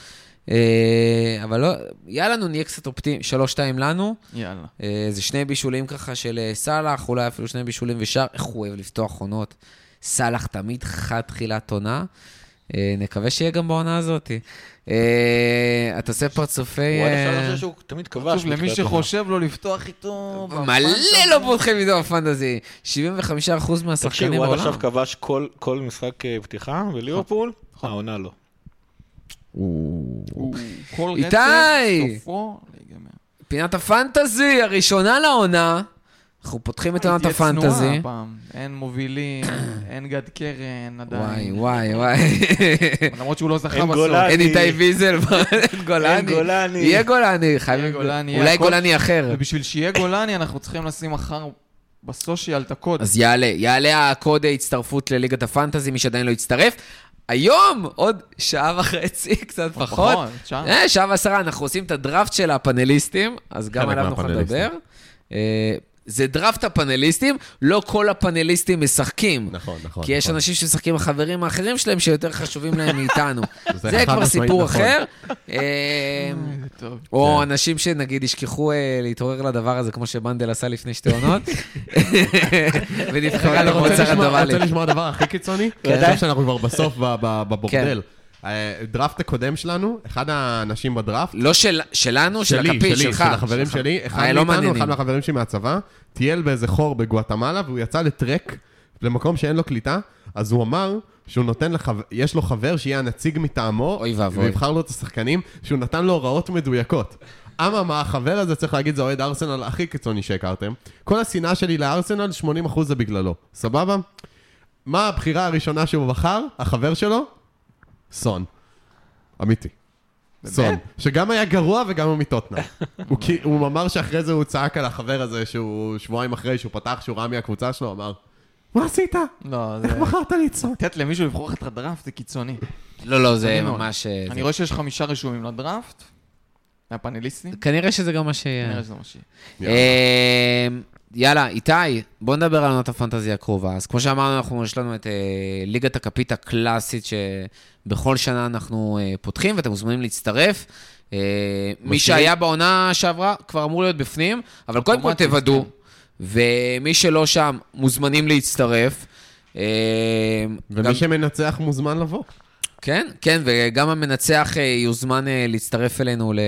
A: אה, אבל לא, יאללה, נו, נהיה קצת אופטימיים. שלוש-שתיים לנו.
B: יאללה.
A: אה, זה שני בישולים ככה של אה, סאלח, אולי אפילו שני בישולים ושאר, איך הוא אוהב לפתוח עונות. סאלח תמיד חד תחילת עונה. אה, נקווה שיהיה גם בעונה הזאת. אה, אתה עושה פרצופי...
D: הוא עד עכשיו
A: אה,
D: אני חושב שהוא תמיד כבש.
B: שוב, למי
D: מתחילת העונה.
B: שחושב לא לפתוח איתו...
A: מלא
B: בפנטזי.
A: לא פותחים איתו בפנטזי. 75%
D: תקשיב,
A: מהשחקנים
D: הוא עד
A: בעולם.
D: עכשיו כבש כל- כל משחק אה, פתיחה, וליברפול, העונה לא.
B: הוא- כל רצף,
A: איתי!
B: סופו להיגמר.
A: פינת הפנטזי הראשונה לעונה. אנחנו פותחים את עונת
B: תהיה צנועה
A: הפנטזי.
B: הפעם. אין מובילים, אין גד קרן
A: וואי,
B: עדיין.
A: וואי, וואי.
B: למרות שהוא לא זכה
D: אין
B: בסוף.
D: גולן.
A: אין איתי ויזל, אין
D: אין
A: גולני.
D: גולני.
A: יהיה גולני, חייבים...
B: יהיה גולני, יהיה
A: אולי
B: הכל-
A: גולני אחר.
B: ובשביל שיהיה גולני, אנחנו צריכים לשים מחר בסושיאל את הקוד.
A: אז יעלה, יעלה הקוד ההצטרפות לליגת הפנטזי, מי שעדיין לא הצטרף. היום, עוד שעה וחצי, קצת
B: נכון,
A: פחות.
B: פחות, שעה.
A: אה, שעה ועשרה, אנחנו עושים את הדראפט של הפאנליסטים, אז גם
C: חלק
A: עליו נוכל
C: מהפאנליסטים.
A: לדבר. אה, זה דראפט הפאנליסטים, לא כל הפאנליסטים משחקים.
C: נכון, נכון.
A: כי יש
C: נכון.
A: אנשים שמשחקים עם החברים האחרים שלהם שיותר חשובים להם מאיתנו.
C: זה
A: זה
C: חד
A: כבר
C: משמעית
A: סיפור
C: נכון.
A: אחר. אה,
B: אוי, זה טוב.
A: או
C: כן.
A: אנשים שנגיד ישכחו אה, להתעורר לדבר הזה, כמו שבנדל עשה לפני שתי עונות, ונבחרה
C: אתה רוצה
A: למועצה
C: לשמוע-
A: רנדומלית.
C: רוצה לשמוע הדבר הכי קיצוני? אני חושב שאנחנו כבר בסוף ב- ב- בבורדל.
A: כן.
C: הדראפט הקודם שלנו, אחד האנשים בדראפט,
A: לא של- שלנו, של
C: שלי,
A: הכפית,
C: שלי,
A: שלך.
C: של החברים
A: שלך.
C: שלי, אחד
A: אה, לא
C: מאיתנו,
A: מעניינים.
C: אחד מהחברים שלי מהצבא, טייל באיזה חור בגואטמלה, והוא יצא לטרק למקום שאין לו קליטה, אז הוא אמר שהוא נותן לחבר, יש לו חבר שיהיה הנציג מטעמו,
A: אוי ואבוי.
C: ויבחר לו את השחקנים, שהוא נתן לו הוראות מדויקות. אממה, החבר הזה, צריך להגיד, זה אוהד ארסנל הכי קיצוני שהכרתם. כל השנאה שלי לארסנל, 80% זה בגללו, סבבה? מה הבחירה הראשונה שהוא בחר, החבר שלו? סון. אמיתי. סון. שגם היה גרוע וגם הוא מטוטנה. הוא כי- הוא אמר שאחרי זה הוא צעק על החבר הזה, שהוא שבועיים אחרי שהוא פתח, שהוא רע מהקבוצה שלו, אמר, מה עשית?
B: לא, זה...
C: איך בחרת לי את סון?
B: לתת למישהו לבחור לך את הדראפט זה קיצוני.
A: לא, לא, זה
B: אני מאוד.
A: ממש... אה, זה-
B: אני רואה שיש חמישה רשומים לדראפט, מהפאנליסטים.
A: כנראה שזה גם מה שיהיה.
B: נראה שזה מה שיהיה.
A: אה, יאללה, איתי, בוא נדבר על עונת הפנטזי הקרובה. אז כמו שאמרנו, אנחנו, יש לנו את אה, ליגת הכפית הקלאסית שבכל שנה אנחנו אה, פותחים, ואתם מוזמנים להצטרף. אה, מי
C: מסכים.
A: שהיה בעונה שעברה כבר אמור להיות בפנים, אבל קודם כל
B: אוטומטית,
A: תוודאו.
B: כן.
A: ומי שלא שם, מוזמנים להצטרף. אה, גם-
C: ומי שמנצח מוזמן לבוא.
A: כן, כן, וגם המנצח אה, יוזמן אה, להצטרף אלינו ל-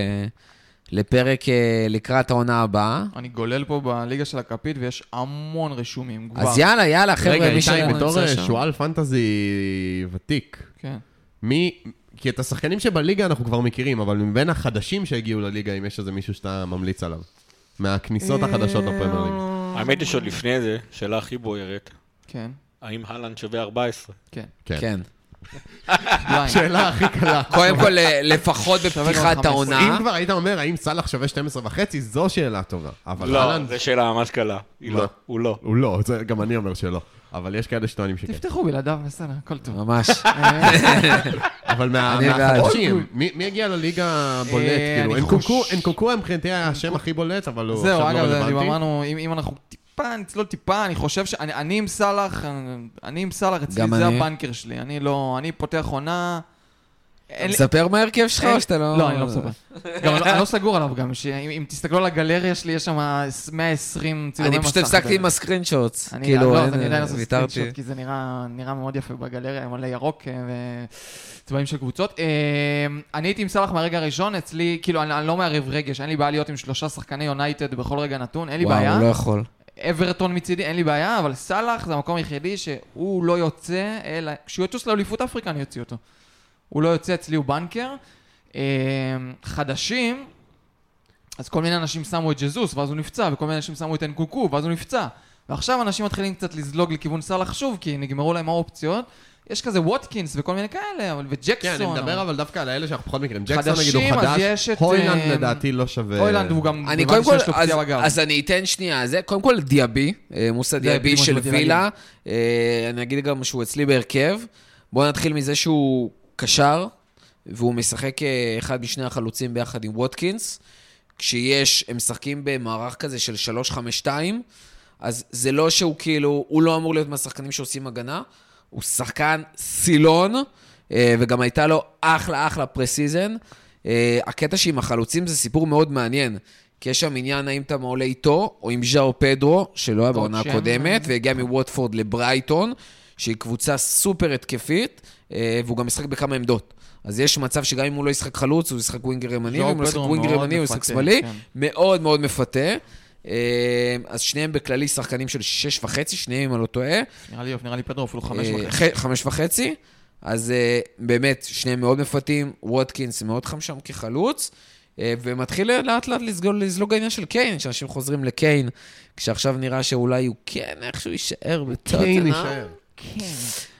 A: לפרק אה, לקראת העונה הבאה.
B: אני גולל פה בליגה של הכפית ויש המון רשומים כבר.
A: אז יאללה, יאללה, חבר'ה,
C: רגע,
A: מי
C: איתי,
A: שלא
C: בתור אה,
A: נמצא שם.
C: שועל פנטזי ותיק,
B: כן.
C: מי... כי את השחקנים שבליגה אנחנו כבר מכירים, אבל מבין החדשים שהגיעו לליגה, אם יש איזה מישהו שאתה ממליץ עליו. מהכניסות החדשות לפרמייר ליג.
D: האמת היא שעוד לפני זה, שאלה הכי בוערת,
B: כן,
D: האם אהלנד שווה 14?
B: כן.
C: כן.
A: כן. אה,
B: בליינד.
C: שאלה הכי קלה.
A: קודם כל, אה, לפחות
B: שווה
A: בפתיחת
B: גם 15.
A: העונה.
C: אם כבר היית אומר, האם סאלח שווה 12 וחצי, זו שאלה טובה. אבל
D: לא,
C: אהלן,
D: זו שאלה ממש קלה. היא
C: מה?
D: לא, הוא לא.
C: הוא לא, זה גם אני אומר שלא. אבל יש כאלה שטוענים שכן.
B: תפתחו בלעדיו, בסדר, הכל טוב.
A: ממש.
C: אבל מה-
A: אני בעד.
C: מהחדשים, מי מי הגיע לליגה בולט?
B: אה, אני
C: כאילו,
B: חוש-
C: אנקוקו, אנקוקו היה מבחינתי היה השם הכי בולט, אבל הוא
B: זהו,
C: עכשיו לא
B: אגב, זה- אם
C: רלוונטי.
B: אמרנו, אם אם אנחנו טיפה, נצלול טיפה, אני חושב ש... אני אני עם סאלח, אני- אני עם סאלח, אצלי
A: גם
B: זה
A: אני.
B: הבנקר שלי. אני לא... אני פותח עונה... אין לי-
A: מספר מההרכב שלך או שאתה לא...
B: לא, אני לא מספר. גם אני לא- אני לא סגור עליו גם, שאם אם תסתכלו על הגלריה שלי, יש שם 120 צילומי מסך.
A: אני פשוט הפסקתי
B: בערך.
A: עם הסקרין שוטס.
B: אני-
A: כאילו,
B: לא, אז
A: אין-
B: אני עדיין עושה
A: ויתרתי.
B: סקרינשוט, כי זה נראה נראה מאוד יפה בגלריה, עם מלא ירוק אה, וצבעים של קבוצות. אה, אני הייתי עם סאלח מהרגע הראשון, אצלי, כאילו, אני אני לא מערב רגש, אין לי בעיה להיות עם שלושה שחקני יונייטד בכל רגע נתון, אין לי
A: וואו,
B: בעיה.
A: הוא לא יכול.
B: אברטון מצידי, אין לי בעיה, אבל סאלח זה המקום היחידי שהוא לא יוצא, אלא כשהוא יטוס לאליפות אפריקה אני אוציא אותו. הוא לא יוצא, אצלי הוא בנקר. אה, אמ, חדשים, אז כל מיני אנשים שמו את ג'זוס, ואז הוא נפצע, וכל מיני אנשים שמו את אנקוקו, ואז הוא נפצע. ועכשיו אנשים מתחילים קצת לזלוג לכיוון סאלח שוב, כי נגמרו להם האופציות. יש כזה ווטקינס וכל מיני כאלה, אבל וג'קסון.
C: כן, אני מדבר אבל דווקא על האלה שאנחנו פחות מכירים. ג'קסון
B: חדשים,
C: נגיד הוא
B: אז
C: חדש,
B: יש את,
C: הוילנד
B: אה,
C: לדעתי לא שווה...
B: הוילנד הוא גם...
A: אני
B: הבנתי
A: קודם כל,
B: שיש לו
A: אז,
B: פציעה בגב.
A: אז אני אתן שנייה, זה קודם כל דיאבי, אה, מוסא דיאבי
B: בדיוק מה
A: של
B: שבאתי
A: וילה, אה, אני אגיד גם שהוא אצלי בהרכב. בואו נתחיל מזה שהוא קשר, והוא משחק אה, אחד משני החלוצים ביחד עם ווטקינס. כשיש, הם משחקים במערך כזה של 3-5-2, אז זה לא שהוא כאילו, הוא לא אמור להיות מהשחקנים שעושים הגנה, הוא שחקן סילון, אה, וגם הייתה לו אחלה אחלה פרסיזן. אה, הקטע שעם החלוצים זה סיפור מאוד מעניין, כי יש שם עניין האם אתה מעולה איתו, או עם ז'או פדרו, שלא היה בעונה
B: שם.
A: הקודמת, והגיע מווטפורד לברייטון, שהיא קבוצה סופר התקפית, אה, והוא גם משחק בכמה עמדות. אז יש מצב שגם אם הוא לא ישחק חלוץ, הוא ישחק ווינגר ימני,
B: ז'או
A: ואם הוא לא ישחק
B: פדרו
A: ווינגר
B: מאוד
A: ימני, הוא ישחק
B: מפתה,
A: שמאלי.
B: כן.
A: מאוד מאוד מפתה. אה, אז שניהם בכללי שחקנים של שש וחצי, שניהם אם אני לא טועה.
B: נראה לי יופי, נראה לי פדרו אפילו חמש
A: אה,
B: וחצי.
A: ח- חמש וחצי. אז אה, באמת, שניהם מאוד מפתים, ווטקינס מאוד חם שם כחלוץ, אה, ומתחיל לאט לאט לזלוג, לזלוג העניין של קיין, שאנשים חוזרים לקיין, כשעכשיו נראה שאולי הוא כן איכשהו יישאר
B: כן
C: קיין
A: בטוטנאם.
C: יישאר.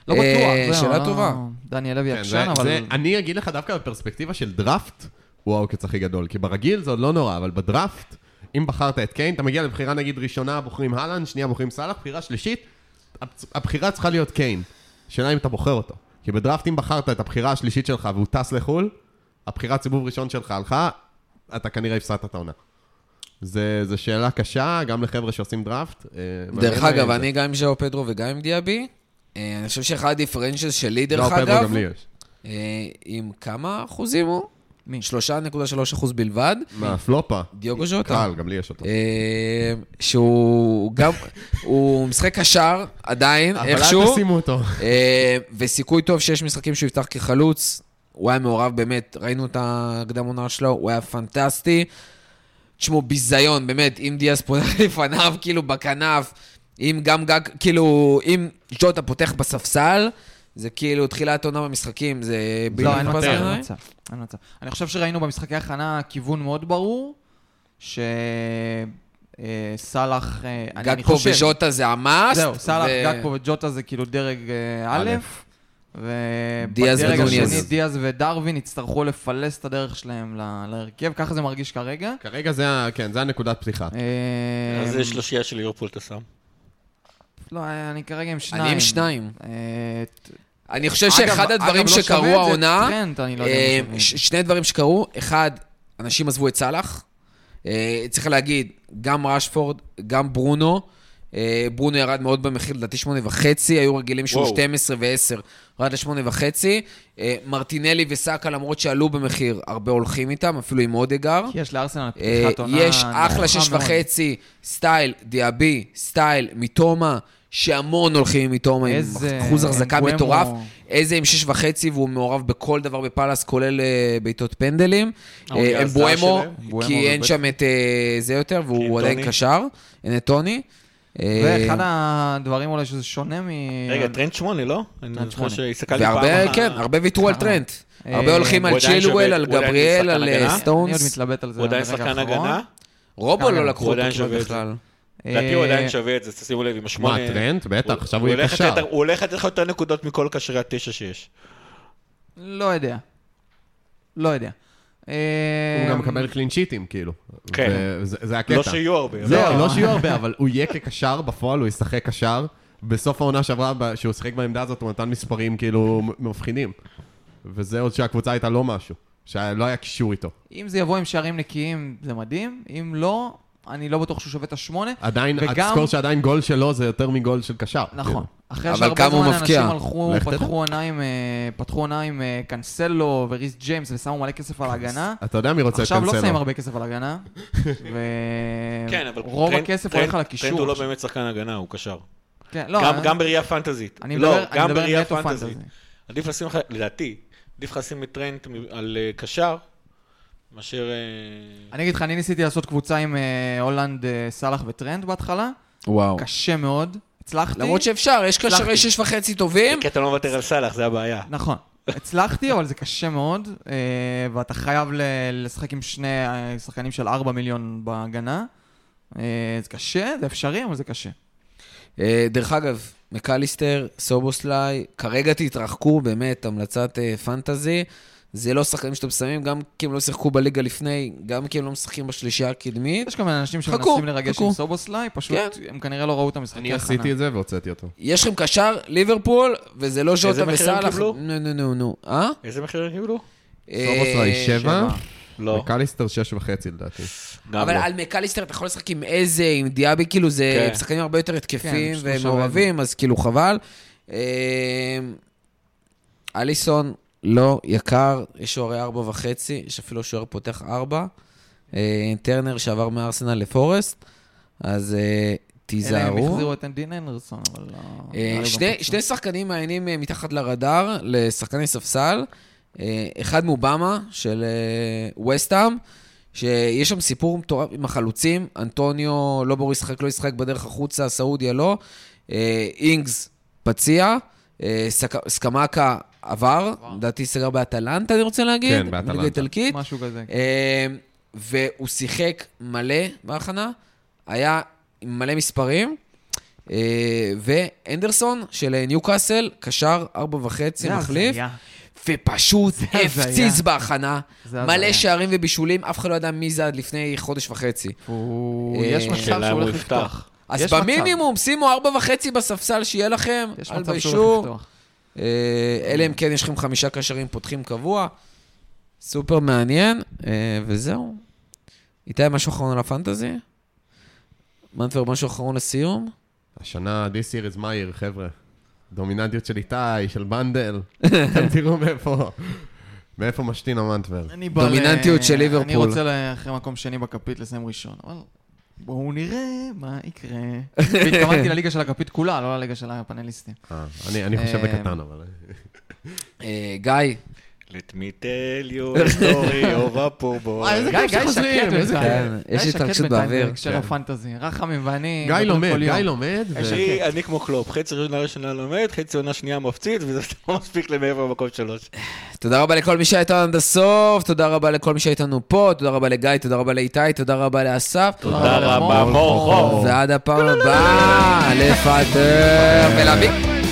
B: לא
A: אה,
B: בטוח, זהו,
A: שאלה
B: לא-
A: טובה.
B: דניאל לוי
C: כן,
B: עקשן,
C: זה-
B: אבל...
C: זה- אני אגיד לך דווקא בפרספקטיבה של דראפט, הוא העוקץ הכי גדול. כי ברגיל זה עוד לא נורא, אבל בדראפט, אם בחרת את קיין, אתה מגיע לבחירה נגיד ראשונה, בוחרים אהלן, שנייה בוחרים סאלח, בחירה שלישית, הבצ- הבחירה צריכה להיות קיין. השאלה אם אתה בוחר אותו. כי בדראפט אם בחרת את הבחירה השלישית שלך והוא טס לחו"ל, הבחירת סיבוב ראשון שלך הלכה, אתה כנראה הפסדת את העונה. זה, זה שאלה קשה, גם לחבר'ה שעושים דראפט. אה,
A: דרך
B: לא
C: מעניין
A: אגב,
C: זה.
A: אני גם עם ז'או פדרו וגם עם דיאבי. אה, אני חושב שאחד הדיפרנציאל שלי,
C: לא,
A: דרך
C: פדרו,
A: אגב,
C: גם לי יש.
A: אה, עם כמה אחוזים הוא?
B: מי?
A: 3.3 אחוז בלבד.
C: מה, פלופה?
A: דיוגו ז'וטה.
C: קל, גם לי יש אותו.
A: אה, שהוא גם, הוא משחק קשר, עדיין,
C: אבל אל
A: איכשהו,
C: תשימו אותו.
A: אה, וסיכוי טוב שיש משחקים שהוא יפתח כחלוץ. הוא היה מעורב באמת, ראינו את הקדם עונה שלו, הוא היה פנטסטי. תשמעו, ביזיון, באמת, אם דיאס פונה לפניו, כאילו, בכנף, אם גם גג, כאילו, אם ג'וטה פותח בספסל, זה כאילו תחילת עונה במשחקים, זה בלתי
B: לא, אין
A: נתפס
B: מצב,
A: בעיניי.
B: אין מצב, אין מצב. אני חושב שראינו במשחקי הכנה כיוון מאוד ברור, שסאלח, אה, אני
A: גג
B: אני
A: פה
B: חושב...
A: וז'וטה זה המאסט.
B: זהו, סאלח,
A: ו-
B: גג פה וג'וטה זה כאילו דרג אה, א',
C: א'.
A: דיאז
B: ובדרג
C: ודוניאז.
B: השני דיאז ודרווין יצטרכו לפלס את הדרך שלהם ל- להרכב, ככה זה מרגיש כרגע.
C: כרגע זה, ה- כן, זה הנקודת פתיחה.
B: אה,
D: אז זה שלושייה של ליברפול אתה שם.
B: לא, אני כרגע עם שניים.
A: אני עם שניים.
B: אה, ת-
A: אני חושב
B: אגב,
A: שאחד הדברים
B: אגב, לא
A: שקרו
B: שווה את זה,
A: העונה,
B: טרנט, אני לא יודע
A: אה,
B: מה שווה.
A: ש- שני דברים שקרו, אחד, אנשים עזבו את סאלח, אה, צריך להגיד, גם רשפורד, גם ברונו, אה, ברונו ירד מאוד במחיר, לדעתי שמונה וחצי, היו רגילים שהוא
D: וואו.
A: 12 ו-10, ירד לשמונה וחצי, אה, מרטינלי וסאקה למרות שעלו במחיר, הרבה הולכים איתם, אפילו עם אודגר.
B: כי יש לארסנל
A: אה,
B: פתיחת עונה...
A: יש
B: נוחה
A: אחלה שש
B: מאוד.
A: וחצי, סטייל דיאבי, סטייל מתומה, שהמון הולכים עם מתומה, עם
B: איזה
A: אחוז החזקה
B: אנגואמו.
A: מטורף. איזה עם שש וחצי, והוא מעורב בכל דבר בפאלאס, כולל אה, בעיטות פנדלים.
D: הוא
A: אה,
D: יהיה
A: הם
D: הסטאר
A: בואמו,
D: אוקיי, שלהם?
B: בואמו
A: כי אין
B: ובטח.
A: שם את אה, זה יותר, והוא
D: טוני.
A: עדיין קשר, אין את טוני. אה,
B: ואחד הדברים אולי שזה שונה מ...
D: רגע, טרנד שמונה, לא? אני
B: אה, טרנד שמונה.
D: זוכר שהסתכלתי פעם...
A: והרבה,
D: אחת-
A: כן, הרבה ויתרו על
B: אה,
A: טרנט.
B: אה,
A: הרבה הולכים
D: הוא
A: על
D: עדיין
A: צ'ילואל,
D: שווה-
A: על
D: הוא עדיין
A: גבריאל,
D: שחקן
A: על אה,
D: הגנה? אני
B: אני עוד
A: סטונס.
B: מתלבט על זה.
D: הוא עדיין
B: ברגע
D: שחקן
B: האחרון.
D: הגנה?
A: רובו לא
B: הוא
A: לקחו אותו
D: עדיין
A: כמעט
D: שווה את זה.
A: בכלל.
D: לדעתי הוא
B: אה,
D: עדיין שווה את זה, תשימו לב, עם
C: מה,
D: השמונה...
C: טרנט? בטח,
D: אה, הוא-
C: עכשיו
D: הוא
C: הוא יהיה
D: הולך
C: קשר.
D: לתת- הוא הולך לתת לך יותר נקודות מכל קשרי התשע שיש.
B: לא יודע. לא יודע. אה,
C: הוא גם מקבל קלין שיטים, כאילו.
D: כן.
C: וזה- זה הקטע.
D: לא שיהיו הרבה. אבל-
C: לא, לא שיהיו הרבה, אבל הוא יהיה כקשר בפועל, הוא ישחק קשר. בסוף העונה שעברה, ב- שהוא שיחק בעמדה הזאת, הוא נתן מספרים כאילו מ- מבחינים. וזה עוד שהקבוצה הייתה לא משהו. שלא היה קישור איתו.
B: אם זה יבוא עם שערים נקיים, זה מדהים. אם לא, אני לא בטוח שהוא שווה את השמונה.
C: עדיין,
B: וגם-
C: תזכור שעדיין גול שלו זה יותר מגול של קשר.
B: נכון. אחרי
A: אבל
B: שהרבה
A: כמה הוא
B: זמן
A: מבקיע?
B: אנשים הלכו,
C: לך תדע.
B: פתחו עונה עם, אה, פתחו עונה עם אה, קאנסלו וריס ג'יימס ושמו מלא כסף על ההגנה.
C: אתה יודע מי רוצה את
B: עכשיו לא שמים
C: קנסלו.
B: הרבה כסף על הגנה,
D: כן, אבל
B: ורוב
D: טרנט-
B: הכסף
D: טרנט-
B: הולך על
D: טרנט הוא
B: הקישור.
D: לא באמת שחקן הגנה, הוא קשר.
B: כן, לא,
D: גם-
B: אני-
D: גם בראייה פנטזית.
B: אני
D: לא,
B: מדבר- אני
D: גם
B: מדבר
D: בראייה
B: נטו פנטזי.
D: פנטזית. עדיף לשים לך, לדעתי, עדיף לך לשים את טרנט מ- על אה, קשר, מאשר... אה,
B: אני אגיד לך, אני ניסיתי לעשות קבוצה עם אה, הולנד, אה, סאלח וטרנד בהתחלה,
A: וואו.
B: קשה מאוד, הצלחתי.
A: למרות שאפשר, יש
B: הצלחתי.
A: קשרי שש וחצי טובים.
D: כן. כי אתה לא מוותר על סאלח, זה הבעיה.
B: נכון. הצלחתי, אבל זה קשה מאוד, אה, ואתה חייב ל- לשחק עם שני אה, שחקנים של 4 מיליון בהגנה. אה, זה קשה, זה אפשרי, אבל זה קשה.
A: אה, דרך אגב, מקליסטר, סובוסליי, כרגע תתרחקו, באמת, המלצת אה, פנטזי. זה לא שחקנים שאתם שמים, גם כי הם לא שיחקו בליגה לפני, גם כי הם לא משחקים בשלישייה הקדמית.
B: יש כל מיני אנשים
A: חכו,
B: שמנסים לרגש
A: חכו.
B: עם סובוסליי, פשוט
A: כן.
B: הם כנראה לא ראו את המשחקי
C: אני
B: הכנה.
C: עשיתי את זה והוצאתי אותו.
A: יש לכם קשר, ליברפול, וזה לא ז'וטה
D: מחיר הם
A: וסאלח.
D: קיבלו?
A: נו, נו, נו, נו. אה?
D: איזה מחיר הם קיבלו?
C: סובוסליי
A: אה,
C: שבע,
D: לא,
C: וקליסטר שש וחצי לדעתי.
D: גם
A: אבל
D: לא.
A: על מקליסטר אתה יכול לשחק עם איזה, עם דיאבי, כאילו זה
D: כן.
A: שחקנים הרבה יותר
B: כן,
A: התקפיים
B: פשוט
A: והם
B: לא שווה את
A: מעורבים, אז כאילו חבל. אה, אליסון לא יקר, יש שוערי ארבע וחצי, יש אפילו שוער פותח ארבע. אה, טרנר שעבר מארסנל לפורסט, אז אה,
B: אלא הם
A: תיזהרו.
B: החזירו את דין הנדרסון, אבל לא...
A: אה,
B: לא
A: שני-
B: בטוח.
A: שני שחקנים מעיינים אה, מתחת לרדאר, לשחקני ספסל. אה, אחד מאובמה, של אה, וסטאם, שיש שם סיפור מטורף עם החלוצים. אנטוניו, לא ברור ישחק, לא ישחק בדרך החוצה, סעודיה לא. אה, אינגס, פציע. אה, סק- סקמקה עבר, לדעתי סגר באטלנטה, אני רוצה להגיד.
C: כן, באטלנטה.
A: בליגה האיטלקית.
B: משהו כזה. כן.
A: אה, והוא שיחק מלא בהכנה, היה עם מלא מספרים. אה, ואנדרסון של אה, ניוקאסל, קשר ארבע וחצי,
B: זה
A: מחליף,
B: הזיה.
A: ופשוט
B: הזיה.
A: הפציץ בהכנה,
B: זה
A: מלא
B: הזיה.
A: שערים ובישולים, אף אחד לא ידע מי זה עד לפני חודש וחצי.
B: הוא-
A: אה,
B: יש מצב
D: השאלה אם
B: שהוא
D: הוא
B: הולך
D: יפתח.
B: לפתוח.
A: אז
B: יש
A: במינימום, שימו ארבע וחצי בספסל שיהיה לכם,
B: מצב. יש
A: אל
B: מצב שהוא לא הולך
A: בישור.
B: לפתוח.
A: אה, אלא אם כן יש לכם חמישה קשרים פותחים קבוע. סופר מעניין, אה, וזהו. איתי, משהו אחרון על הפנטזי? מנטבר, משהו אחרון לסיום?
C: השנה, this year is my year, חבר'ה. דומיננטיות של איתי, של בנדל. אתם תראו מאיפה, מאיפה משתין המנטבר.
B: אני בא ל-
A: דומיננטיות של
B: אני
A: ליברפול.
B: רוצה ל- אחרי מקום שני בכפית לסיים ראשון, אבל בואו נראה מה יקרה. והתכוונתי לליגה של הכפית כולה, לא לליגה של הפאנליסטים.
C: אה, אני, אני חושב
B: אה,
C: בקטן, אבל...
A: אה, גיא,
D: Let me tell you a story of a poor boy.
B: וואי,
C: גיא, גיא
B: חוזרים,
C: שקט
B: איזה
C: בינתיים.
B: כיף.
A: כן, יש
B: גיא שקט
A: התרגשות
B: בינתיים
A: באוויר.
B: בהקשר
C: כן.
B: הפנטזי. רחמים ואני...
C: גיא
B: מדברים
C: לומד,
B: כל יום. אה,
C: גיא לומד, ו-
B: יש
D: אני, אני כמו קלופ, חצי ראשונה ראשונה לומד, חצי עונה שנייה מפציץ, וזה לא מספיק למעבר במקום שלוש.
A: תודה רבה לכל מי שהיה איתנו עד הסוף, תודה רבה לכל מי שהיה איתנו פה, תודה רבה לגיא, תודה רבה לאיתי, תודה רבה לאסף.
D: תודה רבה,
B: רבה,
D: מור חור.
A: ועד הפעם הבאה, לפטר ולהביא.